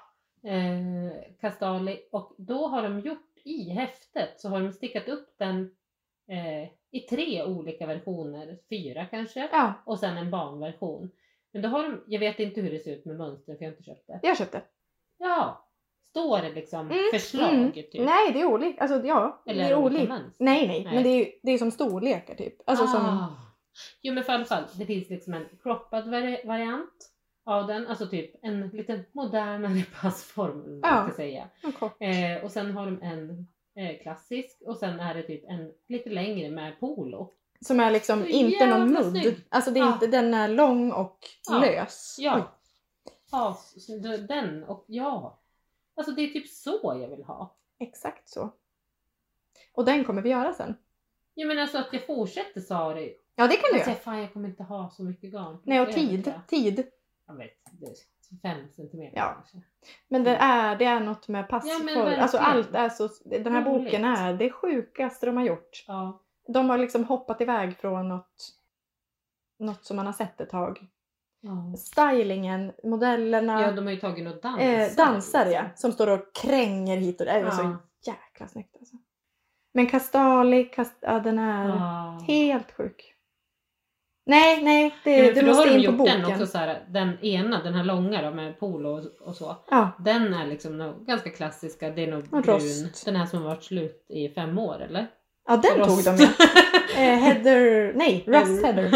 Eh, Castali och då har de gjort i häftet så har de stickat upp den eh, i tre olika versioner, fyra kanske.
ja,
Och sen en barnversion. Men då har de, jag vet inte hur det ser ut med mönstren för jag har inte köpt det.
jag köpte.
Ja, står det liksom
Mm,
förslag
mm.
typ?
Nej det är olika. Alltså ja,
Eller
det är
olika
olika.
mönster?
Nej, nej
Nej.
men det är ju det är som storlekar typ. Alltså som,
Ah, Jo men för alla fall, det finns liksom en croppad vari- variant av den, alltså typ en lite modernare passform, om man
Ja.
ska säga.
En kort.
Eh, och sen har de en eh, klassisk och sen är det typ en lite längre med polo.
Som är liksom
Så
inte någon
jävla
mudd.
snygg.
Alltså det är
Ja.
inte, den är lång och
Ja.
lös. Oj.
Ja. ja, s- s- den och ja. Alltså det är typ så jag vill ha.
Exakt så. Och den kommer vi göra sen.
Jag menar så att jag fortsätter Sari.
Ja det kan du
Jag säger
göra.
fan jag kommer inte ha så mycket garn.
Nej och
Det
tid.
är-
tid.
Jag vet, det är fem centimeter
Ja.
kanske.
Men det är, det är något med
Mm. Ja, men
passform. alltså allt
verkligen.
är så, den här
Roligt.
boken är det sjukaste de har gjort.
Ja.
De har liksom hoppat iväg från något, något som man har sett ett tag.
ja.
Stylingen, modellerna,
Ja, de har ju tagit något dansare.
eh, dansare ja,
liksom.
som står och kränger hit och där. Det är så
Ja.
jäkla snyggt alltså. Men Castali, Cast, ja, den är
Ja.
helt sjuk. Nej, nej, det,
Ja, men
det
för då har
måste
de
in på
gjort
boken.
den också så här, den ena, den här långa då med polo och, och så.
Ja,
Den är liksom nog ganska klassiska, det är nog
Och
brun.
rost.
Den här som har varit slut i fem år eller?
ja den
Rost.
tog de ju. Eh, Heather, nej, Rust Heather.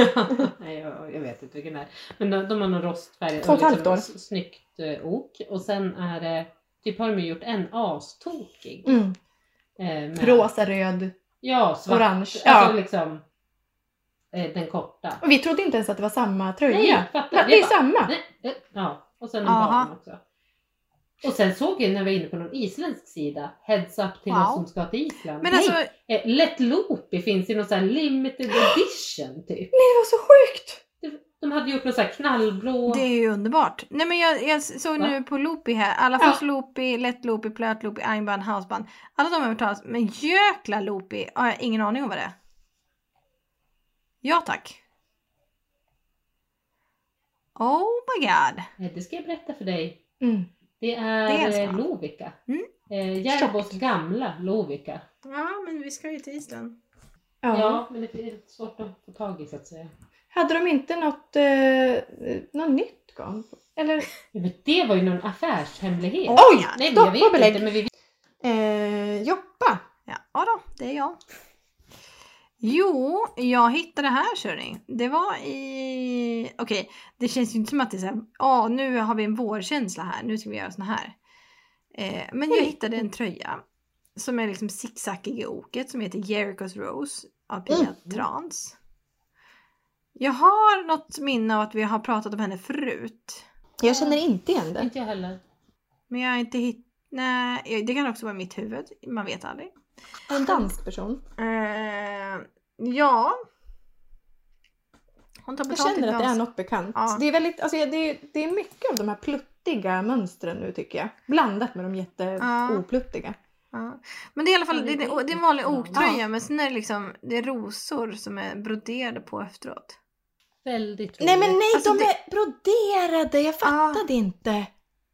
Nej jag, jag vet inte vilken det är. Men de, de har någon rostfärg.
Två och ett halvt
liksom
år.
s- Snyggt eh, ok. Och sen är det, typ har de ju gjort en astokig.
Mm.
eh, med-
Rosa, röd,
Ja, svart.
orange. Ja.
Alltså liksom eh, den korta.
Och vi trodde inte ens att det var samma tröja.
Nej, jag
Va,
fattar.
det är
Jag bara,
samma.
nej, eh, Ja, och sen en
Aha.
barn också. Och sen såg jag när vi var inne på någon isländsk sida, heads up till
Wow.
oss som ska till Island.
Men
Nej,
alltså,
eh, Let Loopy finns i någon sån här limited edition typ.
Nej, det var så sjukt!
De hade gjort någon sån här knallblå.
det är ju underbart. Nej men jag, jag såg
Va?
nu på Loopy här, alla
Ja.
först Loopy, lätt Loopy, plöt Loopy, armband, halsband. Alla de har hört talas men jäkla Loopy har jag ingen aning om vad det är. Ja tack. Oh my god.
Eh, Det ska jag berätta för dig.
Mm.
Det
Det är
är,
en
eh,
smak.
Lovikka.
Mm.
Eh, Järbos gamla Lovikka.
Ja men vi ska ju till Island.
Ja.
Ja. men det är lite svårt att få tag i så att säga.
Hade de inte något, eh, något nytt garn? Eller?
Ja, men det var ju någon affärshemlighet.
Oh,
Oj!
Nej, men
Stopp
jag
och
vet
belägg.
inte, men vi
Eh, Joppa!
Ja, ja då, det är jag. Jo, jag hittade här körning. Det var i... Okej, det känns ju inte som att det är så här, ja nu har vi en vårkänsla här, nu ska vi göra såna här. Eh, men jag hittade en tröja som är liksom zigzackig i oket som heter Jericho's Rose av Pia
Mm.
Trans. Jag har något minne av att vi har pratat om henne förut.
Jag känner inte igen det.
Inte jag heller.
Men jag har inte hittat... Nej, det kan också vara i mitt huvud. Man vet aldrig.
En dansk person.
Eh, ja. Hon tar
Jag
betalt
känner
i
att det är
dans.
något bekant.
Ja.
Så Det, är väldigt, alltså, det, är, det är mycket av de här pluttiga mönstren nu tycker jag. Blandat med de
Ja.
jätteopluttiga.
Ja. Men det är i alla fall
Ja,
det,
det
är-
är
det är en vanlig
jättebra.
oktröja men sen är det liksom det är rosor som är broderade på efteråt.
Väldigt roligt.
Nej men nej,
Alltså,
de
det-
är broderade! Jag fattade inte.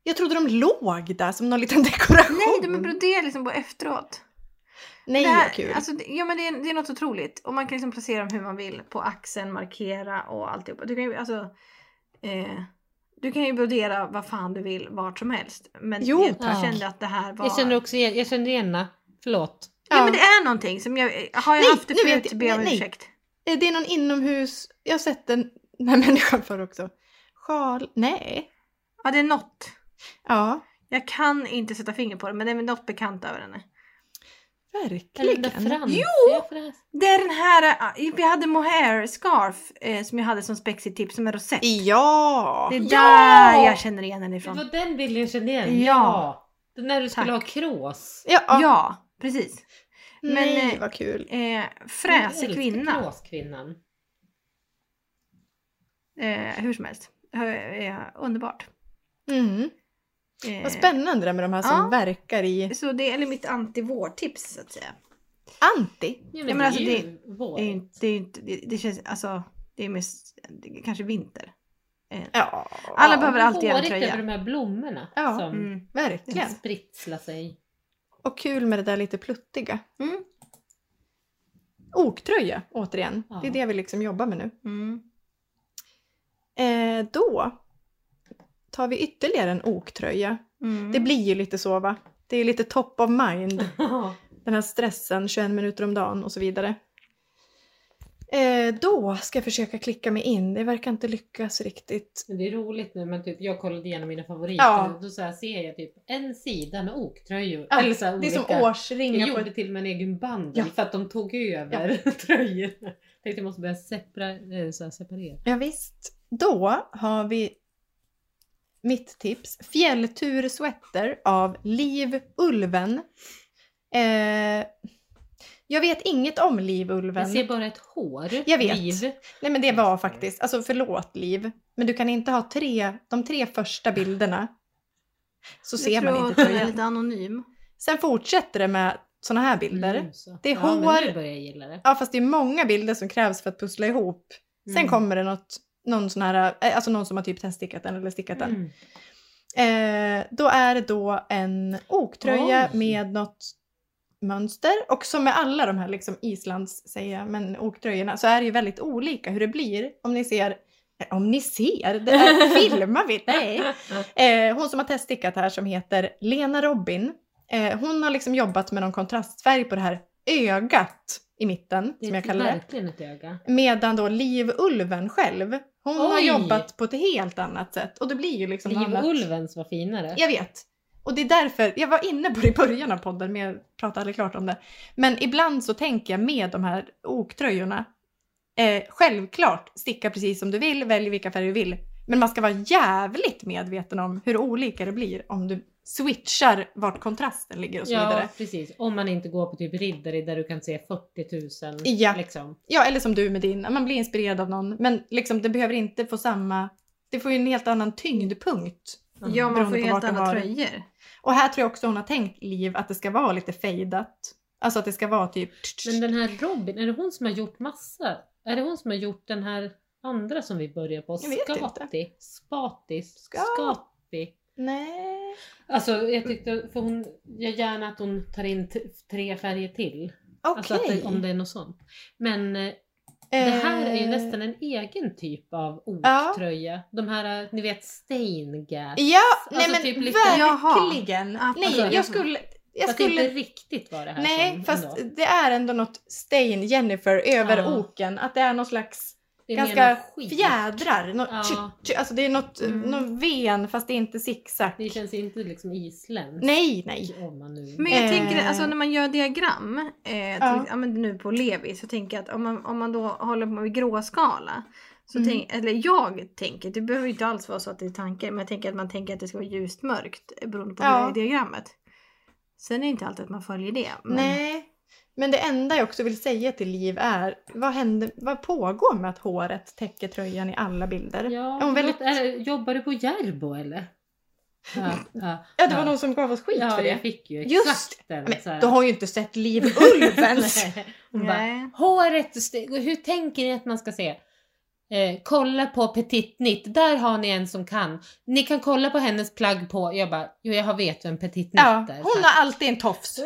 Jag trodde de låg där som någon liten dekoration.
Nej, de är broderade liksom på efteråt.
Nej,
det här,
vad kul.
Alltså, det- ja, men det, är, det är något otroligt. Och man kan liksom placera dem hur man vill. På axeln, markera och alltihopa. Du kan ju, alltså, eh, du kan ju brodera vad fan du vill vart som helst. Men
Jo,
jag
tack.
kände att det här var...
Jag känner också igen, jag känner igen henne. Förlåt.
Ja,
Ja.
men det är någonting som jag... Har jag
Nej,
haft det
nu vet
förut
jag.
ber jag om
Nej, nej.
ursäkt.
Eh, Det är någon inomhus, jag har sett den den här människan för också. Sjal, nej.
Ja, det är något.
Ja,
Jag kan inte sätta finger på det, men det är väl något bekant över henne.
Eller den där
verkligen.
fransiga fräs.
Det är den här... eh, Vi hade mohair scarf eh, som jag hade som spexigt tips, som en rosett.
Ja!
Det är
Ja!
där jag känner igen henne
Det
ifrån.
var den bilden jag kände igen.
Ja.
Den där du skulle
Tack.
ha krås.
Ja,
Ja, precis. men,
nej
eh,
vad kul.
Eh,
Jag
fräsig
älskar
kvinna.
Kråskvinnan.
Eh, hur som helst. Eh, eh, underbart.
Mm.
Eh,
Vad spännande det med de här som
Ja.
verkar i
Så det är mitt anti-vårtips så att säga.
anti.
Ja,
men alltså,
det är
det-
ju vår.
Det, är ju inte, det, är ju inte, det, det känns, alltså, det är mest, det, kanske vinter. Eh,
Ja,
Alla
Ja,
behöver
men
alltid göra en
vårigt
tröja.
över de här blommorna
Ja.
som
Mm.
verkligen.
spritslar sig.
Och kul med det där lite pluttiga.
Mm.
Oktröja, återigen.
Ja.
Det är det vi liksom jobbar med nu.
Mm.
Eh, då tar vi ytterligare en oktröja.
Mm.
Det blir ju lite så va? Det är lite top of mind. den här stressen, 21 minuter om dagen och så vidare. Eh, då ska jag försöka klicka mig in. Det verkar inte lyckas riktigt.
Men det är roligt nu men typ, jag kollade igenom mina favoriter
Ja.
och då så här ser jag typ en sida med oktröjor.
Ja,
eller så här
Det är som
olika. Jag
årsringar. På...
gjorde till och med en egen band
Ja.
för att de tog över tröjorna. Tänkte jag måste börja separa, eh, så här, separera.
Ja, visst. Då har vi mitt tips. Fjälltur Sweater av Liv Ulven. Eh, jag vet inget om Liv Ulven.
Jag ser bara ett hår.
Jag vet.
Liv.
Nej men det var faktiskt, alltså förlåt Liv, men du kan inte ha tre, de tre första bilderna. Så ser
jag
man
tror
inte
att den är
tröjan.
lite anonym.
Sen fortsätter det med såna här bilder.
Mm, så.
Det är
ja, men
hår.
Nu börjar jag gilla det.
Ja fast det är många bilder som krävs för att pussla ihop. Sen
Mm.
kommer det något, någon sån här, eh, alltså någon som har typ tändstickat den eller stickat den.
Mm.
Eh, då är det då en oktröja
Oj.
med något mönster och som med alla de här liksom Islands säger jag, men oktröjorna så är det ju väldigt olika hur det blir. Om ni ser, eh, om ni ser, det är, filmar vi? Nej. Eh, hon som har teststickat här som heter Lena Robin. Eh, hon har liksom jobbat med någon kontrastfärg på det här ögat i mitten
Det är
som jag kallar det.
verkligen ett öga.
Medan då Livulven själv, hon har
Oj.
jobbat på ett helt annat sätt och det blir ju liksom något annat.
Livulvens var finare.
Jag vet. Och det är därför, jag var inne på det i början av podden men jag pratade aldrig klart om det. Men ibland så tänker jag med de här oktröjorna, eh, självklart sticka precis som du vill, välj vilka färger du vill. Men man ska vara jävligt medveten om hur olika det blir om du switchar vart kontrasten ligger och så vidare.
Ja precis, om man inte går på typ riddare där du kan se 40 000
Ja.
liksom.
Ja, eller som du med din, man blir inspirerad av någon men liksom det behöver inte få samma, det får ju en helt annan tyngdpunkt.
Mm.
Ja, man
Beroende
får ju
på vart
helt
den
andra
var.
tröjor.
Och här tror jag också hon har tänkt Liv att det ska vara lite fejdat. Alltså att det ska vara typ...
Men den här Robin, är det hon som har gjort massa? Är det hon som har gjort den här andra som vi börjar på?
Jag vet inte.
Skati? Spatis?
Ska-
Skati?
Nej.
Alltså jag tyckte, för hon, jag gärna att hon tar in t- tre färger till. Alltså
Okej.
att det, om det är något sånt. Men eh, det här är ju nästan en egen typ av
Eh. Ja.
oktröja. De här, eh, ni vet steingas.
Ja, nej
Alltså
men
typ lite-
verkligen.
Jaha.
Nej,
Alltså,
jag skulle... Jag
Fast det
skulle
inte riktigt var det här
nej,
som
fast
ändå.
det är ändå något stain Jennifer över
Ja.
oken. Att det är någon slags
Det är mer
ganska
någon skit.
fjädrar. Något,
Ja.
tju- tju- alltså det är något,
Mm.
någon ven fast det är inte zigzag.
Det känns inte liksom isländskt.
Nej, nej.
Om man nu...
Men jag
Eh.
tänker det, alltså när man gör diagram, eh, till,
Ja.
ja. men nu på Levi, så tänker jag att om man, om man då håller på med gråskala, så
Mm.
tänk, eller jag tänker, det behöver ju inte alls vara så att det är tanken, men jag tänker att man tänker att det ska vara ljust mörkt eh, beroende på
Ja.
ja. diagrammet. Sen är det inte alltid att man följer det. Men
Nej. Men det enda jag också vill säga till Liv är, vad, händer, vad pågår med att håret täcker tröjan i alla bilder?
Ja,
Är hon väldigt...
förlåt, är, det- jobbar du på Järbo eller? Ja, ja,
Ja, det var någon som gav oss skit
ja,
för
jag
det.
fick ju
Just
exakt den.
Men,
så här.
du har ju inte sett Liv Ulvens!
Nej,
Mm.
Hon bara,
Nej.
håret, st- hur tänker ni att man ska se? Eh, kolla på Petit Nitt, där har ni en som kan. Ni kan kolla på hennes plagg på, jag bara, jo jag har vet vem Petit Nitt
Ja,
är.
hon har alltid en tofs.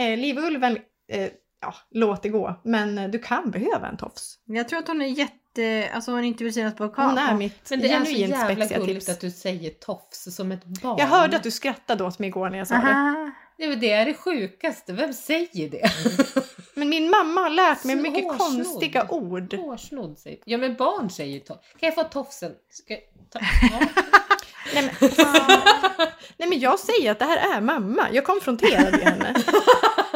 Eh, Livulven, eh, ja, låt det gå. Men eh, du kan behöva en tofs.
Men Jag tror att hon är jätte, alltså hon inte vill synas på
Hon är
kameran.
mitt
Men det är så
genuint
jävla
spexiga
gulligt
tips.
att du säger tofs som ett barn.
Jag hörde att du skrattade åt mig igår när jag sa det.
Aha.
Det är väl det, är det sjukaste, vem säger det?
Men min mamma har lärt mig mycket
Hårsnodd.
konstiga ord.
Hårsnodd säger Ja men barn säger ju tofs. Kan jag få tofsen? Ska jag ta...
Nej men, Nej men jag säger att det här är mamma. Jag konfronterade henne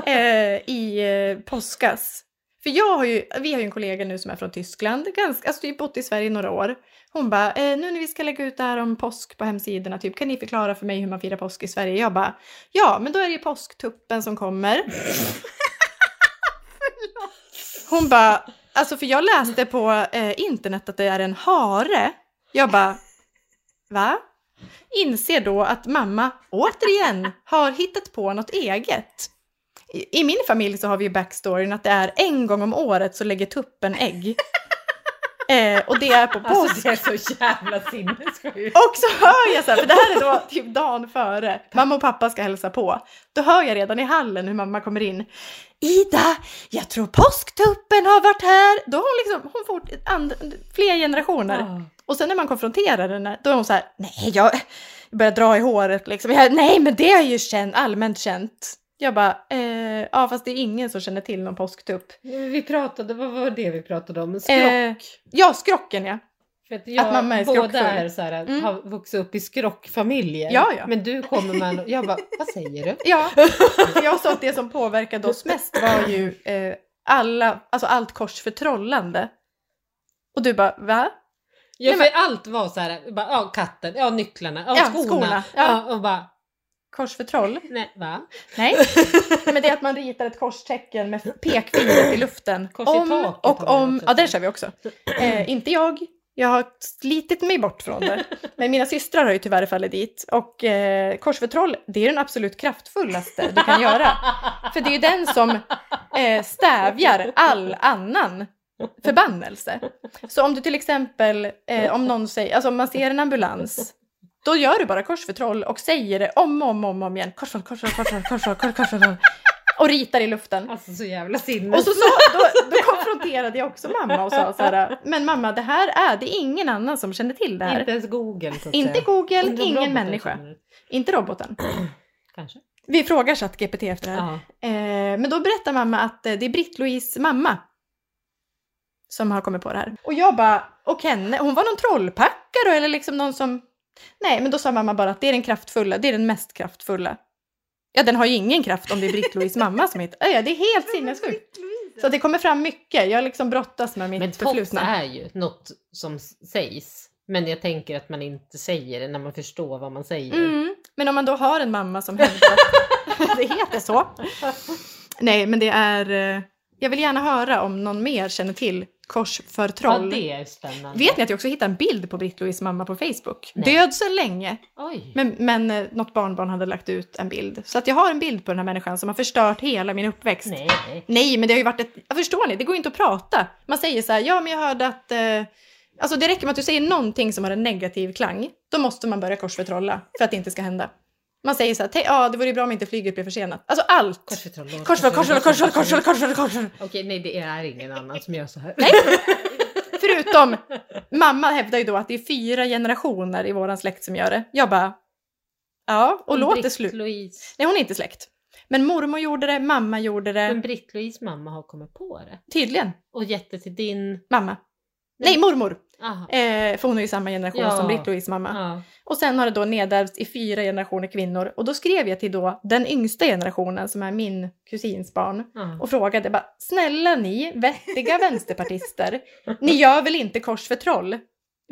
eh, i eh, påskas. För jag har ju, vi har ju en kollega nu som är från Tyskland, ganska, alltså vi har bott i Sverige i några år. Hon bara, eh, nu när vi ska lägga ut det här om påsk på hemsidorna, typ, kan ni förklara för mig hur man firar påsk i Sverige? Jag bara, ja men då är det ju påsktuppen som kommer. Hon bara, alltså för jag läste på eh, internet att det är en hare. Jag bara, va? Inser då att mamma återigen har hittat på något eget. I, I min familj så har vi ju backstoryn att det är en gång om året så lägger tuppen ägg. Eh, och det är på påsk.
Alltså det är så jävla sinnessjukt.
Och så hör jag så här, för det här är då typ dagen före, mamma och pappa ska hälsa på. Då hör jag redan i hallen hur mamma kommer in. Ida, jag tror påsktuppen har varit här. Då har hon liksom, hon fort, and, fler generationer. Och sen när man konfronterar henne, då är hon så här, nej jag jag börjar dra i håret liksom. Jag, nej men det är ju känt, allmänt känt. Jag bara, eh, ja fast det är ingen som känner till någon påsktupp.
Vi pratade, vad var det vi pratade om? Skrock.
Eh, ja, skrocken ja.
För att jag,
att mamma är
båda
skrockfull.
är så här,
Mm.
har vuxit upp i skrockfamiljer.
Ja, ja.
Men du kommer med en- Jag bara, vad säger du?
Ja, för jag sa att det som påverkade oss mest var ju eh, alla, alltså allt korsförtrollande. Och du bara, va?
Ja,
Nej,
för allt var så här, bara, ja katten, ja nycklarna, ja,
Ja,
skorna.
skorna,
ja.
ja.
och bara,
Korsförtroll?
nej va?
Nej. Men det är att man ritar ett korstecken med pekfingret i luften.
Kors i
om
taket
och
har vi
om.
också.
Ja, den kör vi också. Eh, inte jag. Jag har slitit mig bort från det. Men mina systrar har ju tyvärr fallit dit. Och eh, korsförtroll, det är den absolut kraftfullaste du kan göra. För det är ju den som eh, stävjar all annan förbannelse. Så om du till exempel, eh, om någon säger, alltså om man ser en ambulans, då gör du bara korsförtroll och säger det om och om, och om, om igen. Korsförtroll, korsförtroll, korsförtroll, korsförtroll, korsförtroll, korsförtroll. Och ritar i luften.
Alltså så jävla sinnes.
Och så, så då, då konfronterade jag också mamma och sa så här, men mamma det här är, det är ingen annan som känner till det här.
Inte ens Google. Så att
Inte
säga.
Google,
Undrar om
ingen
roboten
människa.
känner det.
Inte roboten.
Kanske.
Vi frågar ChatGPT efter det här.
Ja.
Eh, men då berättar mamma att eh, det är Britt-Louise mamma som har kommit på det här. Och jag bara, och henne, hon var någon trollpackare eller liksom någon som... Nej, men då sa mamma bara att det är den kraftfulla, det är den mest kraftfulla. Ja, den har ju ingen kraft om det är Britt-Louise mamma som heter... Ja, det är helt sinnessjukt. Så det kommer fram mycket, jag liksom brottas med mitt
Men tops
förflutna.
är ju något som s- sägs. Men jag tänker att man inte säger det när man förstår vad man säger.
Mm. Men om man då har en mamma som hävdar att det heter så. Nej, men det är... eh, Jag vill gärna höra om någon mer känner till
ja,
korsförtroll.
det är spännande.
Vet ni att jag också hittade en bild på Britt-Louise mamma på Facebook?
Nej.
Död sedan länge,
Oj.
men, men eh, något barnbarn hade lagt ut en bild. Så att jag har en bild på den här människan som har förstört hela min uppväxt.
Nej, nej.
Nej, men det har ju varit ett... Ja, Förstår ni? Det går ju inte att prata. Man säger så här, ja men jag hörde att... Eh, alltså det räcker med att du säger någonting som har en negativ klang. Då måste man börja korsförtrolla för att det inte ska hända. Man säger så här, "Tänk- ja det vore ju bra om inte flyget blev försenat. Alltså allt!
Korsförtroll.
Korsförtroll, korsförtroll, korsförtroll, korsförtroll, korsförtroll, korsförtroll.
Okej, nej det är ingen annan som gör så här.
Nej! Förutom, mamma hävdar ju då att det är fyra generationer i våran släkt som gör det. Jag bara, ja, och låt det sluta.
Britt-Louise-
Nej, hon är inte släkt. Men mormor gjorde det, mamma gjorde
Men
det.
Britt-Louise mamma har kommit på det.
Tydligen,
Och gett det till din...
mamma. Nej, mormor!
Aha.
Eh, för hon är ju samma generation
Ja.
som Britt-Louise mamma.
Ja.
Och sen har det då nedärvts i fyra generationer kvinnor. Och då skrev jag till då den yngsta generationen som är min kusins barn
Ja.
och frågade bara snälla ni vettiga vänsterpartister, ni gör väl inte kors för troll?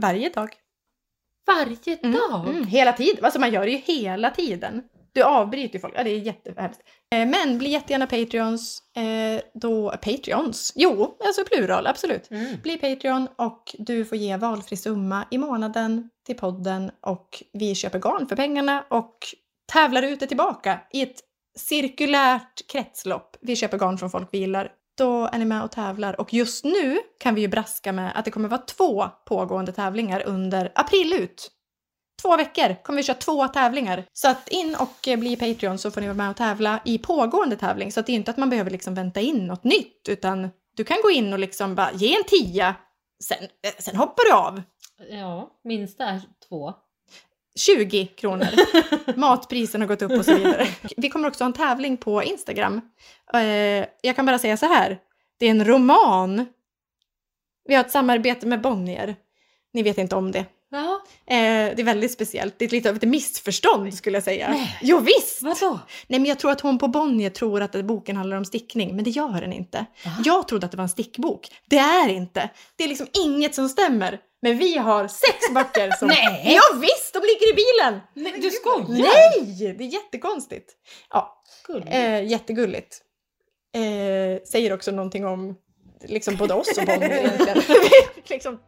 Varje dag.
Varje
Mm,
dag!
Mm, hela tiden. Alltså man gör det ju hela tiden. Du avbryter ju folk. Ja, det är jättehemskt. Eh, Men bli jättegärna Patreons. Eh, då, Patreons? Jo, alltså plural, absolut.
Mm.
Bli Patreon och du får ge valfri summa i månaden till podden och vi köper garn för pengarna och tävlar ut det tillbaka i ett cirkulärt kretslopp. Vi köper garn från folk vi gillar. Då är ni med och tävlar och just nu kan vi ju braska med att det kommer vara två pågående tävlingar under april ut. Två veckor kommer vi köra två tävlingar. Så att in och eh, bli Patreon så får ni vara med och tävla i pågående tävling. Så att det är inte att man behöver liksom vänta in något nytt utan du kan gå in och liksom bara ge en tia. Sen, eh, sen hoppar du av.
Ja, minsta är två.
20 kronor. Matpriserna har gått upp och så vidare. Vi kommer också ha en tävling på Instagram. Eh, Jag kan bara säga så här. Det är en roman. Vi har ett samarbete med Bonnier. Ni vet inte om det.
Ja,
Eh, det är väldigt speciellt. Det är lite av ett missförstånd skulle jag säga. Jo, visst!
vadå?
Nej, men jag tror att hon på Bonnier tror att boken handlar om stickning, men det gör den inte. Jag trodde att det var en stickbok. Det är inte. Det är liksom inget som stämmer. Men vi har sex böcker som...
Nej.
Ja, visst, de ligger i bilen!
Nej, du skojar?
Nej! Det är jättekonstigt. Ja,
Gulligt.
eh, jättegulligt. Eh, säger också någonting om liksom både oss och Bonnier egentligen. liksom,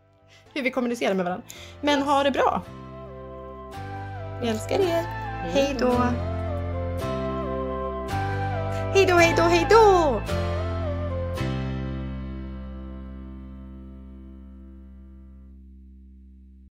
hur vi kommunicerar med varandra. Men ha det bra! Vi älskar er! Hej då! Hej då, hej då, hej då!